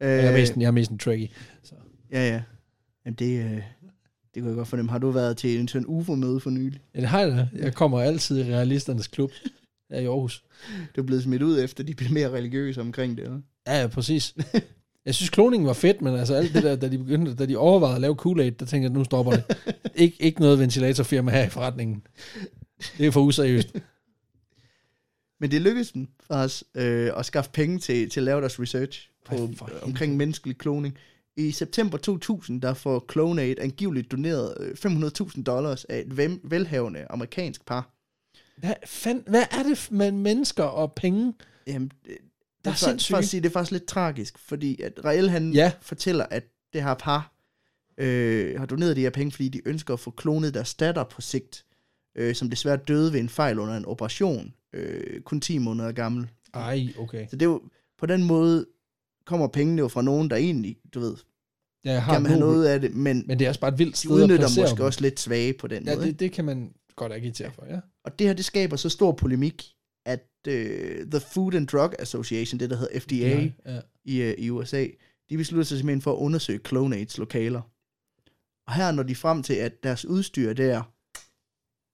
Jeg er Øh, mest, en- jeg er mest en tricky. Så. Ja, ja. Jamen det, øh, det kunne jeg godt fornemme. Har du været til en sådan UFO-møde for nylig? Ja, det har jeg da. Jeg kommer altid i realisternes klub her i Aarhus. Du er blevet smidt ud efter, de blev mere religiøse omkring det, eller? Ja, ja, præcis. Jeg synes, kloningen var fedt, men altså alt det der, da de, begyndte, da de overvejede at lave Kool-Aid, der tænkte jeg, nu stopper det. Ik- ikke noget ventilatorfirma her i forretningen. Det er for useriøst. Men det lykkedes dem for os øh, at skaffe penge til, til at lave deres research på, Ej, for omkring menneskelig kloning. I september 2000, der får Clonate angiveligt doneret øh, 500.000 dollars af et vem- velhavende amerikansk par. Hvad, fand, hvad er det med mennesker og penge? Jamen, det, Der der er er for, sindssyge. for at sige, det er faktisk lidt tragisk, fordi at Rael han Ja. ja. fortæller, at det her par øh, har doneret de her penge, fordi de ønsker at få klonet deres datter på sigt, øh, som desværre døde ved en fejl under en operation, øh, kun 10 måneder gammel. Ej, okay. Så det er jo, på den måde kommer pengene jo fra nogen, der egentlig, du ved, Ja, jeg har kan man have noget, noget af det, men, men men det er også bare et vildt de sted at udnytter placere måske dem. også lidt svage på den Ja, måde. det, det kan man godt agitere for, ja. Og det her, det skaber så stor polemik, at øh, The Food and Drug Association, det der hedder FDA, Nej, ja. i, øh, i USA, de beslutter sig simpelthen for at undersøge Clonates lokaler. Og her når de frem til, at deres udstyr der,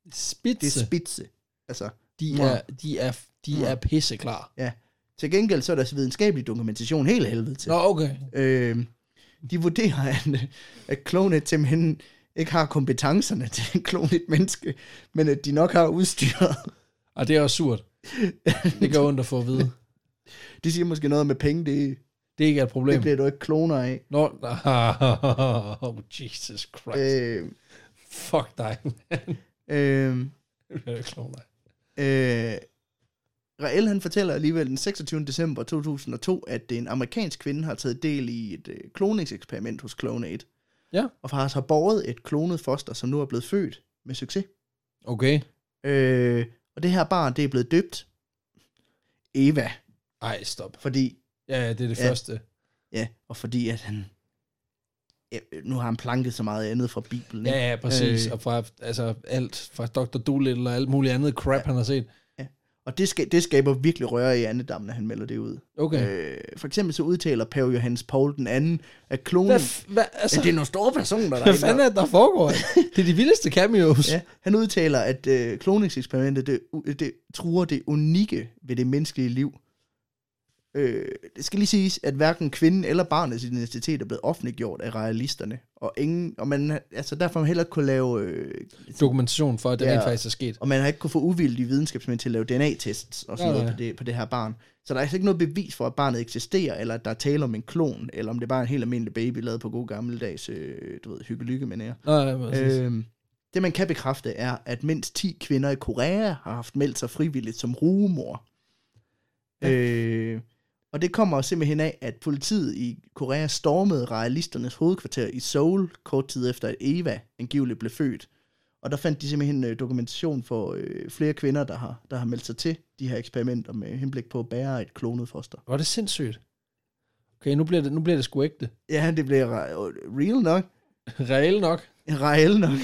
det Spidse, er spidse. Altså, de Mwah. er, de er, de Mwah. er pisseklar. til gengæld så er deres videnskabelige dokumentation helt af helvede til. Nå, okay. Øh, de vurderer, at, at Clonate simpelthen ikke har kompetencerne til at klone et menneske, men at de nok har udstyret. Og det er også surt. Det gør ondt at få at vide. De siger måske noget med penge, det, Det er ikke et problem. det bliver du ikke kloner af. Nå, oh, Jesus Christ. Øh. Øh, Fuck dig. øh, Det er jo ikke nogen, nej. Øh, Rael han fortæller alligevel den 26. december 2002, at det er en amerikansk kvinde har taget del i et øh, kloningseksperiment hos Clonate. Ja. Og faktisk har båret et klonet foster, som nu er blevet født med succes. Okay. Øh, og det her barn, det er blevet døbt Eva, Ej, stop. fordi, Ja, ja, det er det ja. Ja. første. ja, og fordi at han, ja, nu har han planket så meget andet fra Bibelen. Ja, ikke? ja, præcis. Øh. Og fra altså, alt, fra Dr. Doolittle og alt muligt andet crap, ja. han har set. Og det, ska- det skaber virkelig røre i andedammen, når han melder det ud. Okay. Øh, Øh, for eksempel så udtaler Pave Johannes Paul den anden, at kloning... hvad, f- hvad, altså, Ja, det er nogle store personer, der hvad er fanden inde er det, der foregår? det er de vildeste cameos. og- Ja, han udtaler, at øh, kloningseksperimentet det, u- det truer det unikke ved det menneskelige liv. Øh, det skal lige siges, at hverken kvinden eller barnets identitet er blevet offentliggjort af realisterne. Og, ingen, og man, altså derfor har man heller ikke kunne lave... Øh, Dokumentation for, at det ja. Ja. rent faktisk er sket. og man har ikke kunne få uvildige videnskabsmænd til at lave DNA-tests og sådan Nej, ja, noget nej. på det, på det her barn. Så der er altså ikke noget bevis for, at barnet eksisterer, eller at der er tale om en klon, eller om det er bare en helt almindelig baby, lavet på god gammeldags, øh, du ved, hygge-lykke med nære. Nå, ja, præcis. Øh, Øhm, det man kan bekræfte er, at mindst 10 kvinder i Korea har haft meldt sig frivilligt som rugemor. Ja. Øh, og det kommer simpelthen af, at politiet i Korea stormede realisternes hovedkvarter i Seoul kort tid efter, at Eva angiveligt blev født. Og der fandt de simpelthen øh, dokumentation for øh, flere kvinder, der har, der har meldt sig til de her eksperimenter med henblik på at bære et klonet foster. var det sindssygt? Okay, nu bliver det, nu bliver det sgu ægte. Ja, det bliver re- real nok. Reelt nok. Rael nok.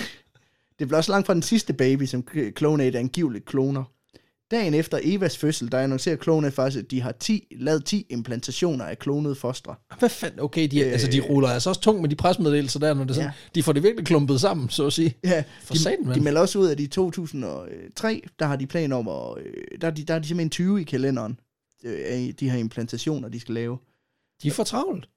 Det blev også langt fra den sidste baby, som K- Clonate angiveligt kloner. Dagen efter Evas fødsel, der annoncerer Clonate faktisk, at de har 10, lavet 10 implantationer af klonede fostre. Ah, Hvad fanden? Okay, de, øh, altså, de ruller altså også tungt med de presmeddelelser der, når det er sådan, ja. de får det virkelig klumpet sammen, så at sige. Ja, For de, satan, mand. de melder også ud, at i 2003, der har de planer om at... øh, Der er de, der er de simpelthen 20 i kalenderen øh, af de her implantationer, de skal lave. De er for travlt.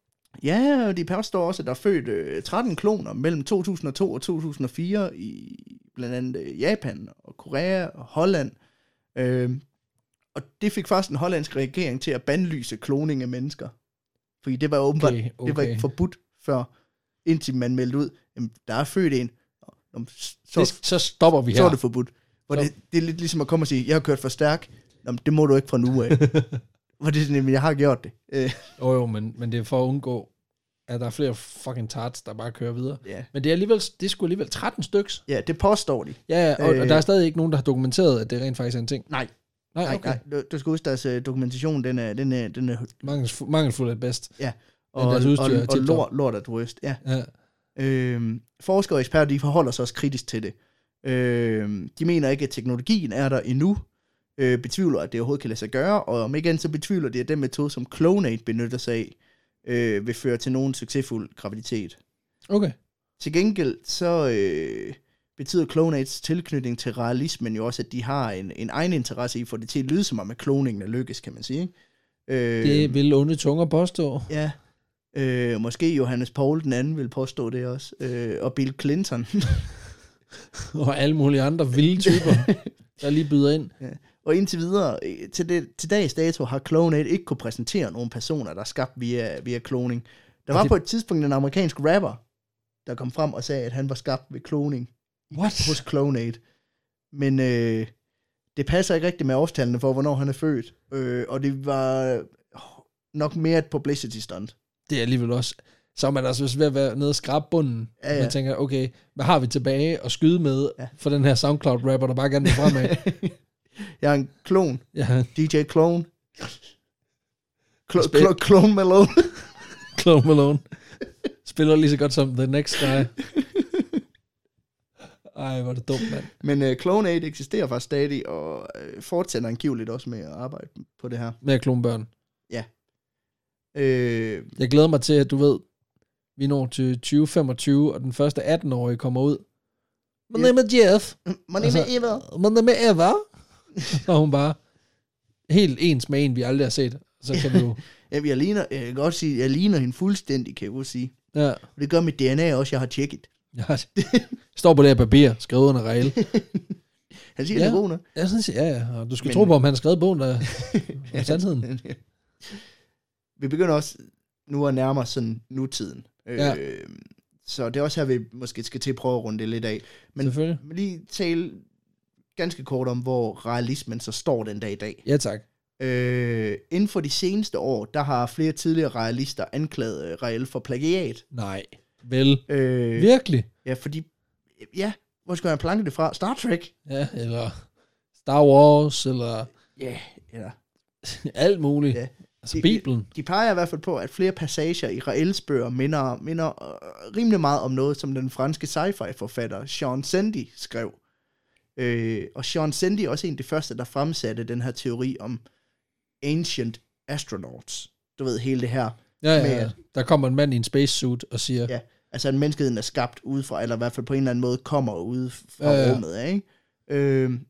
Ja, og de påstår også, at der er født øh, 13 kloner mellem 2002 og 2004 i blandt andet øh, Japan og Korea og Holland. Øh, og det fik faktisk den hollandske regering til at bandlyse kloning af mennesker. Fordi det var åbenbart Okay, okay. det var okay. ikke forbudt før, indtil man meldte ud, jamen, der er født en, Nå, nå, men s- så, Det, så, så stopper vi her. så er det forbudt. Hvor Så- det, det er lidt ligesom at komme og sige, jeg har kørt for stærk, Nå, men det må du ikke fra nu af. Hvor det er sådan, "Jamen, jeg har gjort det. Øh, Jo, jo, men, men det er for at undgå, at der er flere fucking tarts, der bare kører videre. ja. Men det er alligevel, det er sgu alligevel 13 styks. ja, det påstår de. Ja, ja, og, øh. og, Øh. der er stadig ikke nogen, der har dokumenteret, at det rent faktisk er en ting. Nej, Nej, Nej, okay. nej, du, du skal huske, deres øh, dokumentation, den er, den er, den er Mangelfuld, mangelfuld er bedst. og, deres udstyr og, er og tip-top. lort, lort er drøst, ja. Ja. Øhm, forskere og eksperter, de forholder sig også kritisk til det. Øhm, de mener ikke, at teknologien er der endnu, øh, betvivler, at det overhovedet kan lade sig gøre, og om ikke andet, så betvivler de, at den metode, som Clonate benytter sig af, øh, vil føre til nogen succesfuld graviditet. Okay. Til gengæld så øh, betyder Clonates tilknytning til realismen jo også, at de har en, en egen interesse i at få det til at lyde som om, at kloningen er lykkes, kan man sige. Ikke? Øh, Det vil onde tunger påstå. Ja. Øh, måske Johannes Paul den anden vil påstå det også. Øh, og Bill Clinton. Og alle mulige andre vilde typer, der lige byder ind. og indtil videre, øh, til, det, til dags dato, har Clonate ikke kunne præsentere nogen personer, der er skabt via, via kloning. Der Og var det- på et tidspunkt en amerikansk rapper, der kom frem og sagde, at han var skabt ved kloning What? hos Clonate. Men øh, det passer ikke rigtigt med årstallene for, hvornår han er født. Øh, og det var åh, nok mere et publicity stunt. Det er alligevel også... Så er man altså også ved at være nede og skrabe bunden. Ja, ja. Man tænker, okay, hvad har vi tilbage at skyde med Ja. for den her SoundCloud-rapper, der bare gerne vil fremad? Jeg er en klon. ja, DJ Clone. Clo- Respekt. Clo- Clone Malone. Clone Malone. Spiller lige så godt som The Next Guy. Ej, hvor er det dumt, mand. Men øh, Clone 8 eksisterer faktisk stadig, og øh, fortsætter angiveligt også med at arbejde på det her. Med at klone børn. Øh, Jeg glæder mig til, at du ved, vi når til 2025, og den første 18-årige kommer ud. My Ja. name is Jeff. my name Altså, is Eva. My name is Eva. Og hun bare helt ens med en, vi aldrig har set. Så kan du... Jamen, jeg, ligner, jeg kan godt sige, jeg ligner hende fuldstændig, kan jeg godt sige. Ja. Og det gør mit DNA også, jeg har tjekket. ja. Står på det her papir, skrevet under regel. Han siger, ja. det Ja. er god nok. Jeg synes, ja, ja. Og du skal Men- Men... tro på, om han har skrevet bogen, der er sandheden. vi begynder også nu at nærme os sådan nutiden. Ja. Øh, så det er også her, vi måske skal til at prøve at runde det lidt af. Men Selvfølgelig. lige tale ganske kort om, hvor realismen så står den dag i dag. Ja, tak. Øh, inden for de seneste år, der har flere tidligere realister anklaget øh, Rael for plagiat. Nej. Vel. Øh, Virkelig. ja, fordi... Ja, hvor skal jeg planke det fra? Star Trek? Ja, eller Star Wars, eller Ja, eller... alt muligt. Ja. Ja. Altså Det- Bibelen. De peger i hvert fald på, at flere passager i Raels bøger minder, minder øh, rimelig meget om noget, som den franske sci-fi-forfatter Sean Sandy skrev. Øh, og Sean Sandy er også en af de første, der fremsatte den her teori om ancient astronauts. Du ved, hele det her Ja, ja, med, ja. at- Der kommer en mand i en spacesuit og siger, ja. Ja, altså at menneskeheden er skabt udefra, eller i hvert fald på en eller anden måde kommer ud fra Ja, ja, ja. ja. rummet, ikke? Øhm,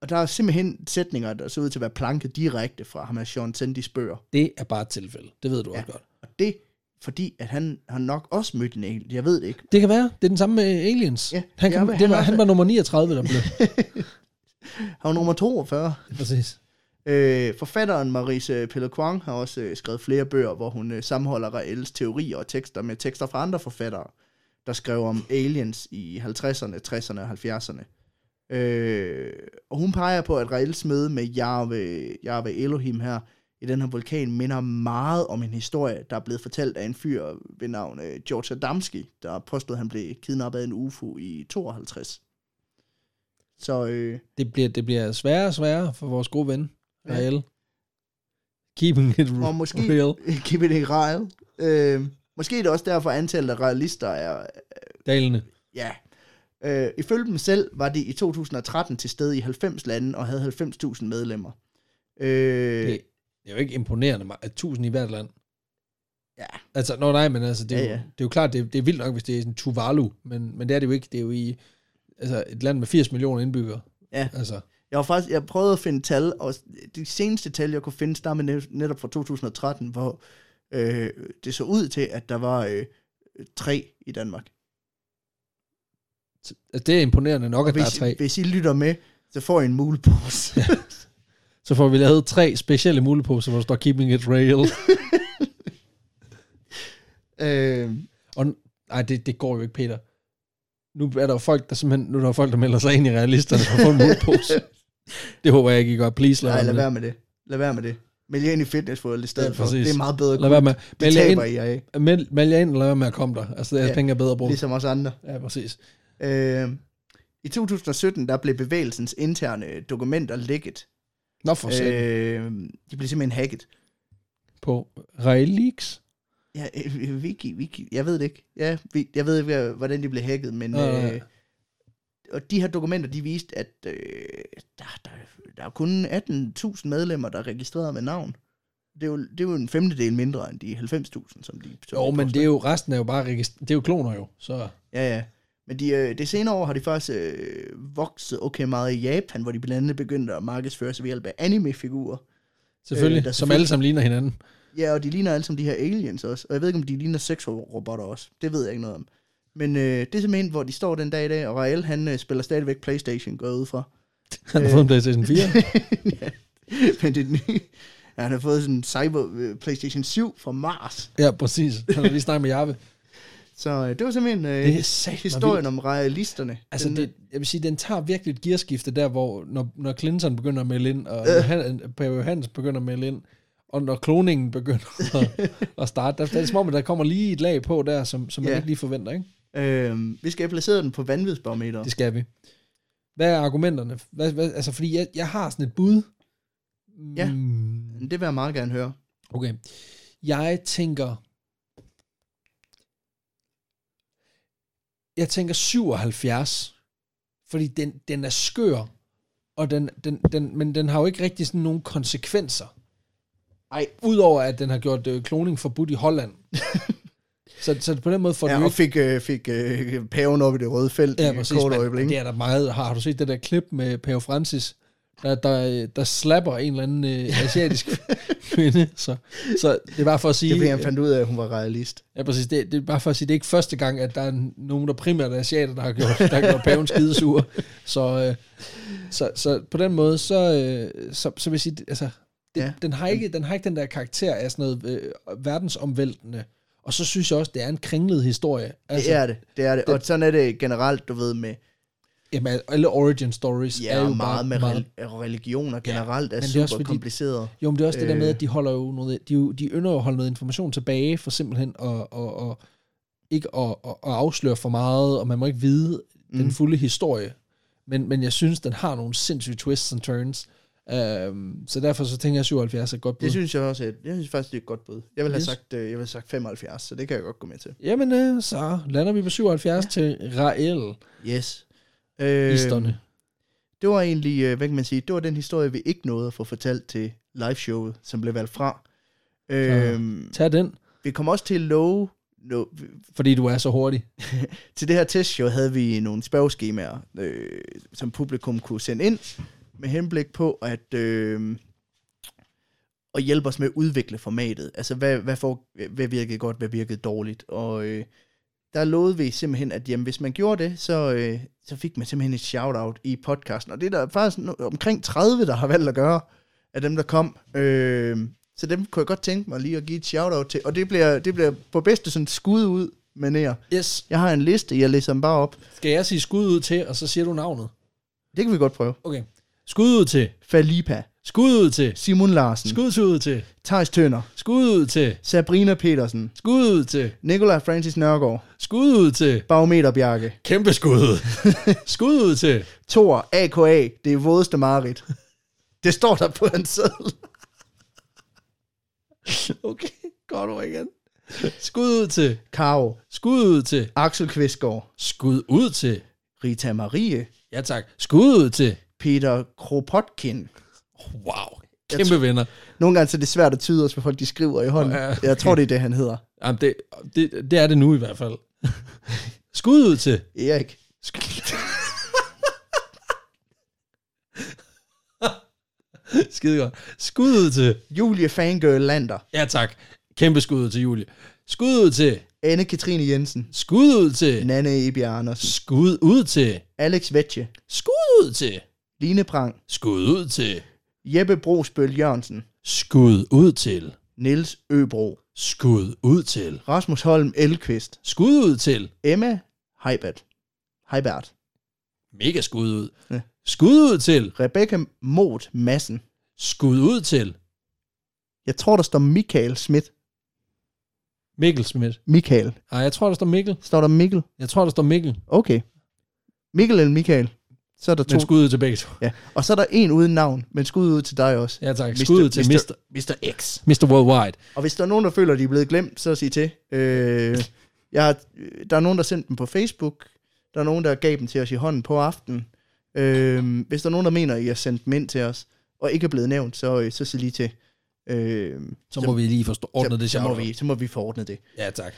og der er simpelthen sætninger, der ser ud til at være planket direkte fra ham af Sean Sandys bøger. det er bare et tilfælde. Det ved du ja. Ja. også godt. Og det fordi, at han har nok også mødt en alien. Jeg ved det ikke. Det kan være. Det er den samme med Aliens. Ja. Han, kan, Ja, ja, men det han var, er- han var nummer 39, der blev. Han var nummer 42. Præcis. Øh, forfatteren Marise Pellequang har også øh, skrevet flere bøger, hvor hun øh, sammenholder Raels teorier og tekster med tekster fra andre forfattere, der skrev om aliens i 50'erne, 60'erne og 70'erne. Øh, og hun peger på, at Raels møde med Jarve, Jarve Elohim her i den her vulkan minder meget om en historie, der er blevet fortalt af en fyr ved navn øh, George Adamski, der påstod, at han blev kidnappet af en UFO i 52. Så øh, Det bliver, det bliver sværere og sværere for vores gode ven, Ja. Rael. Keeping it Og måske- real. Give it a rejl. Øh, måske er det også derfor, at antallet af realister er... Dalene. Ja. Øh, ifølge dem selv var de i 2013 til stede i 90 lande og havde 90.000 medlemmer. Øh, Det, det er jo ikke imponerende, ma- at tusind i hvert land. Ja. Altså, nå nej, men altså, det er, Ja, ja, ja. ja. Jo, det er jo klart, det er, det er vildt nok, hvis det er sådan Tuvalu, men, men det er det jo ikke. Det er jo i altså, et land med 80 millioner indbyggere. Ja. Altså, Jeg har faktisk jeg prøvet at finde tal, og de seneste tal, jeg kunne finde, stammer net- netop fra 2013, hvor øh, det så ud til, at der var øh, tre i Danmark. altså, det er imponerende nok, at der er Hvis, tre. hvis I lytter med, så får I en mulepose. Ja. Så får vi lavet tre specielle muleposer, hvor der står Keeping It Real. øh, Og nej, det, det går jo ikke, Peter. Nu er der jo folk, der simpelthen, nu er der jo folk, der melder sig ind i realisterne for at få en mulepose. det håber jeg ikke, I gør. Please, lad, nej, være lad med det. være med det. Lad være med det. Meld jer ind i fitnessworld i stedet Ja, ja, for. præcis. Det er meget bedre. Lad være med. Det Meld jer ind, taber I jer af, meld, meld jer ind, og lad være med at komme der. Altså, deres ja. Ja. penge er bedre brugt. ligesom os andre. Ja, præcis. Øh, I 2017, der blev bevægelsens interne dokumenter lækket. Nå for øh, Øh, de blev simpelthen hacket. På Relix? Ja, øh, øh, Wiki, Wiki, jeg ved det ikke. Ja, vi, jeg ved ikke, hvad- hvordan de blev hacket, men... Nej, nej, Øh, og de her dokumenter, de viste, at øh, der, der, der er kun 18.000 medlemmer, der er registreret med navn. Det er, jo, det er jo en femtedel mindre end de 90.000, som de... Som Jo, de men påstår. det Øh, er jo, resten er jo bare registr- Det er jo kloner jo, så... Ja, ja. Men de, øh, det senere år har de faktisk øh, vokset okay meget i Japan, hvor de blandt andet begyndte at markedsføre sig ved hjælp af anime-figurer. Selvfølgelig, Øh, der øh, som er selvfølgelig- alle sammen ligner hinanden. Ja, og de ligner alle som de her aliens også. Og jeg ved ikke, om de ligner sexrobotter også. Det ved jeg ikke noget om. Men øh, det er simpelthen, hvor de står den dag i dag, og Rael, han øh, spiller stadigvæk Øh. Playstation, går jeg ud fra. Han har fået en PlayStation 4. ja. Men det nye, Ja, han har fået sådan en cyber øh, PlayStation 7 fra Mars. Ja, præcis. Han har lige snakket med Jarve. Så øh, det var simpelthen øh, Det er satme historien om realisterne. Altså, den, det, jeg vil sige, den tager virkelig et gearskifte der, hvor når, når Clinton begynder at melde ind, og Johan, Per Johans begynder at melde ind, og når kloningen begynder at, at starte, der, der er det som om, at der kommer lige et lag på der, som, som man Ja. ikke lige forventer, ikke? øh, vi skal have placeret den på vanvidsbarometer. Det skal vi. Hvad er argumenterne? Hvad, hvad, altså, fordi jeg, jeg har sådan et bud. Ja. Mm, Det vil jeg meget gerne høre. Okay. Jeg tænker... Jeg tænker 77, fordi den, den er skør, og den, den, den, men den har jo ikke rigtig sådan nogen konsekvenser. Ej. Udover at den har gjort øh, kloning forbudt i Holland. så, så på den måde får den Ja, jo og ikke... fik, øh, fik øh, paven op i det røde felt Ja, i et præcis. kort men øjeblik. Det er der meget. Har, har du set det der klip med Pave Francis, der, der, øh, der slapper en eller anden øh, asiatisk kvinde? Så, så det er bare for at sige... Det er fordi, han øh, fandt ud af, at hun var realist. Ja, præcis. Det, det er bare for at sige, det er ikke første gang, at der er nogen, der primært er asiater, der har gjort, der har gjort paven skidesur. Så, øh, så, så på den måde, så, øh, så, så vil jeg sige, det- altså, det, Ja. ja. den, har ikke, den har ikke den der karakter af sådan noget øh, verdensomvæltende. Og så synes jeg også, det er en kringlet historie. Altså, det er det, det er det. Og sådan er det generelt, du ved, med Jamen, alle origin stories ja, er jo meget bare med meget. religioner generelt ja, er men det super er er også fordi- kompliceret. Jo, men det er også øh. det der med, Øh. at de holder jo noget, de, jo- de ynder jo at holde noget information tilbage for simpelthen at, at, at ikke at, at, at afsløre for meget, og man må ikke vide mm. den fulde historie. Men, men jeg synes, den har nogle sindssyge twists and turns. Øhm, så derfor så tænker jeg, at 77 er et godt bud. Det synes jeg også, at, jeg synes faktisk, det er et godt bud. Jeg ville have Mm. Yes. sagt, øh, jeg ville have sagt 75, så det kan jeg godt gå med til. Jamen, øh, så lander vi på 77 ja. til Rael Yes. Øh, Isterne. det var egentlig, øh, hvad kan man sige, det var den historie, vi ikke nåede at få fortalt til liveshowet, som blev valgt fra. Øh, Tag den, vi kom også til at love, no, fordi du er så hurtig. til det her testshow havde vi nogle spørgeskemaer, øh, som publikum kunne sende ind, med henblik på at, øh, at hjælpe os med at udvikle formatet. Altså, hvad, hvad, for, hvad virkede godt, hvad virkede dårligt. Og øh, der lovede vi simpelthen, at jamen, hvis man gjorde det, så, øh, så fik man simpelthen et shout-out i podcasten. Og det er der faktisk no- omkring 30, der har valgt at gøre, af dem, der kom. Øh, så dem kunne jeg godt tænke mig lige at give et shout-out til. Og det bliver, det bliver på bedste sådan skud ud manér. Yes. Jeg har en liste, jeg læser dem bare op. Skal jeg sige skud ud til, og så siger du navnet? Det kan vi godt prøve. Okay. Skud ud til, Falipa, skud ud til, Simon Larsen, Skud. skud ud til, Thijs Tønder, skud ud til, Sabrina Petersen, skud ud til, Nikolaj Francis Nørgaard, Skud ud til. Barometer Bjarke, Kæmpe skud. skud ud til. Thor, AKA, det er vådeste mareridt. Det står der på en seddel. Okay, godt over igen. Skud ud til. Karo, Skud ud til. Axel Kvistgaard, Skud ud til. Rita Marie, Ja tak. Skud ud til. Peter Kropotkin. Wow. Kæmpe venner. Nogle gange så er det svært at tyde os, hvad folk de skriver i hånden. Ja, okay. Jeg tror, det er det, han hedder. Jamen, det, det, det er det nu i hvert fald. Skud ud til. Erik. Skide godt. Skud ud til. Julie Fangirl Lander, Ja tak. Kæmpe skud ud til Julie. Skud ud til. Anne-Katrine Jensen, Skud ud til. Nanne Ebi Andersen, Skud ud til. Alex Vetje, Skud ud til. Line Prang, Skud ud til. Jeppe Brosbøl Jørgensen, Skud ud til. Niels Øbro, Skud ud til. Rasmus Holm Elkvist, Skud ud til. Emma Heibert, Heibert, Mega skud ud. Ja. Skud ud til. Rebecca Mot Madsen. Skud ud til. Jeg tror, der står Michael Schmidt. Mikkel Schmidt. Michael. Ej, jeg tror, der står Mikkel. Står der Mikkel? Jeg tror, der står Mikkel. Okay. Mikkel eller Michael. Så er der to. Men skud ud til begge to. ja. Og så er der en uden navn, men skud ud til dig også. Ja tak. Skud ud til Mr. Mr. X. Mr. Worldwide. Og hvis der er nogen, der føler, at de er blevet glemt, så sig til. Øh, jeg, har- der er nogen, der sendte dem på Facebook. Der er nogen, der gav dem til os i hånden på aftenen. Øh, hvis der er nogen, der mener, at I har sendt dem ind til os, og ikke er blevet nævnt, så, øh, så sig lige til. Øh, Så må vi lige forstå ordnet det så, så, må shout-out. vi, så må vi forordne det. Ja tak.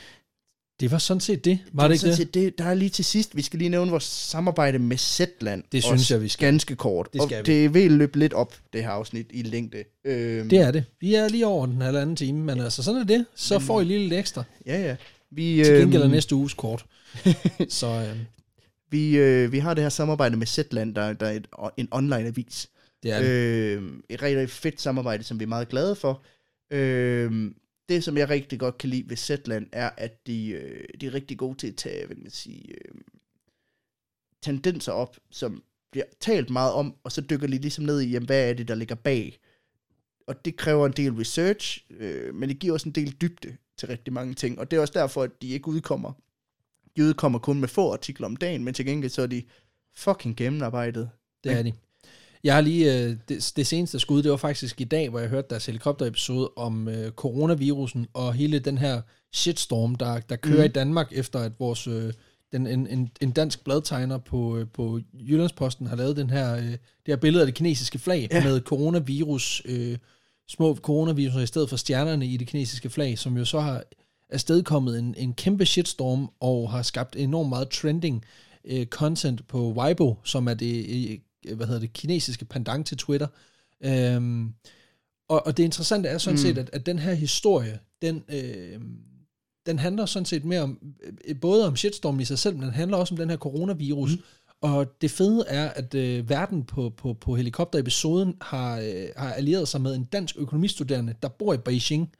Det var sådan set det. Var det, ikke Sådan det? set, det? Der er lige til sidst, vi skal lige nævne vores samarbejde med Zetland. Det synes jeg, vi skal. Ganske kort. Det skal og vi. det vil løbe lidt op, det her afsnit, i længde. Øh, Det er det. Vi er lige over den halvanden time, men altså sådan er det. Så får I lige lidt ekstra. Ja, ja. Vi, Til gengæld er øhm, næste uges kort. Så øh, Vi, øh, vi har det her samarbejde med Zetland, der, der er et, en online-avis, Det er det. Øh, et rigtig, rigtig fedt samarbejde, som vi er meget glade for. Øh, det, som jeg rigtig godt kan lide ved Zetland, er, at de, øh, de er rigtig gode til at tage hvad kan man sige, øh, tendenser op, som bliver talt meget om, og så dykker de ligesom ned i, jamen, hvad er det, der ligger bag. Og det kræver en del research, øh, men det giver også en del dybde til rigtig mange ting. Og det er også derfor, at de ikke udkommer. De udkommer kun med få artikler om dagen, men til gengæld så er de fucking gennemarbejdet. det er de. Jeg har lige, øh, det, det seneste skud, det var faktisk i dag, hvor jeg hørte deres helikopterepisode om øh, coronavirusen og hele den her shitstorm, der, der kører mm. Mm. i Danmark, efter at vores, øh, den, en, en, en dansk bladtegner på, øh, på Jyllandsposten har lavet den her, øh, det her billede af det kinesiske flag ja. Ja. med coronavirus, øh, små coronaviruser i stedet for stjernerne i det kinesiske flag, som jo så har afstedkommet en, en kæmpe shitstorm og har skabt enormt meget trending øh, content på Weibo, som er det, øh, hvad hedder det kinesiske pendant til Twitter. Øhm, og, og det interessante er sådan Mm. set, at, at den her historie, den, øh, den handler sådan set mere om, øh, både om shitstormen i sig selv, men den handler også om den her coronavirus. Mm. Og det fede er, at øh, verden på, på, på helikopterepisoden har, øh, har allieret sig med en dansk økonomistuderende, der bor i Beijing,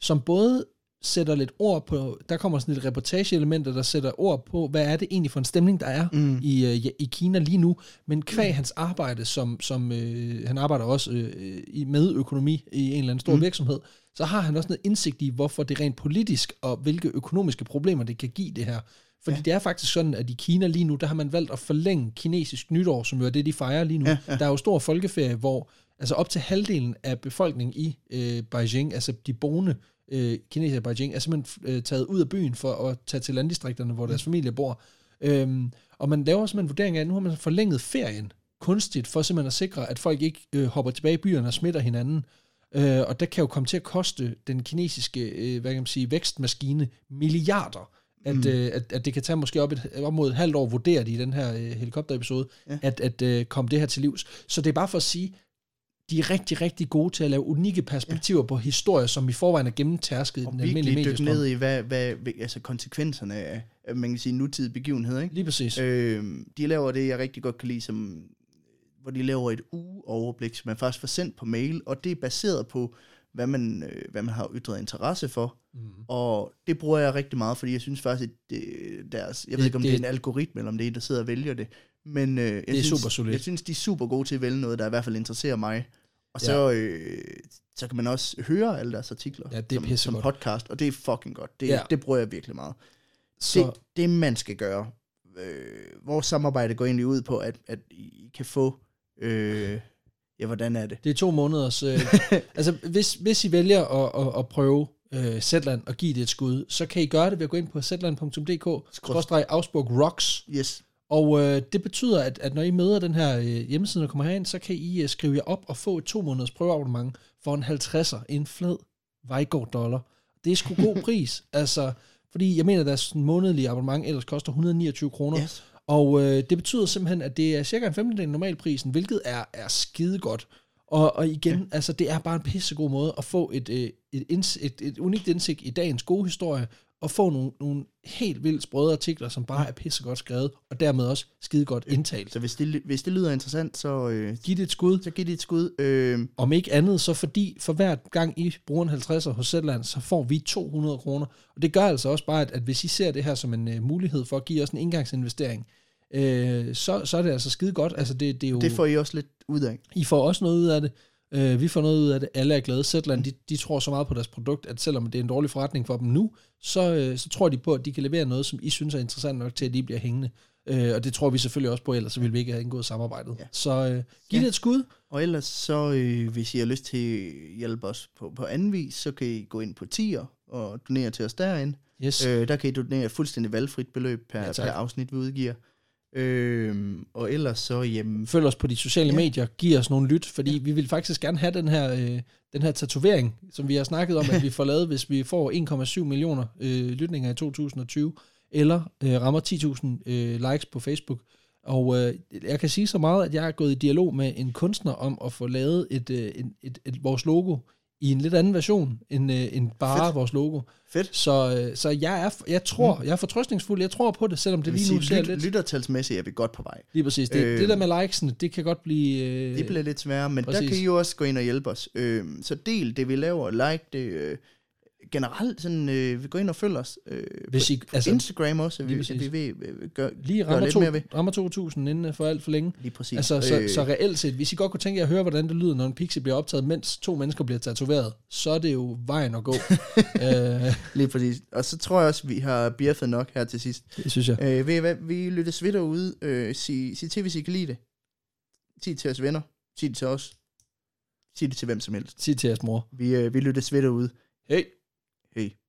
som både sætter lidt ord på, der kommer sådan lidt reportageelementer, der sætter ord på, hvad er det egentlig for en stemning, der er mm. i, øh, ja, i Kina lige nu, men kvæg mm. hans arbejde, som, som øh, han arbejder også øh, øh, i- med økonomi i en eller anden stor mm. virksomhed, så har han også noget indsigt i, hvorfor det rent politisk, og hvilke økonomiske problemer det kan give det her. Fordi ja. det er faktisk sådan, at i Kina lige nu, der har man valgt at forlænge kinesisk nytår, som jo er det, de fejrer lige nu. Ja, ja. Der er jo stor folkeferie, hvor altså op til halvdelen af befolkningen i øh, Beijing, altså de boende øh, kinesere i Beijing, er simpelthen øh, taget ud af byen for at tage til landdistrikterne, hvor deres familie bor. Øhm, og man laver simpelthen en vurdering af, at nu har man forlænget ferien kunstigt, for simpelthen at sikre, at folk ikke øh, hopper tilbage i byerne og smitter hinanden. Øh, og det kan jo komme til at koste den kinesiske øh, hvad kan man sige, vækstmaskine milliarder. At, mm. øh, at, at det kan tage måske op, et, op mod et halvt år, vurderer de i den her øh, helikopterepisode, ja. at, at øh, komme det her til livs. Så det er bare for at sige, de er rigtig, rigtig gode til at lave unikke perspektiver ja. på historier, som i forvejen er gennemtærsket i og den almindelige virkelig dykke mediestrøm. ned i, hvad, hvad, hvad altså konsekvenserne af, af, man kan sige, nutidige begivenheder, ikke? Lige præcis. Øh, Øh, de laver det, jeg rigtig godt kan lide, som, hvor de laver et ugeoverblik, som man faktisk får sendt på mail, og det er baseret på, hvad man, øh, hvad man har ytret interesse for. Mm. Og det bruger jeg rigtig meget, fordi jeg synes faktisk, at det, deres, jeg ved Det- ikke, om det- det, det er en algoritme, eller om det er en, der sidder og vælger det, men øh, jeg, er synes, super solidt. jeg synes, de er super gode til at vælge noget, der i hvert fald interesserer mig. Og så, ja. øh, så kan man også høre alle deres artikler Ja, det er som, som pissegodt. podcast, og det er fucking godt. Det, Ja. ja. det bruger jeg virkelig meget så, det, det man skal gøre, øh, vores samarbejde går egentlig ud på, at, at I kan få, øh, ja, hvordan er det? Det er to måneders... Øh, altså, hvis, hvis I vælger at, at, at prøve øh, Zetland og give det et skud, så kan I gøre det ved at gå ind på zetland.dk skråstreg Augsburg Rocks. Yes. Og øh, det betyder, at, at når I møder den her øh, hjemmeside og kommer herind, så kan I øh, skrive jer op og få et to måneders prøveabonnement for en 50'er, en flad Vejgaard dollar. Det er sgu god pris, altså, fordi jeg mener, at deres månedlige abonnement ellers koster 129 kroner. Yes. Og øh, det betyder simpelthen, at det er cirka en femtedel af normalprisen, hvilket er, er skide godt. Og, og igen, ja. altså, det er bare en pissegod måde at få et, øh, et, inds- et, et unikt indsigt i dagens gode historie, og få nogle, nogle helt vildt sprøde artikler, som bare er pissegodt skrevet, og dermed også skide godt indtalt. Så hvis det, hvis det lyder interessant, så, øh, Giv det et skud. så giv det et skud. Øh, Om ikke andet, så fordi for hver gang I bruger en 50'er hos Zetland, så får vi 200 kroner. Og det gør altså også bare, at, at hvis I ser det her som en uh, mulighed for at give os en engangsinvestering, øh, så, så er det altså skide godt. Altså det, det er jo, det får I også lidt ud af. I får også noget ud af det. Øh, vi får noget ud af det. Alle er glade. Zetland, de, de tror så meget på deres produkt, at selvom det er en dårlig forretning for dem nu, så, øh, så tror de på, at de kan levere noget, som I synes er interessant nok til, at de bliver hængende. Øh, og det tror vi selvfølgelig også på, ellers så ville vi ikke have indgået samarbejdet. Ja. Ja. Så øh, giv Ja. det et skud. Og ellers så, øh, hvis I har lyst til at hjælpe os på, på anden vis, så kan I gå ind på tier og donere til os derinde. Yes. Øh, der kan I donere et fuldstændig valgfrit beløb per, Ja, ja, tak. per afsnit, vi udgiver. Øh, og ellers så, jamen, Følg os på de sociale ja. Ja. medier, giv os nogle lyt, fordi ja. vi vil faktisk gerne have den her, øh, den her tatovering, som vi har snakket om, at vi får lavet, hvis vi får 1,7 millioner øh, lytninger i 2020, eller øh, rammer 10.000 øh, likes på Facebook. Og øh, jeg kan sige så meget, at jeg er gået i dialog med en kunstner om at få lavet et, øh, en, et, et, vores logo i en lidt anden version end, øh, end bare Fedt. vores logo. Fedt. Så, øh, så jeg, er, jeg tror, jeg er fortrøstningsfuld, jeg tror på det, selvom det Det vil lige nu sige, ser lyt, lidt... lyttertalsmæssigt er vi godt på vej. Lige præcis. Det, øh, Øh, det der med likesene, det kan godt blive... Øh, Det bliver lidt sværere, men præcis. der kan I jo også gå ind og hjælpe os. Øh, så del det, vi laver, like det. Øh, generelt, sådan, øh, vi går ind og følger os. Øh, hvis på I, altså, Instagram også, vi, lige vi, præcis. vi, vi, vi gør, lige gør lidt mere rammer, ved. to, rammer 2.000 inden øh, for alt for længe. Lige præcis. Altså, så, øh. så reelt set, hvis I godt kunne tænke jer at høre, hvordan det lyder, når en pixie bliver optaget, mens to mennesker bliver tatoveret, så er det jo vejen at gå. øh, Lige præcis. Og så tror jeg også, vi har bjerfet nok her til sidst. det synes jeg. Øh, ved I hvad? Vi lyttes ved derude. Øh, sig, sig til, hvis I kan lide det. Sig det til os venner. Sig det til os. Sig det til hvem som helst. Sig til jeres mor. Vi, øh, vi lyttes ved derude. Hey. Hej.